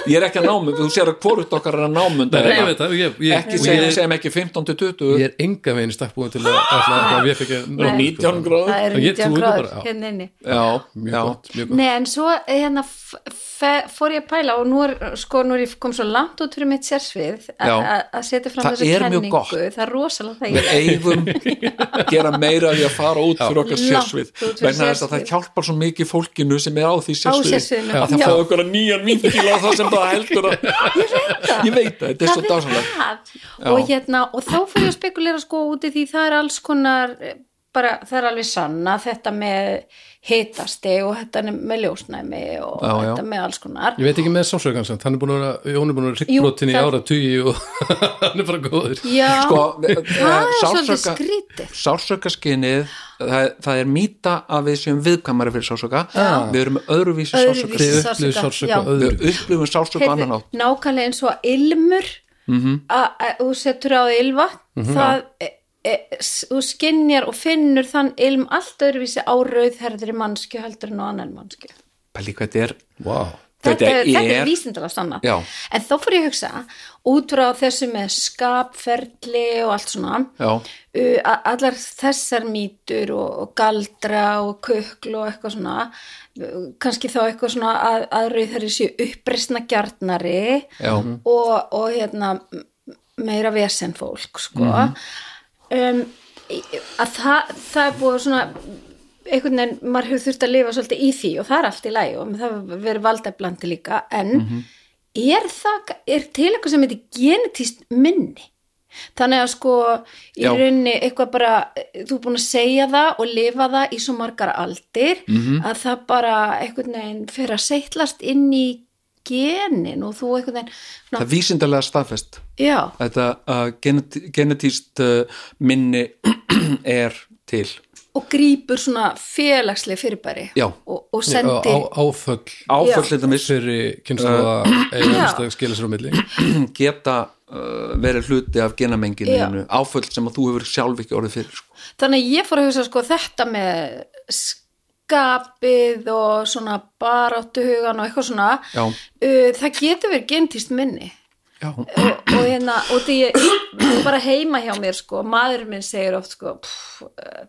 A: ég er ekki að námund, þú sér að hvorutt okkar er að námund
B: Nei, ég veit það, ég- ég-
A: ekki
B: ég-
A: segja,
B: ég-
A: segjum ekki 15 til 20
B: ég er enga veginn stakkbúin til að ætla að við fikk
A: og 19 gráður
C: það er
B: Ég trúi
C: 19
B: því
C: gráður
B: bara, já.
C: hérna inni
A: já,
B: mjög
A: já,
B: gott, mjög gott
C: Nei, en svo hérna f- fe- fór ég að pæla og nú er, sko, nú er ég kom svo langt út fyrir mitt sérsvið a-
A: Já.
C: a- að setja fram
A: Það
C: þessa
A: er mjög
C: kenningu
A: gott.
C: það er rosalega það
A: við eigum að gera meira af því að fara út fyrir okkar
C: Langt
A: sérsvið
C: út fyrir
A: vegna þess að það
C: sérsvið.
A: hjálpar svo mikið fólkinu sem er á því sérsvið
C: sérsviðinu.
A: að það
C: Já.
A: fá okkur að nýjan vinkil á það sem það heldur að ég veit það, þetta er svo dásanlega
C: það og hérna, og þá fór ég að spekulera sko úti því það er alls konar eh, bara, það er alveg sanna þetta með hitasti og þetta með ljósnæmi og
A: Já, já.
C: þetta með alls konar
B: Ég veit ekki með sálsögan samt, hann er búin að vera, Jón er búin að vera
C: Jú,
B: ríkbrotin í
C: það-
B: ára tugi og hann er bara góður.
C: já,
A: sko, eh,
C: það er svolítið skrítið
A: sársökaskinið það, það er mýta að við séum viðkamari fyrir sársöka við erum með öðruvísi
C: Öðruvísi.
A: sársöka
B: Þið upplýðu
C: Sársauka, já.
B: sálsöka öðru.
A: við upplifum sársöka
C: Heyrðu,
A: annan átt
C: nákvæmlega eins og ilmur mm
A: Mhm.
C: -hmm. að þú setur á því ilva það e, e, s- þú skinjar og finnur þann ilm allt öðruvísi á rauðherðri mannsku heldur en á annan mannsku
A: pæli hvað þetta er
B: Vá.
C: þetta,
A: Þetta
C: er- þetta
A: er-
C: er vísindalega stanna
A: Já.
C: en þá fór ég að hugsa út frá þessu með skapferli og allt svona
A: Já.
C: uh, a- allar þessar mýtur og, og galdra og kukl og eitthvað svona uh, kannski þá eitthvað svona að, að rauðherri séu uppreisna gjarnari
A: Já.
C: og, og hérna m- meira vesen fólk sko um, í- að það, það er búið svona einhvern veginn, maður hefur þurft að lifa svolítið í því og það er allt í læg og það hefur verið valdeflandi líka en er það, er til eitthvað sem heitir genetíst minni þannig að sko í
A: Já.
C: rauninni eitthvað bara, eh, þú er búin að segja það og lifa það í svo margar aldir
A: Mhm.
C: -hmm. að það bara einhvern veginn fer að seitlast inn í genin og þú einhvern veginn
A: það
C: svona,
A: er vísindarlega staðfest
C: Já,
A: þetta uh, genet, genetíst uh, minni er til
C: og grýpur svona félagsleg fyrirbæri
A: Já.
C: og, og
B: Á,
C: sendir
B: á- áföll
A: áföll
C: Já.
A: til dæmis
B: fyrir kynnslóða
A: Uh,
B: eiginlega skilja sér á milli.
A: geta uh, verið hluti af genamenginu áföll sem að þú hefur sjálf ekki orðið fyrir sko.
C: þannig að ég fór að hugsa sko þetta með skapið og svona baráttuhugan og eitthvað svona
A: Já.
C: uh, það getur verið gentist minni
A: Já.
C: og, og hérna og því ég bara heima hjá mér sko maður minn segir oft sko pff,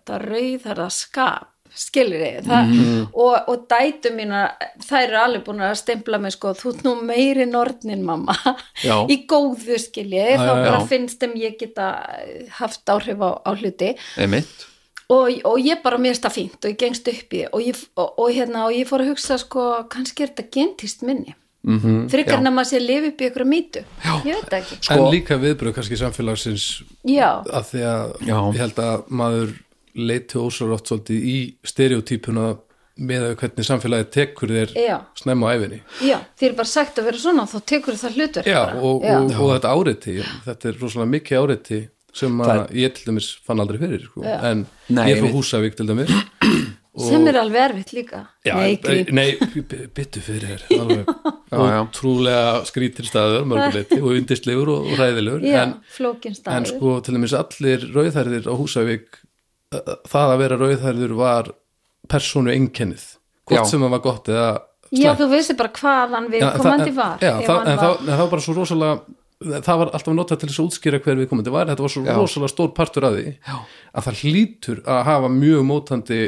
C: það rauð það skap skilur þið, það,
A: Mhm.
C: og, og dætu mína, þær eru alveg búin að stempla mig sko, þú ert nú meiri nornin mamma,
A: Já.
C: í góðu skilji, þá
B: já,
C: bara
A: já.
C: finnst þeim ég geta haft áhrif á, á hluti
A: einmitt
C: og, og ég bara mér stað fínt og ég gengst upp í og ég, og, og, hérna, og ég fór að hugsa sko, kannski er þetta gentist minni mm
B: Mhm,
C: -hmm, frekar en að maður sé að lifa upp í ykkur mýtu ég veit það
A: Sko-
C: ekki
B: En líka viðbröð kannski samfélagsins
C: já,
B: að því að
A: Já.
B: ég held að maður leiti ósarátt svolítið í stereotypuna með að hvernig samfélagið tekur þér
C: Já.
B: snemma á æfinni.
C: já, þér er bara sagt að vera svona þá tekur það hlutur
B: Já, og, og, og þetta áreiti, þetta er rosalega mikið áreiti sem að ég til dæmis fann aldrei fyrir, sko. en
A: Nei,
B: ég er
A: ég-
B: frá Húsavík til dæmis.
C: sem er alveg erfitt líka
B: Já,
C: nei,
B: eh,
C: grín.
B: nei, byttu fyrir þér, alveg
A: já.
B: ótrúlega skrítir staður mörguleiti og yndislegur og og hræðilegur,
C: já,
B: en,
C: flókin staður
B: en sko til dæmis allir rauðhærðir á Húsavík, eh, það að vera rauðhærður var persónu einkennið, hvort
A: Já.
B: sem það var gott eða
C: já, þú veist bara hvaðan við
B: Já,
C: komandi
B: en-
C: var
B: já,
C: ef
B: það,
C: hann
B: en
C: var-
B: það, en það var bara svo rosalega það var alltaf notað til þess að útskýra hver við komandi var, þetta var svo rosalega stór partur að því já. að það hlýtur að hafa mjög mótandi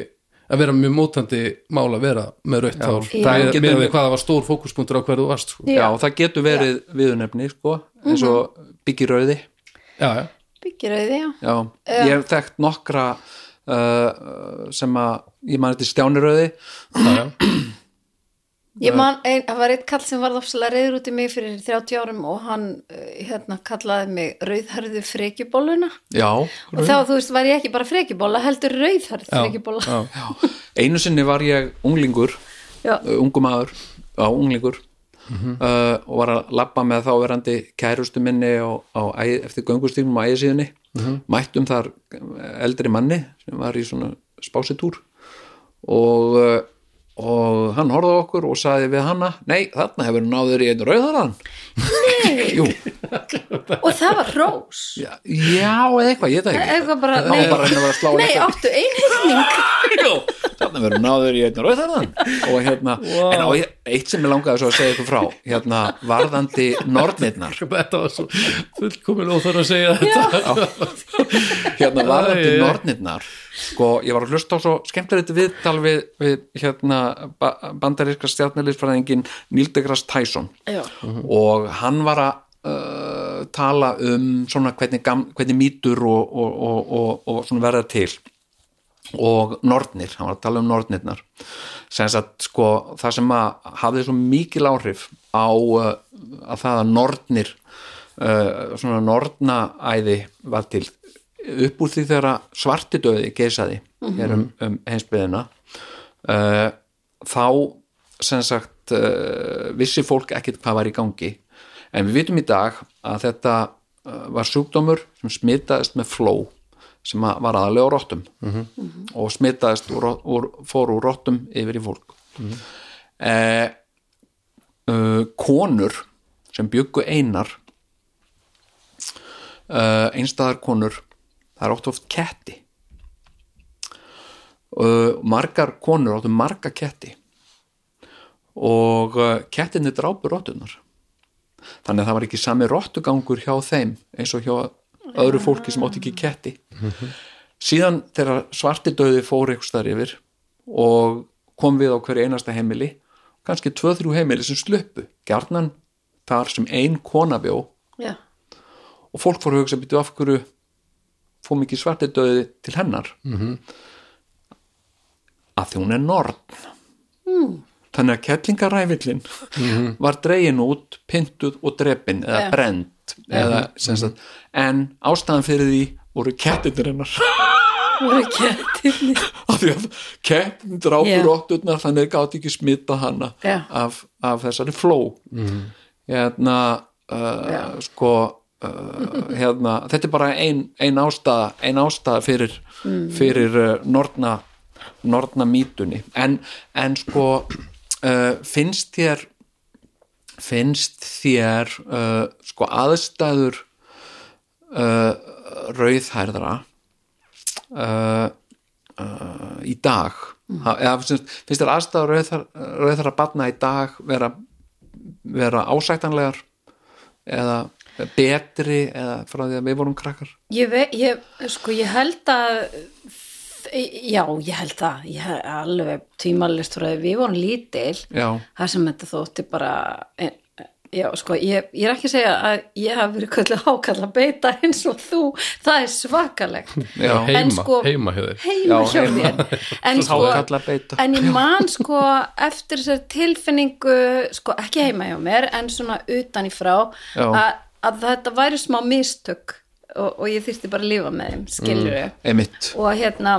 B: að vera mjög mótandi mál að vera með rautt hár,
A: Já.
B: það
A: Já.
B: er með við hvað það var stór fókuspunktur á hverðu þú varst sko.
C: Já.
A: Já, og það getur verið viðunefni sko, eins og byggirauði
B: já, já,
C: byggjurauði, já
A: já. ég hef þekkt nokkra uh, sem að ég man þetta stjánirauði
B: já, já,
C: Ég man, ein, það var eitt kall sem varð ofsalega reyður út í mig fyrir 30 árum og hann eh, hérna kallaði mig rauðhörðu frekjubóluna
A: já,
C: og þá, þú veist, var ég ekki bara frekjubóla heldur rauðhörð frekjubóla
B: já.
A: já. einu sinni var ég unglingur
C: Já,
A: uh, ungu maður, á unglingur
C: Mhm.
A: uh, og var að labba með þáverandi kærustu minni á, á, æ- eftir göngustígnum á ægisíðunni
C: Mhm.
A: mættum þar eh, eldri manni sem var í svona spásitúr og, uh, og hann horfði á okkur og saði við hanna nei, þarna hefur hann náður í einn rauðarann Jú,
C: og það var rós
A: já, já eða eitthvað, ég veit það ekki
C: Eitthvað bara,
A: Það var
C: nei,
A: bara að reyna að vera að slá
C: nei,
A: eitthvað.
C: áttu einhyrning
A: Jú, þannig verður náður í einn rauðarðan og hérna,
B: Vá.
A: en á, ég- eitt sem ég langaði svo að segja ykkur frá, hérna varðandi nornirnar,
B: Sko, þetta var svo fullkomin óþar að segja þetta
A: hérna varðandi
B: Æ, æ, æ.
A: nornirnar sko, ég var að hlusta á svo skemmtilegt viðtal við, við hérna ba bandaríska stjarnalýsfræðingin Neil deGrasse Tyson
C: Já.
A: og hann var að uh, tala um svona hvernig, gam, hvernig mýtur og, og, og, og, og svona verða til og nornir, hann var að tala um nornirnar sem að sko það sem að hafði svo mikil áhrif á uh, að það að nornir uh, svona nornaæði var til upp úr því þegar að svartidauði geisaði hér um, um heimsbyðina uh, þá sem sagt uh, vissi fólk ekkit hvað var í gangi en við vitum í dag að þetta uh, var sjúkdómur sem smitaðist með fló sem að- var aðalega á rottum og smitaðist úr, úr, fór úr rottum yfir í fólk mm eh, konur sem byggu einar uh, einstæðar konur það er ótt oft ketti uh, margar konur áttu marga ketti og uh, kettinni drápu rottunar þannig að það var ekki sami rottugangur hjá þeim eins og hjá öðru fólki sem átti ekki ketti síðan þegar svartidauði fór einhvers þar yfir og kom við á hverju einasta heimili kannski tvö-þrjú heimili sem sluppu gjarnan þar sem ein kona bjó
C: já,
A: og fólk fór að hugsa býtu af hverju fór mikið svartidauði til hennar -hmm. að því hún er norn þannig að kettlingaræfillin var dregin út pyntuð og drepin eða
C: Já.
A: brend eða, sem sagt, en ástæðan fyrir því voru kettinir hennar
C: voru kettinni
A: af því að kettin drápur
C: Já.
A: yeah. rotturnar þannig gátt ekki smita hana
C: Já.
A: af, af þessari fló mm. hérna uh, sko uh, hérna, þetta er bara ein, ein ástæða ein ástæða fyrir,
C: Mhm.
A: fyrir uh, norna, norna mýtunni en, en sko uh, finnst þér finnst þér uh, sko aðstæður uh, rauðhærðra uh, uh, í dag
C: Mm.
A: ha, eða finnst, finnst þér aðstæður rauðhærðra rauðhærðra batna í dag vera, vera ásættanlegar eða betri eða frá því að við vorum krakkar
C: Ég, ve, ég, sko, ég held að já, ég held það ég hef alveg tímalist frá því við vorum lítil
A: Já.
C: það sem þetta þótti bara e, já, sko, ég, ég er ekki að segja að ég hafi verið kallið hákalla beita eins og þú, það er svakalegt
A: Já.
B: Heima,
C: En sko-
B: heima hjá
A: Já,
B: þér
C: heima hjá
A: heima.
C: þér en, sko,
A: Svo hákarla beita.
C: en ég man sko eftir þessar tilfinningu sko ekki heima hjá mér en svona utan í frá
A: Já.
C: að, að þetta væri smá mistök og, og ég þyrfti bara að lífa með þeim skilur
A: emitt
C: og hérna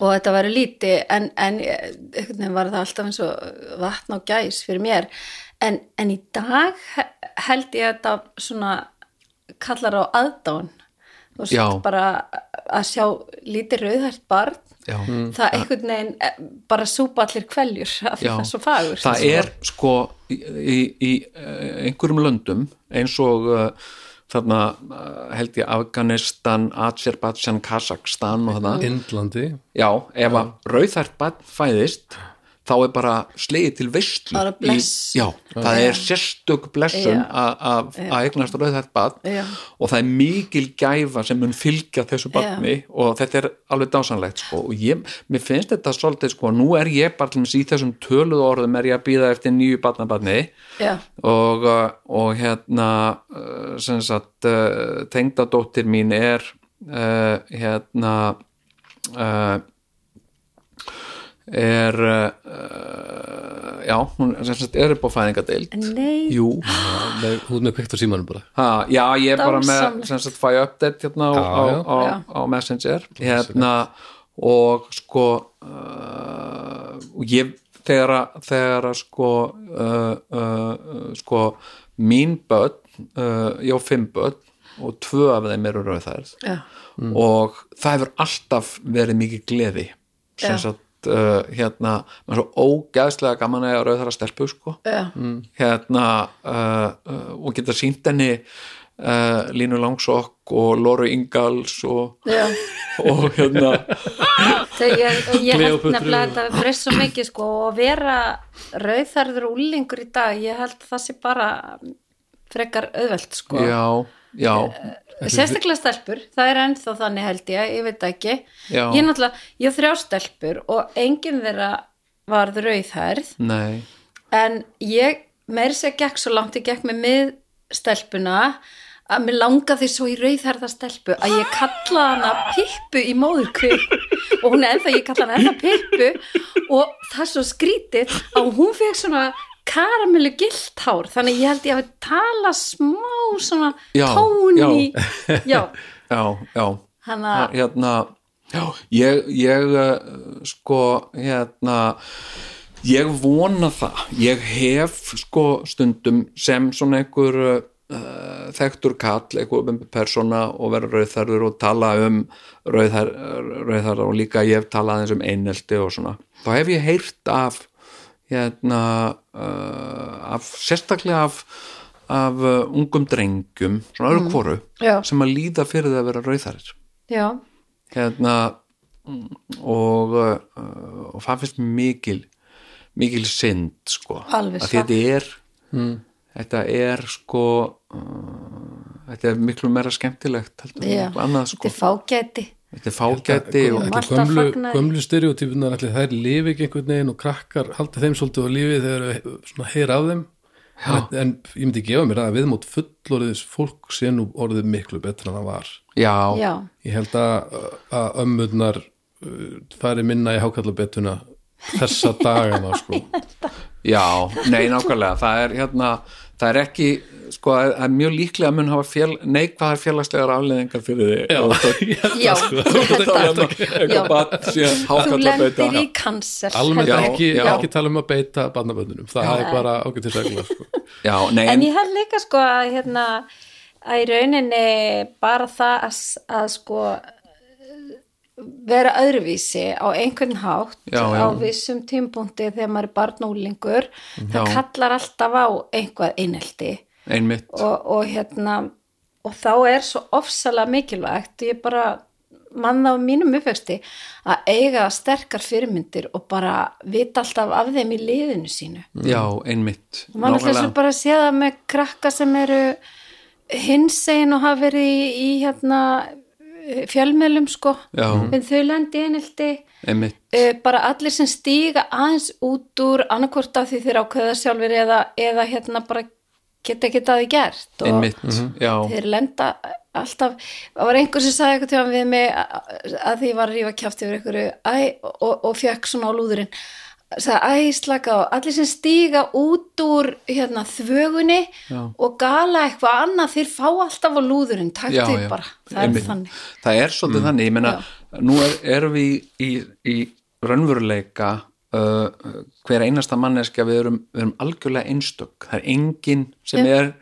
C: og þetta væri líti en, en einhvern veginn var það alltaf eins og vatn og gæs fyrir mér en, en í dag he- held ég að þetta svona kallar á aðdán og
A: Já.
C: svo bara að sjá lítið rauðhært barn
A: Já.
C: það einhvern veginn eh, bara súpa allir kveljur af því
A: Já.
C: það er svo fagur
A: það er sko í, í, í eh, einhverjum löndum eins og uh, þarna eh, held ég Afganistan, Azerbaijan, Kazakstan og það
B: Indlandi
A: Já, ef að rauðhært barn fæðist þá er bara slegið til veistlu
C: Bara bless.
A: í, Já, það er sérstök blessun
C: Já.
A: að- að að eignast rauðhært barn
C: Já.
A: og það er mikil gæfa sem mun fylgja þessu barni og þetta er alveg dásanlegt sko. og ég, mér finnst þetta svolítið sko, nú er ég bara til mér í þessum töluð orðum er ég að býða eftir nýju barnabarni
C: Já.
A: og, uh, og hérna uh, sem sagt uh, tengdadóttir mín er uh, hérna uh, er uh, já, hún sem sagt er upp á fæðingadeild
C: Nei,
A: Jú,
B: Nei, Hún er kveikt á símanum bara
A: ha, já, ég er bara með
C: Dásamlegt.
A: sem sagt fæ update hérna á,
B: Já,
A: á,
B: já.
A: á,
C: Já.
A: á Messenger hérna og sko uh, og ég þegar að, þegar að sko uh, uh, sko mín börn uh, ég á fimm börn og tvö af þeim eru rauðhærð
C: Já.
B: Mm.
A: og það hefur alltaf verið mikið gleði sem
C: Já.
A: sagt uh, hérna, maður er svo ógeðslega gaman að eiga rauðhæra stelpu sko
C: Já.
A: hérna uh, uh, og geta sínt henni uh, Línu Langsokk og Loru Ingalls og,
C: Já,
A: og hérna
C: þegar ég, ég held
B: Kleópötru.
C: nefnilega að þetta breyst svo mikið sko og að vera rauðarður úlingur í dag, ég held það sé bara frekar auðvelt sko.
A: já, já,
C: Sérstaklega stelpur, það er ennþá þannig held ég, ég veit það ekki.
A: Já.
C: Ég náttúrulega, ég á þrjá stelpur og enginn þeirra varð rauðhærð
A: nei
C: en ég meiri sér gekk svo langt, ég gekk með mið stelpuna að mér langaði svo í rauðherða stelpu að ég kalla hana Pippu í móðurkvið og hún er ennþá, ég kalla hana ennþá Pippu og það er svo skrítið að hún fekk svona karamellu giltár þannig að ég held ég að tala smá svona
A: Já,
C: tón í já,
A: já, já
C: hann
A: Ha,
C: að
A: hérna já, ég, ég eh, sko hérna ég vona það ég hef sko stundum sem svona einhver uh, þekktur kall, einhver opinber persóna og vera rauðarður og tala um rauðar, rauðar og líka ég hef talað eins um einelti og svona þá hef ég heyrt af hérna uh, af, sérstaklega af af uh, ungum drengjum svona öðru hvoru
C: Já.
A: sem að líða fyrir það að vera rauðarir
C: já,
A: hérna mm, og, uh, og það finnst mér mikil mikil synd sko
C: Alveg
A: Af því
C: satt.
A: þetta er þetta er sko uh, þetta er miklu meira skemmtilegt heldur en
C: já.
A: eitthvað annað
C: þetta
A: sko
C: er fágæti
A: þetta er fágæti
C: Þetta-
A: og,
C: Marta
B: Þetta gömlu,
C: fagnaði.
B: gömlu stereotypunar allir þær lifi ekki einhvern veginn og krakkar halda þeim svolítið á lífi þegar þau svona heyra af þeim en, en ég myndi gefa mér að viðmót fullorðis fólk sé nú orðið miklu betra en það var
A: já,
C: já,
B: ég held að, að ömmurnar uh, fari minna í hákallabettuna þessa dagana sko
A: já, nei nákvæmlega það er hérna, það er ekki sko, það er- það er mjög líklega að mun hafa fél, neikvæðar félagslegar afleðingar fyrir þig og það
C: já,
A: er sko-
C: þetta
A: það eitthvað bat síðan
C: þú
A: hákalla
C: lendir í kanser
B: almennt
A: Já,
B: ekki,
A: já.
B: ekki tala um að beita barnaböndunum, það er bara ágætt til segla sko.
A: já, nei,
C: en ég held líka sko að hérna að í rauninni bara það að, að sko vera öðruvísi á einhvern hátt
A: Já, já.
C: á vissum tímpúnti þegar maður er barnúlingur
A: Mhm.
C: það kallar alltaf á einhvað einelti
A: einmitt
C: og, og hérna og þá er svo ofsalega mikilvægt ég bara manna á mínum uppvexti að eiga sterkar fyrirmyndir og bara vita alltaf af þeim í liðinu sínu
A: já, einmitt
C: og mann alltaf
A: Nákvæmlega.
C: svo bara að sé það með krakka sem eru hinsegin og hafa verið í, í hérna fjölmiðlum sko
A: Já.
C: en þau lendi einhildi
A: einmitt,
C: Eh, bara allir sem stíga aðeins út úr annarkvort af því þeir ákveða sjálfur eða, eða hérna bara geta ekki það gert og
A: einmitt já,
C: þeir lenda alltaf það var einhver sem sagði eitthvað tíma við mig að að því ég var að rífa kjátt yfir einhverju æ, og, og fjökk svona á lúðurinn sagði æ slaka á, allir sem stíga út úr hérna, þvögunni
A: Já.
C: og gala eitthvað annað þeir fá alltaf á lúðurinn, taktu
A: já,
C: því
A: já.
C: bara það er
A: Einmitt.
C: þannig
A: það er svolítið þannig, ég meina nú er, erum við í, í, í raunveruleika uh, hver einasta manneskja við erum, við erum algjörlega einstök, það er engin sem er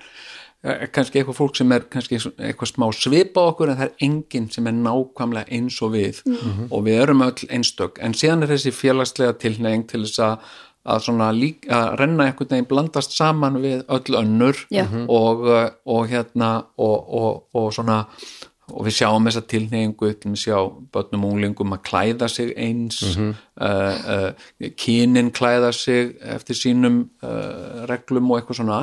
A: eh, kannski eitthvað fólk sem er kannski eitthvað smá svipa okkur en það er enginn sem er nákvæmlega eins og við
C: Mm.
A: og við erum öll einstök en síðan er þessi félagslega tilneying til þess að að, svona lík, að renna einhvern veginn blandast saman við öll önnur
C: Já.
A: og, uh, og hérna og, og, og svona og við sjáum þessa tilneyingu til við sjá börnum og unglingum að klæða sig eins mm kynin klæða sig eftir sínum uh, reglum og eitthvað svona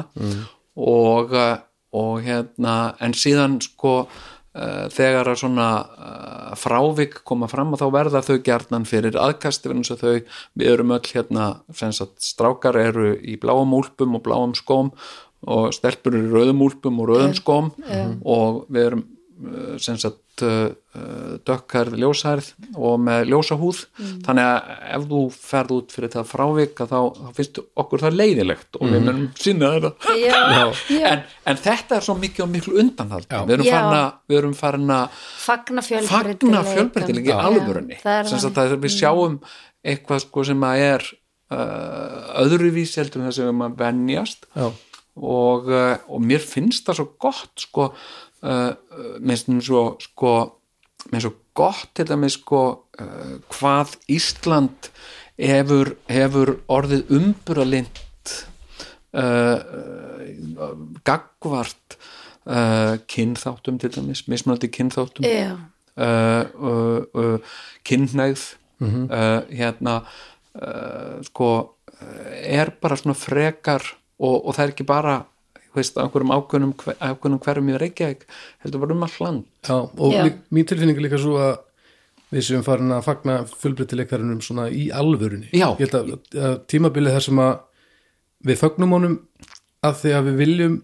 A: og, uh, og hérna en síðan sko uh, þegar að svona uh, frávik koma fram og þá verða þau gjarnan fyrir aðkasti fyrir eins og þau við erum öll hérna sem sagt strákar eru í bláum úlpum og bláum skóm og stelpur eru í rauðum úlpum og rauðum skóm Mhm. og við erum eh, sem sagt eh, eh, dökkhærð ljóshærð og með ljósahúð þannig að ef þú ferð út fyrir það frávik að þá, þá finnst okkur það leiðilegt og við munum sína þetta
C: já, já,
A: en, en þetta er svo mikið og miklu undanhald
B: Já.
A: við erum
C: Já.
A: farin að- við erum farin að
C: fagna fjölbreytileikann
A: fagna fjölbreytileik í alvörunni
C: það
A: sem
C: er þannig. Mm.
A: sagt að við sjáum eitthvað sko sem að er uh, öðruvís heldur en það sem við maður venjast
B: Já.
A: og, uh, og mér finnst það svo gott sko uh, minnst mér svo sko mér svo gott til dæmis sko uh, hvað Ísland hefur, hefur orðið umburalind uh, gagvart uh, kynþáttum til dæmis, mismunandi kynþáttum
C: já,
A: uh, uh, uh, kynneigð uh, hérna uh, sko uh, er bara svona frekar og, og það er ekki bara þú veist, á einhverjum ákveðnum, hve- ákveðnum hverfum í Reykjavík heldur bara um all land
B: Já, og
C: Já.
B: lí- mín tilfinning er líka svo að við séum farin að fagna fjölbreytileikarinnum svona í alvörunni
A: Já.
B: ég held að, að tímabilið þar sem að við fögnum honum að því að við viljum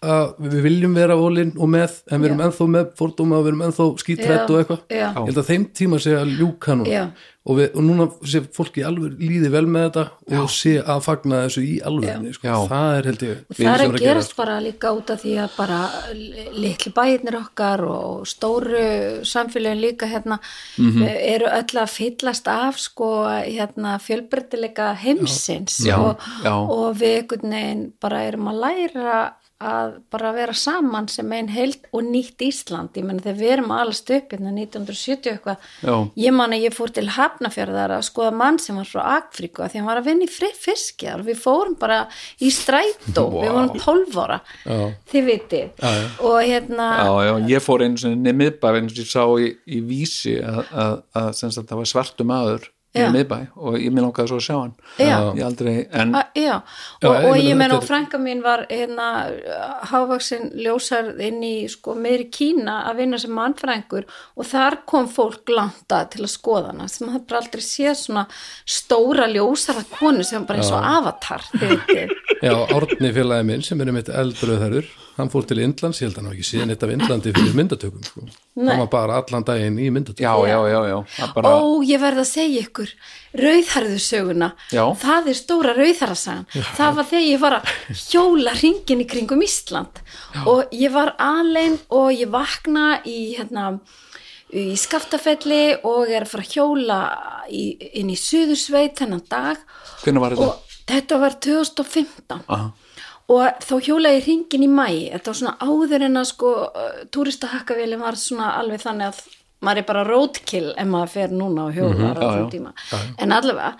B: að við viljum vera ólinn og með en við erum
C: Já.
B: ennþá með fordóma og við erum ennþá skítrætt
C: Já,
B: og eitthvað
C: já.
B: ég held að þeim tíma sé að ljúka núna
C: Já.
B: og, við, og núna sé fólki alveg líði vel með þetta og sé að fagna þessu í alvörunni sko.
A: Já.
B: það er held ég
C: og það er
B: sem
C: að gerast bara líka út af því að bara li- litlu bæirnir okkar og stóru samfélagin líka hérna eru öll að fyllast af sko hérna fjölbreytileika heimsins
A: Já,
C: og,
A: já.
C: og við einhvern veginn bara erum að læra að bara vera saman sem einn heilt og nýtt Ísland ég menn þegar við erum allast upp hérna 1970 eitthvað,
A: Já.
C: ég man að ég fór til Hafnafjörðar að skoða mann sem var frá Akfríku að því hann var að vinna í fri- fiskjar og við fórum bara í strætó
A: Vá.
C: við vorum 12 ára
B: Já.
C: þið viti og hérna
A: Já, já, ég fór einu sinni miðbæ eins og ég sá í, í vísi að, að, að sem sagt það var svartu maður í
C: Já.
A: miðbæ og ég mér langaði svo að sjá hann
C: Já. Ah.
A: ég aldrei, en
C: A, já,
B: Já,
C: og,
B: ég
C: og
B: meina
C: ég menn
B: þetta
C: og
B: er-
C: frænka mín var hérna hávaksin ljósar inn í sko meiri Kína að vinna sem mannfrængur og þar kom fólk langt að til að skoða hana sem það bara aldrei séð svona stóra ljósara konu sem bara eins og avatar þið vitið
B: Já, Árni félagi minn sem er um eitt eldröðherður hann fór til Indlands, ég held að hann hafi ekki síðan eitt af Indlandi fyrir myndatökum sko.
C: Nei.
B: hann var bara allan daginn í myndatökum
A: já, já, já, já, það bara
C: Ó, ég verð að segja ykkur rauðharðusöguna,
A: Já.
C: það er stóra rauðharðasagan, það var þegar ég var að hjóla ringin í kringum Ísland og ég var alein og ég vakna í hérna í skaftafelli og er að fara að hjóla í, inn í suðursveit þennan dag
A: hvenær var þetta?
C: og þetta var 2015
A: Aha.
C: og þá hjólaði hringin í mæ þetta var svona áður en að sko uh, túristahakkavélin var svona alveg þannig að maður er bara roadkill ef maður fer núna og hjólar mm
A: Mhm. já,
C: á þessum
A: já.
C: tíma en allavega,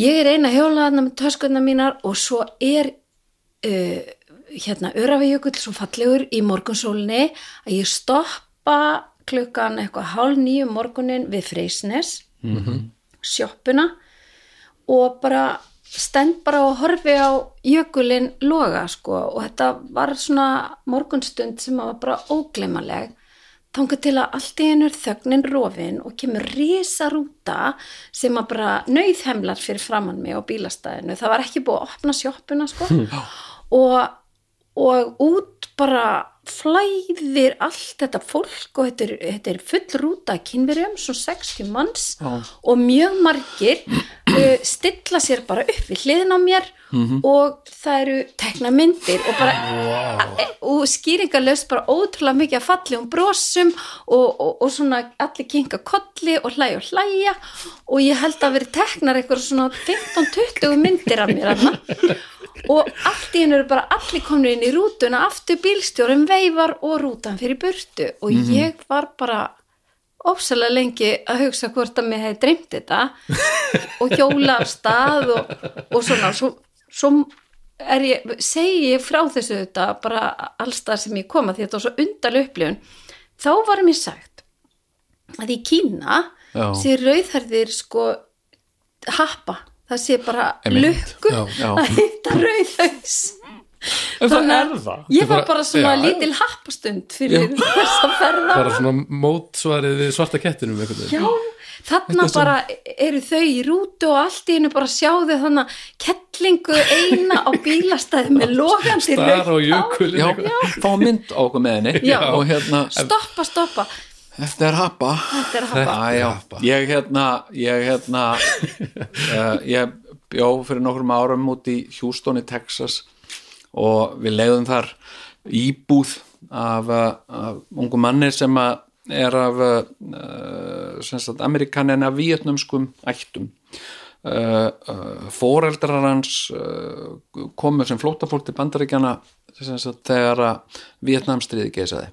C: ég er eina hjólaðna með töskunna mínar og svo er uh, hérna Örafajökull svo fallegur í morgunsólinni að ég stoppa klukkan eitthvað hálf nýju morgunin við Freysnes
A: Mhm.
C: sjoppuna og bara stend bara og horfi á jökulinn loga sko og þetta var svona morgunstund sem var bara ógleymanleg þangað til að allt í einu er þögnin rofin og kemur risa rúta sem að bara nauðhemlar fyrir framann mig á bílastæðinu það var ekki búið að opna sjoppuna sko og og út bara flæðir allt þetta fólk og þetta er, þetta er full rúta af kynverjum, svo 60 manns og mjög margir uh, stilla sér bara upp við hliðin á mér og það eru tekna myndir og bara e, og skýringarlaust bara ótrúlega mikið að fallegum brosum og, og, og svona allir kinka kolli og hlæja og hlæja og ég held að verið teknar eitthvað svona 15-20 myndir af mér annað og allt í hennu eru bara allir komnir inn í rútuna aftur bílstjórum veifar og rútan fyrir burtu og
A: Mhm.
C: ég var bara ósalega lengi að hugsa hvort að mér hefði dreymt þetta og hjóla af stað og, og svona svo, svo er ég, segi ég frá þessu þetta bara allstað sem ég koma því þetta var svo undarleg upplifun þá var mér sagt að í Kína
A: Já.
C: sé rauðherðir sko happa það sé bara
A: Einmitt.
C: lukku
B: Já,
A: já.
C: að hitta rauðhaus
A: En það
C: Þannig að
A: er það.
B: Þetta
C: Ég
B: er
C: var
B: bara-
C: bara svona
B: Já.
C: lítil happastund fyrir þessa ferða
B: bara svona mótsvarið við svarta kettinum einhvern veginn.
C: Já, þarna bara eru þau í rútu og allt í einu bara sjáðu þannig kettlingu eina á bílastæði með logandi
B: Star og
C: rautt hár.
B: jökulinn
A: já,
B: eitthvað.
A: fá mynd á okkur með henni
C: Já.
A: og hérna,
C: Stoppa, stoppa,
A: þetta er hapa
C: þetta er happa
A: Æ, já,
B: hapa.
A: ég hérna ég hérna uh, ég bjó fyrir nokkrum árum út í Houston í Texas og við leiðum þar íbúð af, eh, af ungu manni sem að er af uh, sem sagt amerikanin af vietnumskum ættum uh, uh, foreldrar hans uh, komu sem flóttafólk til bandaríkjana sem sagt, þegar að Vietnamstriði geisaði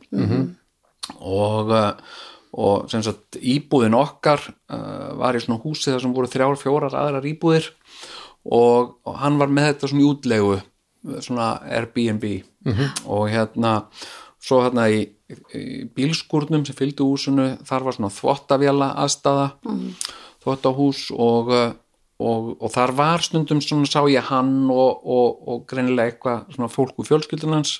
A: og, uh, og sem sagt íbúðin okkar uh, var í svona húsi þar sem voru þrjár, fjórar aðrar íbúðir og, og hann var með þetta svona í útlegu svona Airbnb og hérna svo hérna í, í bílskúrnum sem fylgdu húsinu þar var svona þvottavéla aðstæða þvottahús og, uh, og, og þar var stundum svona sá ég hann og, og, og greinilega eitthvað svona fólk úr fjölskyldunans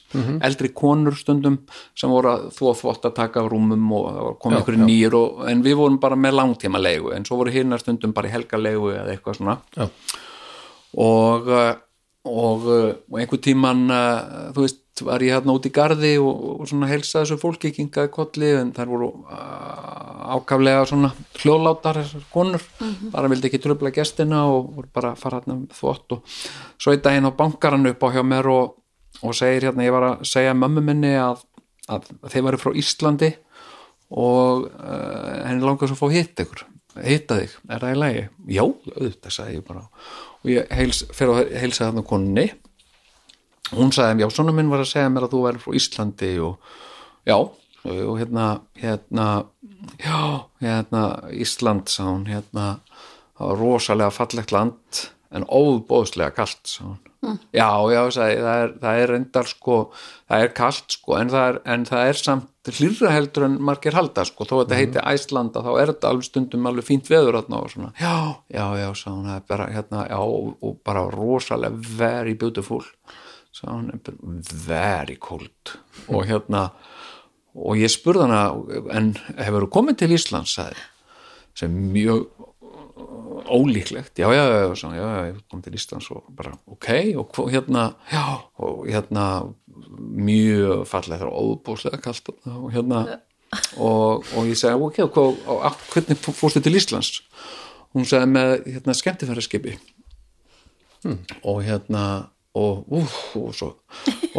A: eldri konur stundum sem voru að þvo þvottataka af rúmum og komið ykkur nýjir og, en við vorum bara með langtíma leigu en svo voru hinnar stundum bara í helgarleigu eða eitthvað svona
B: já,
A: og, uh, og, uh, og einhver tíman þú veist, var ég hérna út í garði og, og svona helsaði þessu fólki kinkaði kolli en þær voru uh, ákaflega svona hljóðlátar þessar konur, bara vildi ekki tröfla gestina og voru bara að fara hérna um þvott og svo einn daginn á bankaran upp á hjá mér og, og segir hérna, ég var að segja mömmu minni að, að þeir væri frá Íslandi og uh, henni langar svo að fá hitt ykkur hitta þig, er það í lagi? Já, auðvitað sagði ég bara og ég heils, fer að heilsa þarna konni hún sagði, já, svona minn var að segja mér að þú væri frá Íslandi og já, og hérna hérna, já, hérna Ísland, sagði hún hérna, það var rosalega fallegt land en óbóðslega kalt sagði hún já, já, sagði, ég, það, er, það er reyndar sko, það er kalt sko, en það er, en það er samt hlýrra heldur en margir halda sko, þó að þetta heiti Æslanda, þá er þetta alveg stundum alveg fínt veður þarna og svona já, já, já, sagði hún, það er bara hérna, já, og, og bara rosalega very beautiful sagði hún, "en bara very cold og hérna og ég spurði hana, en hefur þú komið til Íslands, sagði sem er mjög uh, ólíklegt, já, já, já, já, svona, já, já, ég kom til Íslands og bara, ok, og hvo- hérna, já, og hérna mjög fallega þar óbúslega kalt þarna og hérna og, og ég segi, ok, og hvað, og, af- hvernig fó- fórstu til Íslands? Hún segi með, hérna, skemmtifæraskipi og hérna og, úf, og, svo,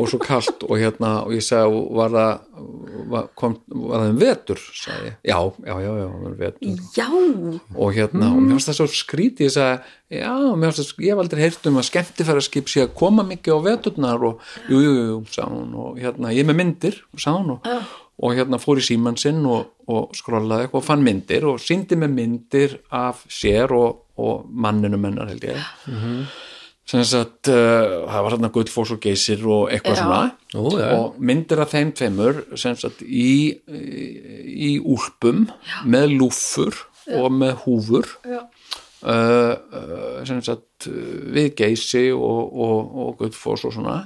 A: og svo kalt og hérna, og ég segi, og var það var, kom, var það um vetur, sagði ég, já, já, já, já, það var vetur
C: já,
A: og hérna, og mér finnst það svo skrítið ég sagði, já, mér finnst það, ég hef aldrei heyrt um að skemmtifæraskip sé að koma mikið á veturnar og, jú, jú, jú, sagði hún og hérna, ég er með myndir, sagði hún og, og hérna fór í símann sinn og, og skrollaði eitthvað og fann myndir og síndi með myndir af sér og, og manninu mennar held ég sem sagt, uh, það var hérna gullfós og geysir og eitthvað
C: Já.
A: svona
B: Ó, já.
A: og myndir af þeim tveimur sem sagt í, í úlpum með lúfur og með húfur uh, uh, sem sagt uh, við geysi og, og, og guttfoss og svona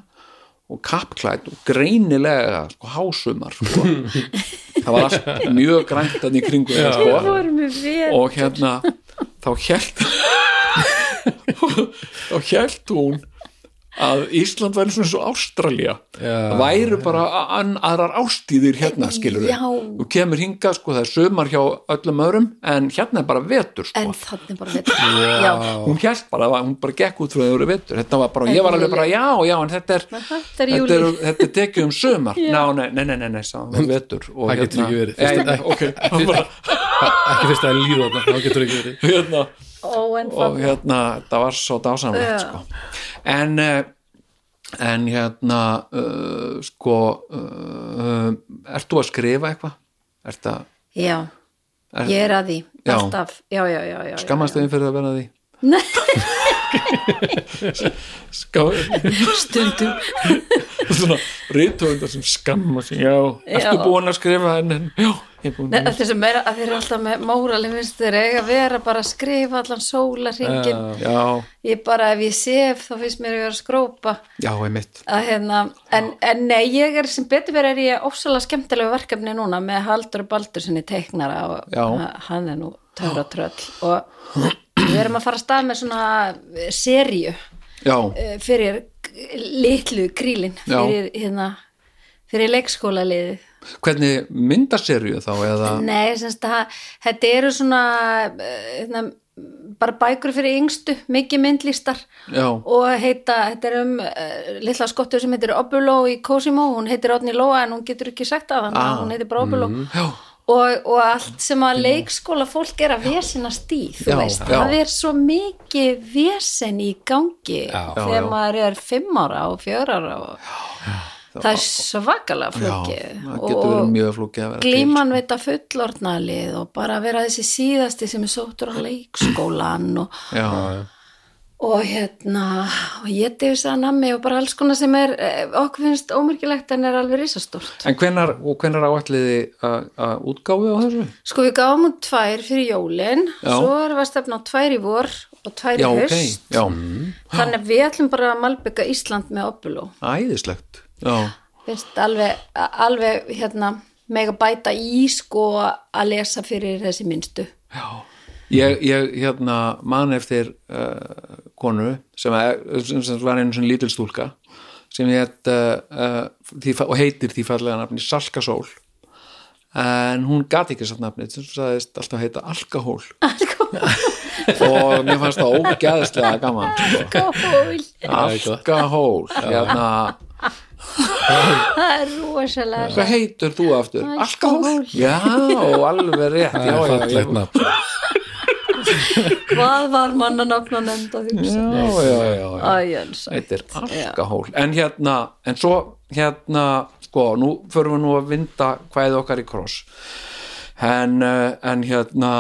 A: og kappklætt og greinilega sko hásumar sko. það var allt mjög grænt þannig í kringum það, sko
C: vorum við vel
A: og hérna þá hjælt þá hjælt hún að Ísland væri svona svo Ástralja
B: Já.
A: það væru bara an, aðrar ástíðir hérna skilur
C: Já.
A: þú kemur hingað sko það er sömar hjá öllum öðrum en hérna er bara vetur sko
C: en þannig bara veit já,
A: hún hjælt bara, að hún bara gekk út frá þeirra vetur þetta var bara, ég var alveg bara, já, já, en þetta er
C: Men þetta
A: þetta
C: er
A: er,
C: júlí.
A: þetta er tekið um sömar ná, nei, nei, nei, nei, nei, sá, það var vetur og hérna-
B: Það getur ekki verið.
A: Nei, nei, ok, hann bara,
B: ekki fyrst að líða þarna, þá getur ekki verið
A: hérna
C: ó, en
A: og
C: þannig
A: hérna, það var svo dásamlegt sko. en eh, en hérna uh, sko uh, ert þú að skrifa eitthvað? Ert að
C: já, ég er að því
A: Já.
C: alltaf, já, já, já, já, já.
A: skammast þeim fyrir að vera að því? Nei
C: stundum
A: svona rithöfundar sem skamma sig já, ertu
C: Já.
A: búin að skrifa en, en já, ég er búin
C: Nei, þessum meira að þeir eru alltaf með mórali minnst þeir eiga að vera bara að skrifa allan sólarringin
A: já,
C: ég bara ef ég sef þá finnst mér að vera að skrópa
A: já, ég mitt
C: að hérna, en, en nei, ég er sem betur verið er ég ofsalega skemmtilegu verkefni núna með Haldur Baldur sem ég teiknara og
A: Já.
C: h- hann er nú töfra tröll og við erum að fara að stað með svona serju
A: já,
C: fyrir k- litlu krílin
A: Já.
C: fyrir, hérna, fyrir leikskóla liðið
A: hvernig myndaserju þá eða
C: Nei, semst að þetta eru svona eh, hérna, bara bækur fyrir yngstu, mikið myndlistar
A: Já.
C: og heita, þetta er um uh, litla skottu sem heitir Obuló í Cosimo, hún heitir Odni Lóa en hún getur ekki sagt að hann,
A: Ah.
C: hún heitir bara Obuló
A: já,
C: og, og allt sem að leikskóla fólk er að vesenast í, þú
A: Já,
C: veist
A: já.
C: það er svo mikið vesen í gangi
B: Já.
A: Já,
C: þegar
A: já.
C: maður er fimm ára og fjör ára og það er svakalega
A: já,
C: flókið
A: það getur verið mjög flókið að vera til. sko.
C: glíman við þetta fullorðnalið og bara vera þessi síðasti sem er sóttur á leikskólan og,
A: já, já,
C: og hérna og ég defis að nammi og bara alls konar sem er eh, okkur finnst ómerkilegt en er alveg risastórt
A: En hvenar, og hvenar áætliði að að útgáfu á þessu?
C: sko við gáum út tvær fyrir jólin
A: Já.
C: svo erum við að stefna á tvær í vor og tvær
A: Já,
C: í
A: ok,
C: haust
A: já,
C: þannig að við ætlum bara að malbygga Ísland með opuló
A: æðislegt Já,
C: finnst alveg, alveg hérna mega bæta í sko að lesa fyrir þessi minnstu
A: já Ég, ég hérna man eftir uh, konu sem, að- sem, sem var einu svona lítil stúlka sem heit, uh, uh, því, fa- og heitir því fallega nafni Salka Sól en hún gati ekki satt nafni sem sagðist alltaf heita Alkahól
C: Sko,
A: og mér fannst það ógeðslega gaman sko.
C: Gól,
A: Alkahól hérna,
C: það er rosalega
A: hvað heitur þú aftur?
C: Alkahól.
A: Alkahól? Já, alveg rétt já, já, já,
B: Fallegt nafn.
C: hvað var mannanafna nefnd að hugsa
A: já, já, já, já.
C: Æjans,
A: heitir alkohól en hérna, en svo hérna sko, nú förum við nú að vinda hvæði okkar í kross en, eh, en hérna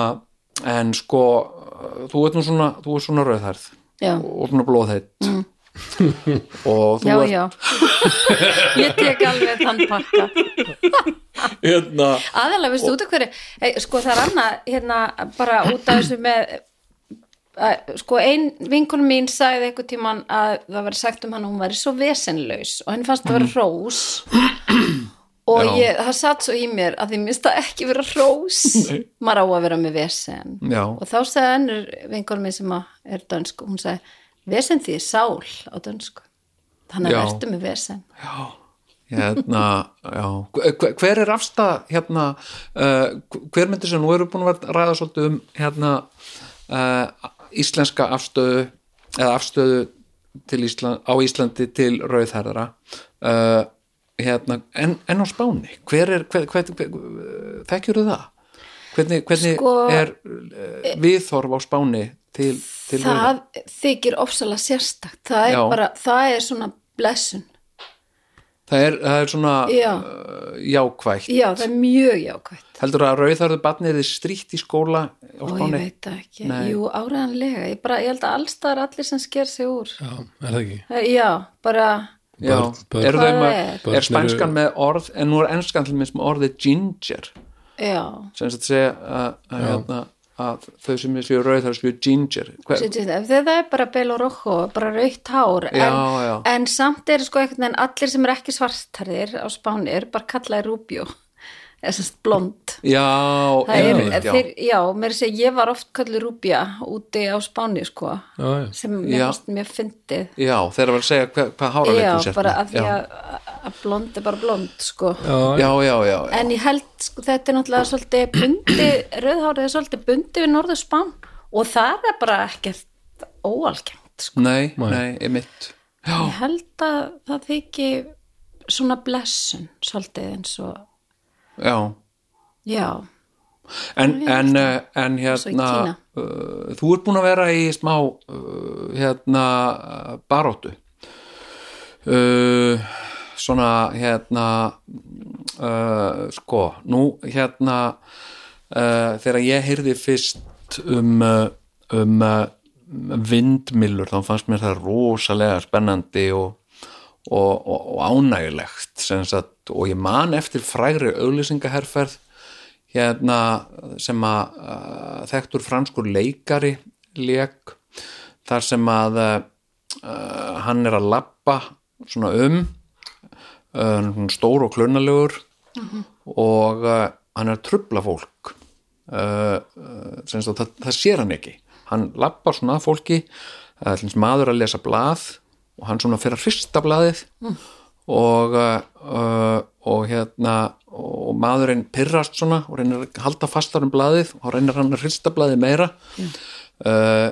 A: en sko, eh, þú ert nú svona þú ert svona rauðhærð
C: já
A: og svona blóðheitt og þú
C: Mm. Já,
A: ert
C: já, ég tek alveg þann pakka
A: hérna
C: aðalega, veistu, út af hverju e, sko það er annað, hérna, bara út af þessu með að, sko ein vinkunum mín sagði einhvern tíman að það var sagt um hann að hún væri svo vesenlaus og henni fannst það vera hrós og
A: Já.
C: ég, það satt svo í mér að því minnst það ekki vera hrós maður á að vera með vesen
A: Já.
C: og þá sagði önnur vinkunum mín sem að er dönsk hún sagði, vesen því er sál á dönsku þannig
A: Já.
C: að vertu með vesen
A: hérna, já hver, hver er afstæð hérna uh, hver myndir sem nú eru búin að vera- ræða svolítið um hérna uh, íslenska afstöðu eða afstöðu til Ísland, á Íslandi til rauðherðara uh, hérna en, en á Spáni, hver er hver, hver, hver, þekkjur það? hvernig, hvernig
C: Sko- eh,
A: er uh, viðhorf á Spáni til, til rauðherðara?
C: það þykir ofsalega sérstakt það er
A: Já.
C: bara, það er svona blessun
A: það er, það er svona
C: Já.
A: uh, jákvætt
C: já, það er mjög jákvætt
A: Heldur að rauðarðu barnið er strýtt í skóla á
C: og ég
A: spáni?
C: veit það ekki,
A: Nei.
C: jú áræðanlega ég, bara, ég held að allstaðar allir sem sker sig úr
B: Já, er það ekki?
C: Eh, já, bara
A: Já,
B: Börn- börn-
A: eru
C: Hvað
A: þau
C: er?
A: með,
B: Börn
A: er
B: eru-
A: spænskan með orð, en nú er enskan til minns með orðið ginger,
C: já,
A: sem þetta segja að, að, hérna, að þau sem er séu rauðarðu séu ginger. Hver,
C: Sér, sér, þegar það er bara bel og rojo, bara raukt hár
A: Já,
C: en,
A: já.
C: en samt er sko einhvern veginn allir sem er ekki svartarðir á Spáni er bara kallaði rúbjó eða sem sagt blond
A: já,
C: það er,
A: einmitt, já.
C: þeir, já, mér sé ég var oft kallið rúbja úti á Spáni sko,
B: Já, já.
C: sem
A: Já.
C: mér fannst mér fyndið
A: Já, þeir eru að segja hvað, hvað
C: Já,
A: háraleikum sér.
C: bara að því
A: já.
C: að, að blond er bara blond, sko.
B: Já,
A: Já, já, já, já.
C: En ég held, sko, þetta er náttúrulega svolítið bundi, rauðhárið er svolítið bundi við Norðurspán og það er bara ekkert óalgengt, sko.
A: Nei, nei, einmitt. Já,
C: Ég held að það þyki svona blessun, svolítið eins og,
A: já.
C: já,
A: En, en, eh, en
C: í
A: hérna,
C: Kína.
A: uh, þú ert búin að vera í smá uh, hérna baróttu uh, svona hérna uh, sko, nú hérna uh, þegar ég heyrði fyrst um uh, um uh, vindmillur, þá fannst mér það rosalega spennandi og og, og, og ánægilegt sem sagt, og ég man eftir frægri auglýsingaherferð hérna sem að uh, þekktur franskur leikari leik þar sem að uh, hann er að lappa svona um uh, stór og klunalegur og uh, hann er að trubla fólk uh, uh, sem sagt, það, það sér hann ekki hann lappar svona að fólki uh, til dæmis maður að lesa blað og hann svona fyrir að hrista blaðið og uh, og hérna og maðurinn pyrrast svona og reynir að halda fastar um blaðið og reynir hann að hrista blaðið meira uh,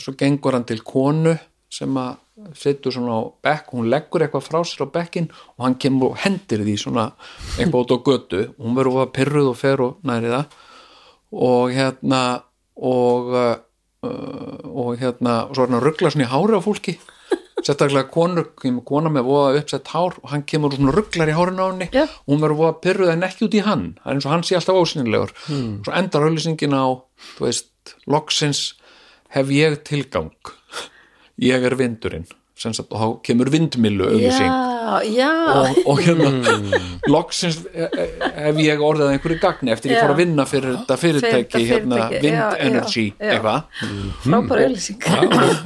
A: svo gengur hann til konu sem að setur svona á bekk hún leggur eitthvað frá sér á bekkin og hann kemur og hendir því svona eitthvað út á götu, hún verður að pyrruð og fer og næri það og hérna og, uh, og hérna og svo er hann að ruggla svona í hári á fólki sérstaklega konur, kemur kona með voða uppsett hár og hann kemur og svona rugglar í hárin á henni
C: Já.
A: og hún verður voða pyrruð en ekki út í hann það er eins og hann sé alltaf ósynlegur
C: Hmm.
A: svo endar auðlýsingin á, þú veist, loksins hef ég tilgang ég er vindurinn sem sagt, og þá kemur vindmilu auðlýsing
C: já, já,
A: og, og hérna
C: Mm.
A: loksins e- e- ef ég orðið að einhverju gagni eftir ég
C: Já.
A: fór að vinna fyrir þetta fyrirtæki
C: fyrirtæki,
A: hérna
C: já,
A: Wind
C: já,
A: Energy
C: já.
A: eitthvað
C: frábær auðlýsing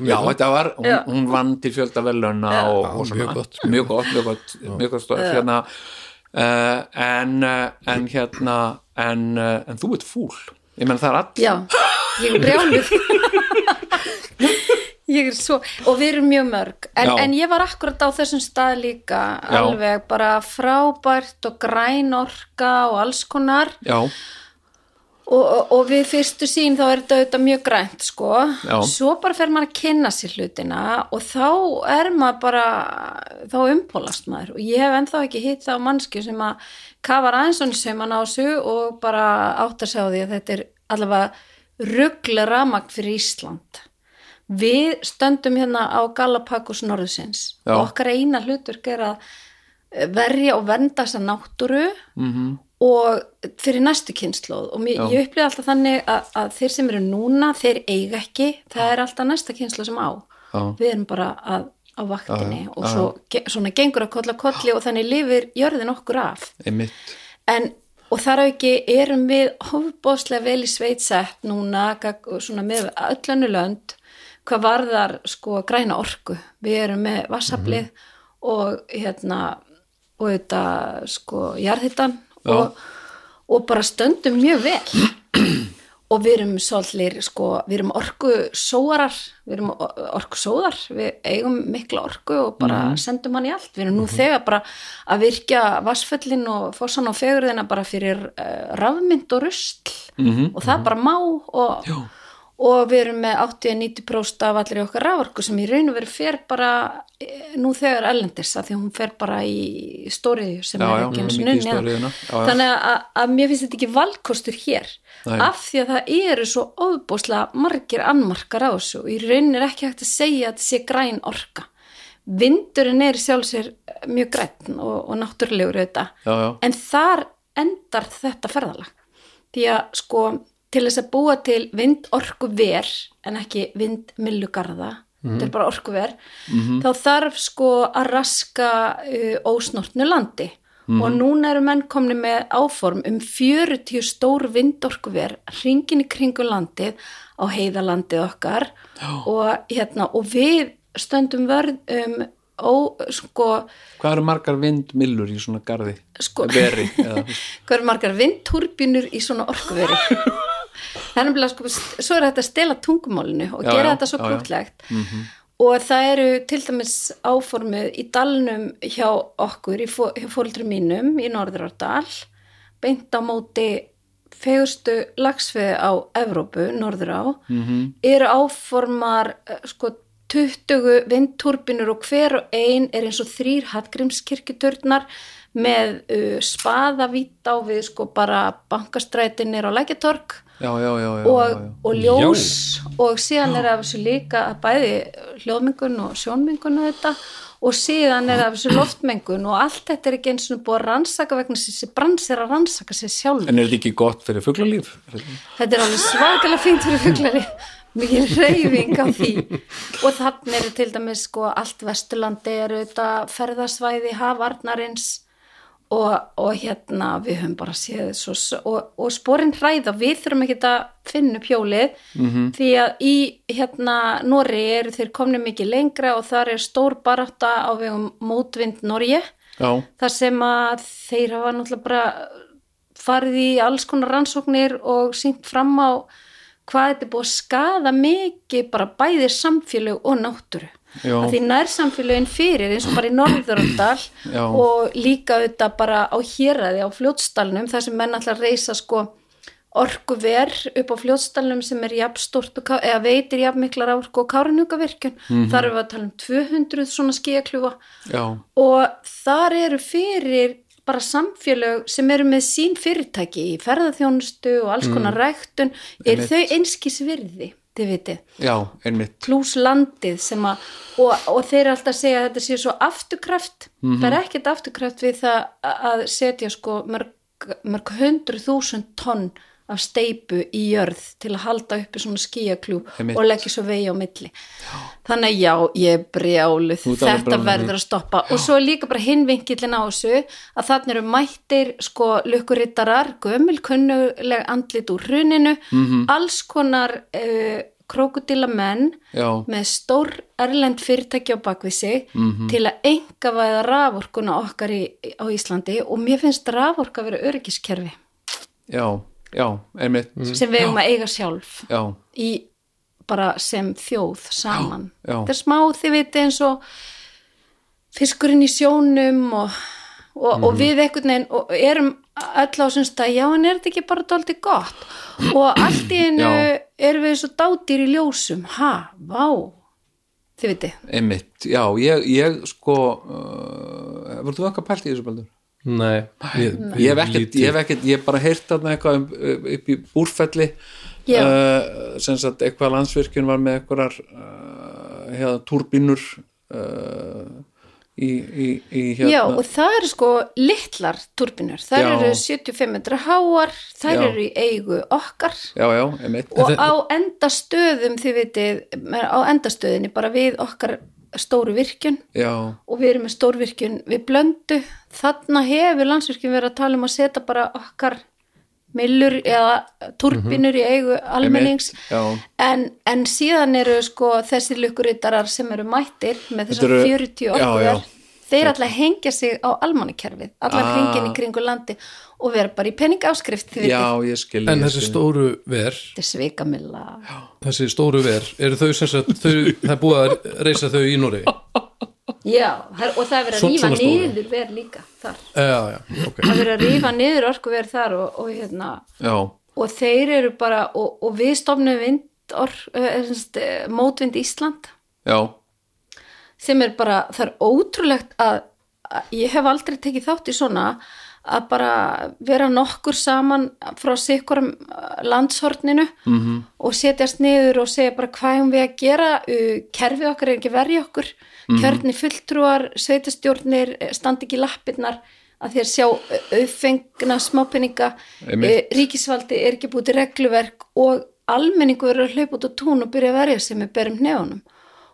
A: já, þetta var, hún,
C: Já.
A: hún vann til fjölda veluna og,
B: Já,
A: og svona
B: mjög gott,
A: mjög gott, mjög gott, mjög gott stof, hérna, uh, en, eh, en hérna en, eh, en þú ert fúl ég menn það er all
C: já, ég er brjáluð ég er svo og við erum mjög mörg en,
A: Já.
C: en ég var akkurat á þessum stað líka
A: Já.
C: alveg bara frábært og græn orka og alls konar
A: já,
C: og, og, og við fyrstu sín þá er þetta auðvitað mjög grænt sko
A: Já.
C: svo bara fer maður að kynna sér hlutina og þá er maður bara þá umpólast maður og ég hef ennþá ekki hitt þá mannsku sem að kafar aðeins og sem að násu og bara áttar sig á því að þetta er allavega ruggla ramagt fyrir Ísland við stöndum hérna á Galapagos norðsins
A: Já.
C: og okkar eina hluturk er að verja og vernda þessa náttúru -hmm. og fyrir næstu kynnslóð og mér,
A: Já.
C: ég upplýði alltaf þannig að, að þeir sem eru núna, þeir eiga ekki það er alltaf næsta kynnslóð sem á
A: Já.
C: við erum bara að, á vaktinni og svo, ge, svona gengur að kolla kolli og þannig lifir jörðin okkur af
A: einmitt
C: en og þar að ekki erum við ofbóðslega vel í sveitsett núna gag- svona með öllönu lönd hvað varðar sko græna orku við erum með vassablið
A: Mhm.
C: og hérna og þetta sko jarðhittan
A: Já.
C: og, og bara stöndum mjög vel og við erum svolítið sko, við erum orku sóarar, við erum orku sóðar, við eigum mikla orku og bara sendum hann í allt, við erum nú þegar bara að virkja vassföllin og fossan og fegurðina bara fyrir uh, rafmynd og rusl og það bara má og, og við erum með 80-90% af allir okkar raforku sem í raun og veru fer bara eh, nú þegar ellendis að því hún fer bara í stóriðju sem
A: Já,
C: er
A: já,
C: ekki einu
A: mikið í
C: sinni unnin.
A: stóriðjuna, já, já.
C: þannig þannig að, að mér finnst þetta ekki valkostur hér
A: Nei.
C: af því að það eru svo ofbúslega margir annmarkar á þessu og í raun er ekki hægt að segja að þetta sé græn orka vindurinn er í sjálf sér mjög græn og, og náttúrulegur auðvitað
A: já, já,
C: en þar endar þetta ferðalag því að sko til þess að búa til vindorku ver en ekki vindmillugarða þetta er bara orku ver þá þarf sko að raska uh, ósnortnu landi og núna eru menn komni með áform um 40 stór vindorku ver hringin í kringu landið á heiðalandið okkar og, hérna, og við stöndum vörð um ó, sko,
A: hvað eru margar vindmillur í svona garði
C: Sko.
A: veri, eða,
C: hvað eru margar vindturbínur í svona orkuveri það er nefnilega sko svo er þetta að stela tungumálinu og
A: Já, já,
C: gera þetta svo
A: já, Mhm. já.
C: krútlegt og það eru til dæmis áformið í dalnum hjá okkur, í fó, hjá fóruldrum mínum í Norðurárdal beint á móti fegurstu lagsfið á Evrópu, Norðurá
A: Mhm.
C: -hmm. eru áformar eh, sko 20 vindturbinur og hver og ein er eins og þrýr Hallgrímskirkjuturnar með uh, spaðavít á við sko bara bankastrætinir á lækjatorg
A: já, já, já, já,
C: og,
A: já, já.
C: og ljós og síðan er af þessu líka að bæði hljóðmengun og sjónmengun og þetta og síðan er af þessu loftmengun og allt þetta er ekki eins og búið að rannsaka vegna þess að þessi brans er að rannsaka sér sjálf
A: en er þetta ekki gott fyrir fuglalíf
C: þetta er alveg svakalega fínt fyrir fuglari mikið reyfing á því og þannig eru til dæmis sko allt Vesturlandi eru þetta ferðasvæði hafarnarins og, og hérna við höfum bara séð svo, og, og sporin hræða við þurfum ekki að finna upp hjólið -hmm. því að í hérna Nóri eru þeir komni mikið lengra og þar er stór barátta á vegum mótvind Norge
A: já,
C: þar sem að þeir hafa náttúrulega bara farið í alls konar rannsóknir og sínt fram á hvað þetta er búið að skada mikið bara bæði samfélög og náttúru
A: Já.
C: að því nærsamfélögin fyrir eins og bara í Norðuröndal
A: Já.
C: og líka þetta bara á héraði á fljótstalnum þar sem menn ætla að reysa sko orkuver upp á fljótstalnum sem er jafnstort og, Ká- eða veitir jafnmiklar orku og káranugavirkjun
A: Mhm.
C: þar erum við að tala um 200 svona skíakljúfa
A: já,
C: og þar eru fyrir bara samfélög sem eru með sín fyrirtæki í ferðaþjónustu og alls konar ræktun, er
A: Einmitt.
C: þau einskis virði, þið vitið
A: já, einmitt
C: pluss landið sem að og, og þeir eru alltaf að segja að þetta sé svo afturkraft, það
A: Mhm.
C: er ekkert afturkraft við það að setja sko mörg, mörg hundru þúsund tonn af steipu í jörð til að halda uppi svona skíakljúb
A: Einmitt.
C: og leggja svo vegi á milli þannig að já, ég er brjáluð
A: Þú ert alveg
C: þetta
A: brjáluð.
C: verður að stoppa og svo er líka bara hinvinkillin á þessu að þarna eru mættir sko lukkurittarar, gömul kunnuleg andlit úr hruninu
A: Mhm.
C: alls konar uh, krokodila
A: Já.
C: með stór erlend fyrirtæki á bakvið sig
A: Mhm.
C: til að enga væða raforkuna okkar í, á Íslandi og mér finnst raforka að vera öryggiskerfi
A: já, já, einmitt
C: sem við eigum að eiga sjálf
A: já,
C: í bara sem þjóð saman.
A: Já, já.
C: Þetta er smá þið viti eins og fiskurinn í sjónum og, og, og
A: Mhm.
C: við einhvern veginn og erum öll á þessum stað, já en er þetta ekki bara dálítið gott og allt í einu
A: Já.
C: erum við svo dátýr í ljósum, ha, vá, þið viti.
A: einmitt já, ég, ég sko uh, voru þú eitthvað pælt í þessu baldur?
B: Nei, ég,
A: ég hef ekkert, ég hef ekkert, ég hef bara heyrt þarna eitthvað um, upp í búrfelli
C: Já.
A: uh, sem sagt eitthvað landsvirkjun var með eitthvað uh, hérna, túrbínur uh, í, í, í hérna
C: Já, og það eru sko litlar turbinur, þær
A: Já.
C: eru 75 metra háar, þær
A: Já.
C: eru í eigu okkar
A: já, já, einmitt
C: og
B: þe-
C: á endastöðum, þið vitið, á endastöðinni bara við okkar stóru virkjun
A: já,
C: og við erum með stórvirkjun við blöndu, þarna hefur landsvirkjun verið að tala um að setja bara okkar millur eða turbinur í eigu almennings
A: Mhm. já.
C: en, en síðan eru sko þessi lukkurittarar sem eru mættir með
A: Þetta
C: þessar
A: eru-
C: 40
A: já,
C: okkur
A: já.
C: þeir alltaf hengja sig á almannakerfið allan
A: Ah.
C: hringin í kringu landi og vera bara í penningáskrift þið
A: já,
C: vitið,
A: ég skil
B: En
A: ég
B: þessi
A: skil.
B: stóru ver,
C: þetta er svikamilla
B: þessi stóru ver, eru þau sem sagt, þau, það er búið að reisa þau í Núri?
C: Já, það- og það er verið að
B: Svona-
C: rífa
B: svona stóru.
C: niður verð líka þar.
B: Já, já, ok.
C: Það er verið að rífa niður orkuverð þar og, og, hérna,
A: já,
C: og þeir eru bara, og, og við eh, stofnum vindor, semst, mótvind Ísland
A: já,
C: sem er bara, það er ótrúlegt að, að ég hef aldrei tekið þátt í svona að bara vera nokkur saman frá sikkurum landshorninu -hmm. og setjast niður og segja bara hvað hefum við að gera uh, kerfið okkar er ekki verið okkur kjörni fulltrúar, sveitastjórnir eh, standa ekki í lappirnar að þeir sjá eh, auðfengna smápenninga,
A: Einmitt.
C: eh, ríkisvaldi er ekki búið til regluverk og almenningu verður að hlaupa út á tún og byrja að verja sem við berum hnefunum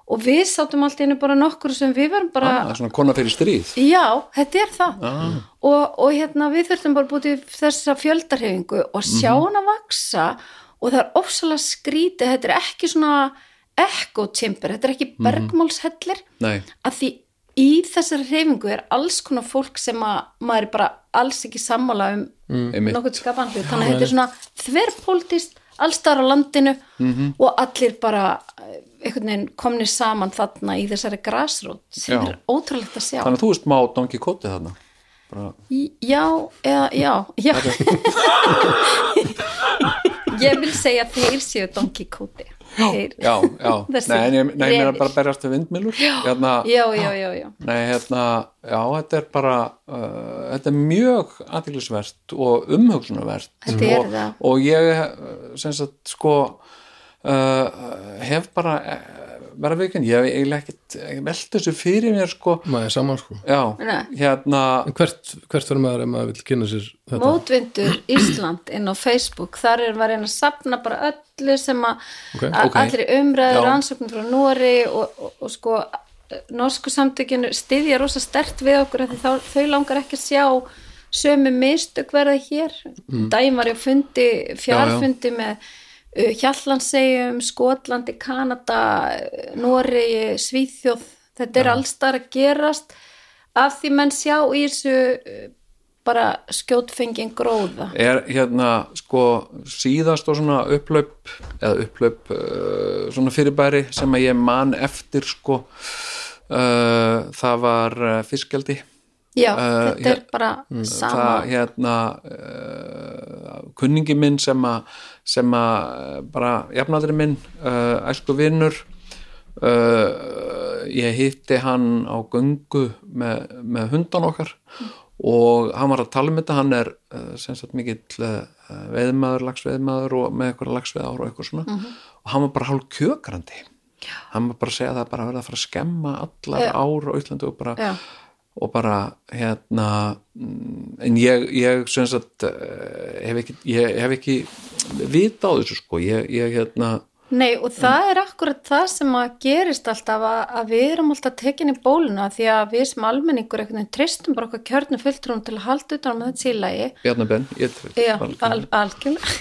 C: og við sátum allt í einu bara nokkur sem við verum bara,
A: það er svona kona fyrir stríð
C: já, þetta er það og, og hérna við þurftum bara búið til þessa fjöldarhefingu og sjá hana vaksa og það er ofsalega skrítið, þetta er ekki svona ekkotimper, þetta er ekki bergmálshellir
A: nei,
C: að því í þessari hreyfingu er alls konar fólk sem að maður er bara alls ekki sammála um mm.
A: Einmitt.
C: nokkuð skapan hlut þannig að þetta er svona þverpóltist allstar á landinu -hmm.
A: Mhm.
C: og allir bara eh, einhvern veginn komni saman þarna í þessari grasrót sem
A: Já.
C: er ótrúlegt að sjá
A: þannig að þú veist má Don Quixote þarna bara,
C: Í- Já, eða, já, já Ég vil segja að þeir séu Don Quixote Þeir-
A: já, já,
C: Þessi
A: nei, en ég- nei, ég meina
C: refir.
A: bara berjast við vindmilur já, hérna,
C: Já, já, já, já
A: Nei, hérna, já, þetta er bara uh, þetta er mjög aðtiklisvert og umhugsunarvert
C: Þetta er
A: og,
C: það.
A: og ég eh, sem sagt, sko uh, hef bara eh, vera vikinn, ég hef eiginlega ekkit velt þessu fyrir mér, sko
B: Maður er saman, sko.
A: já,
C: Mm. Nei.
A: hérna,
B: En hvert, hvert verður maður ef maður vil kynna sér þetta?
C: mótvindur Ísland inn á Facebook þar er maður að reyna að sapna bara öllu sem að
B: Ok,
C: okay,
A: ok.
C: allir umræður
A: Já.
C: rannsóknir frá Nóri og, og, og sko norsku samtökinu styðja rosa stert við okkur af því þá, þau langar ekki að sjá sömu mistök verða hér mm. dæm var ég á fundi, fjárfundi með uh, Hjallansegjum Skotlandi, Kanada Nóri, Svíþjóð þetta er allstar að gerast af því menn sjá í þessu uh, bara skjótfengin gróða
A: er hérna, sko síðast og svona upplaup eða upplaup uh, svona fyrirbæri sem að ég man eftir, sko uh, það var uh, fiskjaldi
C: já,
A: Eh,
C: þetta er
A: hér-
C: bara sama
A: það hérna uh, kunningi minn sem að sem að bara jafnaldri minn, uh, æsku vinnur uh, ég hitti hann á göngu með, með hundan okkar og hann var að tala um þetta hann er uh, sem sagt mikill uh, veðmaður, lagsveðmaður og með eitthvað lagsveðar og eitthvað svona
C: Mhm.
A: og hann var bara hálf kjökrandi hann var bara að segja að það bara verið að fara að skemma allar
C: Já.
A: ár á Íslandi og bara
C: Já.
A: og bara hérna mm, en ég, ég sem sagt eh, hef ekki, ég hef ekki vita á þessu sko ég, ég hérna
C: Nei og það er akkurat það sem að gerist alltaf að, að við erum alltaf tekinni bóluna því að við sem almenningur einhvern veginn tristum bara okkar kjörnum fulltrúum til að halda utan með þetta sílægi
A: Bjarni Ben, ég, tre-
C: Já,
A: al-
C: al algjörlega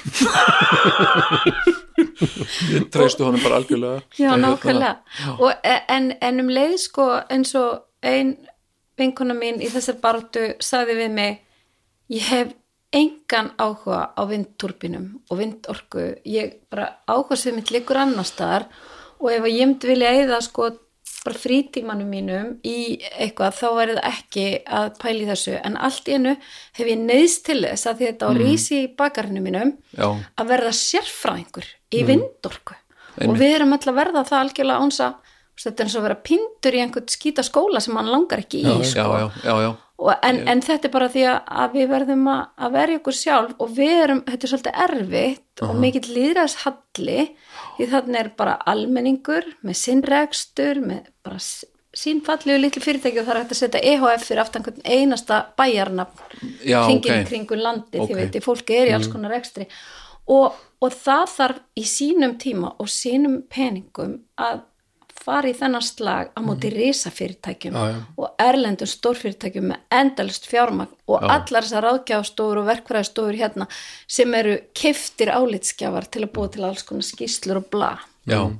A: ég treystu honum bara algjörlega
C: Já,
A: Ég, hérna,
C: nákvæmlega og, e- en, en um leið sko eins og ein vinkona mín í þessar baráttu sagði við mig ég hef engan áhuga á vindturbinum og vindorku ég bara áhuga sem mitt liggur annar staðar og ef að ég myndi vilja eða sko bara frítímanum mínum í eitthvað þá væri það ekki að pæli þessu en allt í einu hef ég neyðst til þess að því þetta á rísi í bakarinu
A: Mm.
C: mínum
A: Já.
C: að verða sérfræðingur í
A: Mm.
C: vindorku og við erum öll að verða það algjörlega ánsa þetta er eins og að vera pindur í einhvern skýta skóla sem hann langar ekki í
A: já,
C: sko.
A: já, já, já.
C: Og, en, en þetta er bara því að, að við verðum að, að verja okkur sjálf og við erum, þetta er svolítið erfitt og mikill líðræðs halli því þannig er bara almenningur með sinnrekstur, með bara sínfallegu litlu fyrirtæki og það er hægt að setja EHF fyrir aftan hvern einasta bæjarnafn
A: Já, ok.
C: hringin í kringu landi,
A: Ok.
C: þið veit, fólki er í alls konar rekstri og, og það þarf í sínum tíma og sínum peningum að fara í þennan slag á móti risafyrirtækjum
B: Já, já.
C: og erlendum stórfyrirtækjum með endalist fjármagn og allar þessar ráðgjafstofur og verkfræðistofur hérna sem eru keftir álitsgjafar til að búa til alls konar skýslur og bla.
A: Já Mm.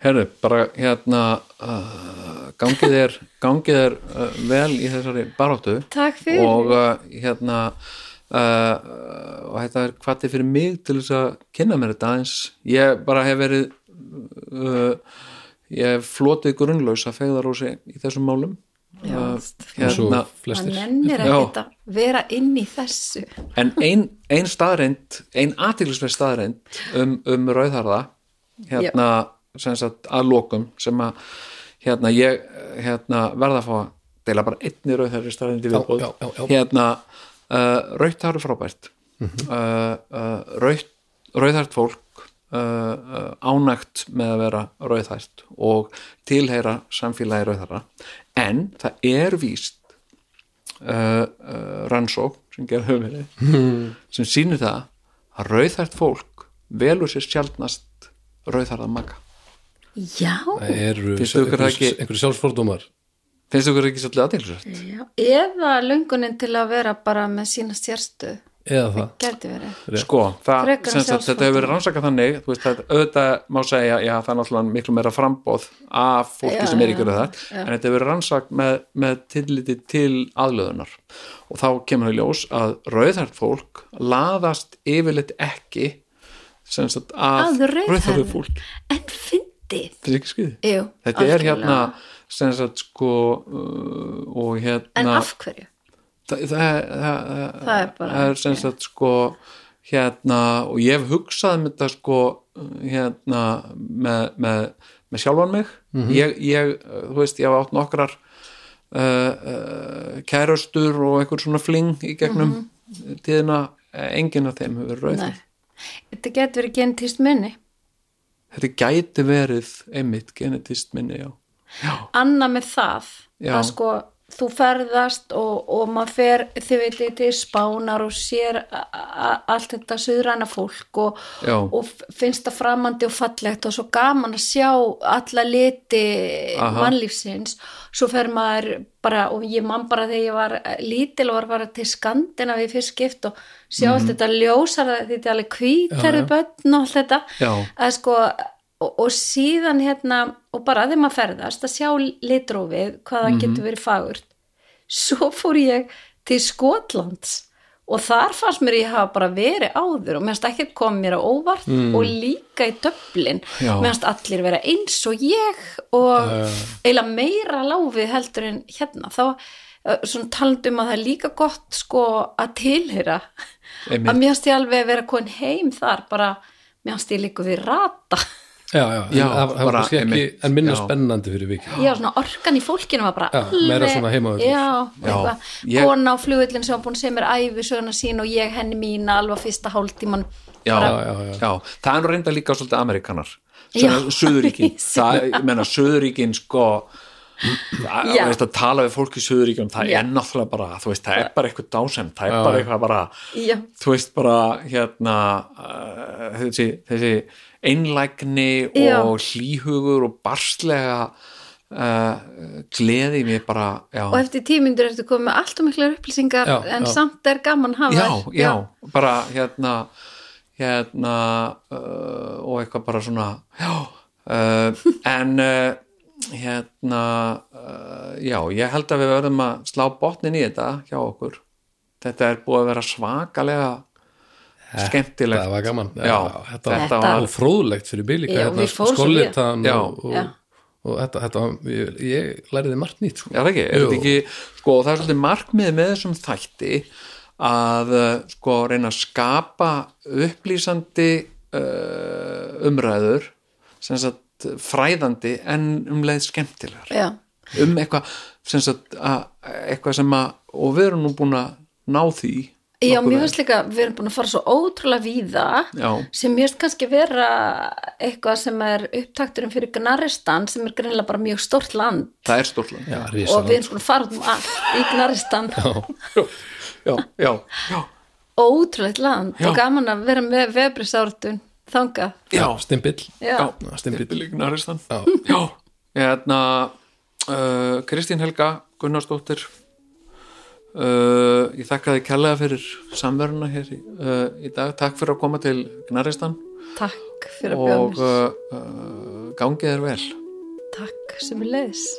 A: Herru, bara hérna uh, gangið er, gangið er uh, vel í þessari baráttu
C: Takk fyrir.
A: og uh, hérna uh, og þetta er hvati fyrir mig til þess að kynna mér þetta aðeins ég bara hef verið uh, ég hef flotið grunnlaus að fegða rósi í þessum málum
C: Já,
B: eins og
A: hérna,
C: það
B: flestir
C: nennir
A: Já.
C: að geta vera inn í þessu.
A: en ein, ein staðreind ein aðtiklisverð staðreind um, um rauðharða hérna sem sagt að lokum sem að hérna ég hérna, verða að fá að deila bara einni rauðharði staðreindi viðbóð
B: já, já, Mhm. já.
A: hérna uh, rauðharði frábært mm uh, uh, rauðhært fólk uh, uh, ánægt með að vera rauðhært og tilheyra samfélagi rauðhæra en það er víst uh, uh, rannsók sem gerðum við
B: Mhm.
A: sem sýnir það að rauðhært fólk velur sér sjaldnast rauðhærða maka
C: Já,
B: það eru
A: Finnst þau ykkur það ekki-
B: einhverju sjálfsfórdómar
A: finnst ykkur ekki svolítið aðeinsvært?
C: já. eða löngunin til að vera bara með sína sérstöð.
B: eða það
C: Gæti verið.
A: Sko, það,
C: Frekar en
A: sem sagt, þetta
C: sjálfsfrótt.
A: hefur verið rannsakað þannig þú veist, það, auðvitað má segja, já, það er náttúrulega miklu meira frambóð af fólki
C: Já,
A: sem er
C: já,
A: ekki rauðhært en þetta hefur verið rannsakað með, með tilliti til aðlöðunar og þá kemur það í ljós að rauðhært fólk laðast yfirleitt ekki sem sagt að
C: að
A: rauðhærðu
C: rauðhærðu
A: fólk
C: en fyndið
A: þetta er ekki skriði
C: Jú,
A: þetta er
C: algjörlega.
A: hérna sem sagt sko uh, og
C: en
A: hérna
C: af hverju
A: það, það, það,
C: Það er bara-
A: það er sem sagt sko hérna og ég hef hugsað um þetta sko hérna með, með, með sjálfan mig ég, ég, þú veist, ég hef átt nokkrar uh, uh, kærastur og einhver svona fling í gegnum tíðina, enginn af þeim hefur verið rauð
C: Mhm. Nei. þetta getur verið genetist minni
A: þetta gæti verið einmitt genetist minni já
C: annað með það
A: Já.
C: að sko þú ferðast og, og maður fer þið veitir til spánar og sér a- a- allt þetta suðræna fólk og,
A: Já.
C: og f- finnst það framandi og fallegt og svo gaman að sjá alla liti
A: Aha.
C: mannlífsins svo fer maður bara og ég man bara þegar ég var eh, lítil og var bara til skandina við fyrst skipt og sjá
A: Mhm.
C: allt þetta ljósar þetta er alveg kvítari börn og allt þetta
A: Já.
C: að sko og, og síðan hérna og bara þegar maður ferðast að sjá litrófið
A: Mhm.
C: hvað það getur verið fagurt svo fór ég til Skotlands og þar fannst mér ég hafa bara verið áður og meðanst ekkert kom mér á óvart og líka í döflin
A: Mm. Já.
C: meðanst allir vera eins og ég og eiginlega meira láfið heldur en hérna þá eh, svona talandum að það er líka gott sko að tilheyra
A: Einmitt.
C: að mér finnst ég alveg að vera kon heim þar bara mér finnst ég líka við rata
B: já, já, en
A: Já,
B: það það var
A: bara
B: kannski ekki
A: einmitt,
B: en minna
A: já.
B: spennandi fyrir vikið
C: já, svona orkan í fólkinu var bara
B: Já, meira svona heimavöllur.
C: já,
A: Já,
C: eitthvað.
A: ég-
C: kona á flugullin sem var búin sem er æfi söguna sín og ég henni mína alveg á fyrsta hálftíman
A: já,
B: Bara-
A: já,
B: Já, já,
A: já.
B: já.
A: það er nú reynda líka svolítið Amerikanar
C: Já.
A: Söðuríkin, það, ég menna Söðuríkin sko það,
C: Já.
A: þú veist, að tala við fólk í Suðuríkjum það
C: Já.
A: er náttúrulega bara, þú veist, það er bara eitthvað dásend, það er bara eitthvað bara
C: Já.
A: þú veist bara hérna uh, þessi, þessi einlægni
C: Já.
A: og hlýhugur og barslega uh, gleði mér bara já,
C: og eftir tímyndur ertu komið með allt og miklar upplýsingar
B: Já,
C: en
B: já.
C: samt er gaman að hafa
A: já,
C: þær.
A: já, bara hérna hérna uh, og eitthvað bara svona já, uh, en uh, hérna uh, já, ég held að við verðum að slá botnin í þetta hjá okkur þetta er búið að vera svakalega skemmtilegt
B: það var gaman
A: já,
B: þetta,
A: þetta
B: var
A: var
B: og fróðlegt fyrir mig líka
C: Já, við fórum svo
B: skollitan
A: víða.
B: og,
C: Já.
B: og, og þetta, þetta var- ég, ég læriði margt nýtt sko.
A: Já, það ekki, er þetta ekki, sko, það er svolítið markmið með þessum þætti að, eh, sko, reyna að skapa upplýsandi uh, umræður, sem sagt, fræðandi en um leið skemmtilegar.
C: já,
A: Um eitthvað, sem sagt, að, eitthvað sem að, og við erum nú búin að ná því.
C: já
A: nokkuð
C: mér
A: vel.
C: finnst líka við erum búin að fara svo ótrúlega víða
A: Já.
C: sem mér finnst kannski vera eitthvað sem er upptakturinn fyrir Gnaristan sem er greinlega bara mjög stort land
A: Það er stórlega.
B: Já,
C: og við
B: risaland.
C: erum svona farað um allt í Gnaristan
A: Já, já, já,
C: ótrúlegt land
A: Já.
C: og gaman að vera með vefbrisáratun þangað
A: já,
B: stimpill
C: já, já.
A: já.
B: stimpill
A: Bylgnaristan.
B: Já.
A: Já, hérna uh, Kristín Helga Gunnarsdóttir uh, ég þakka þið kærlega fyrir samveruna hér í, uh, í dag takk fyrir að koma til Gnaristan
C: takk fyrir að bjóða
A: og
C: mér
A: uh, uh, gangið er vel
C: takk sem er leiðis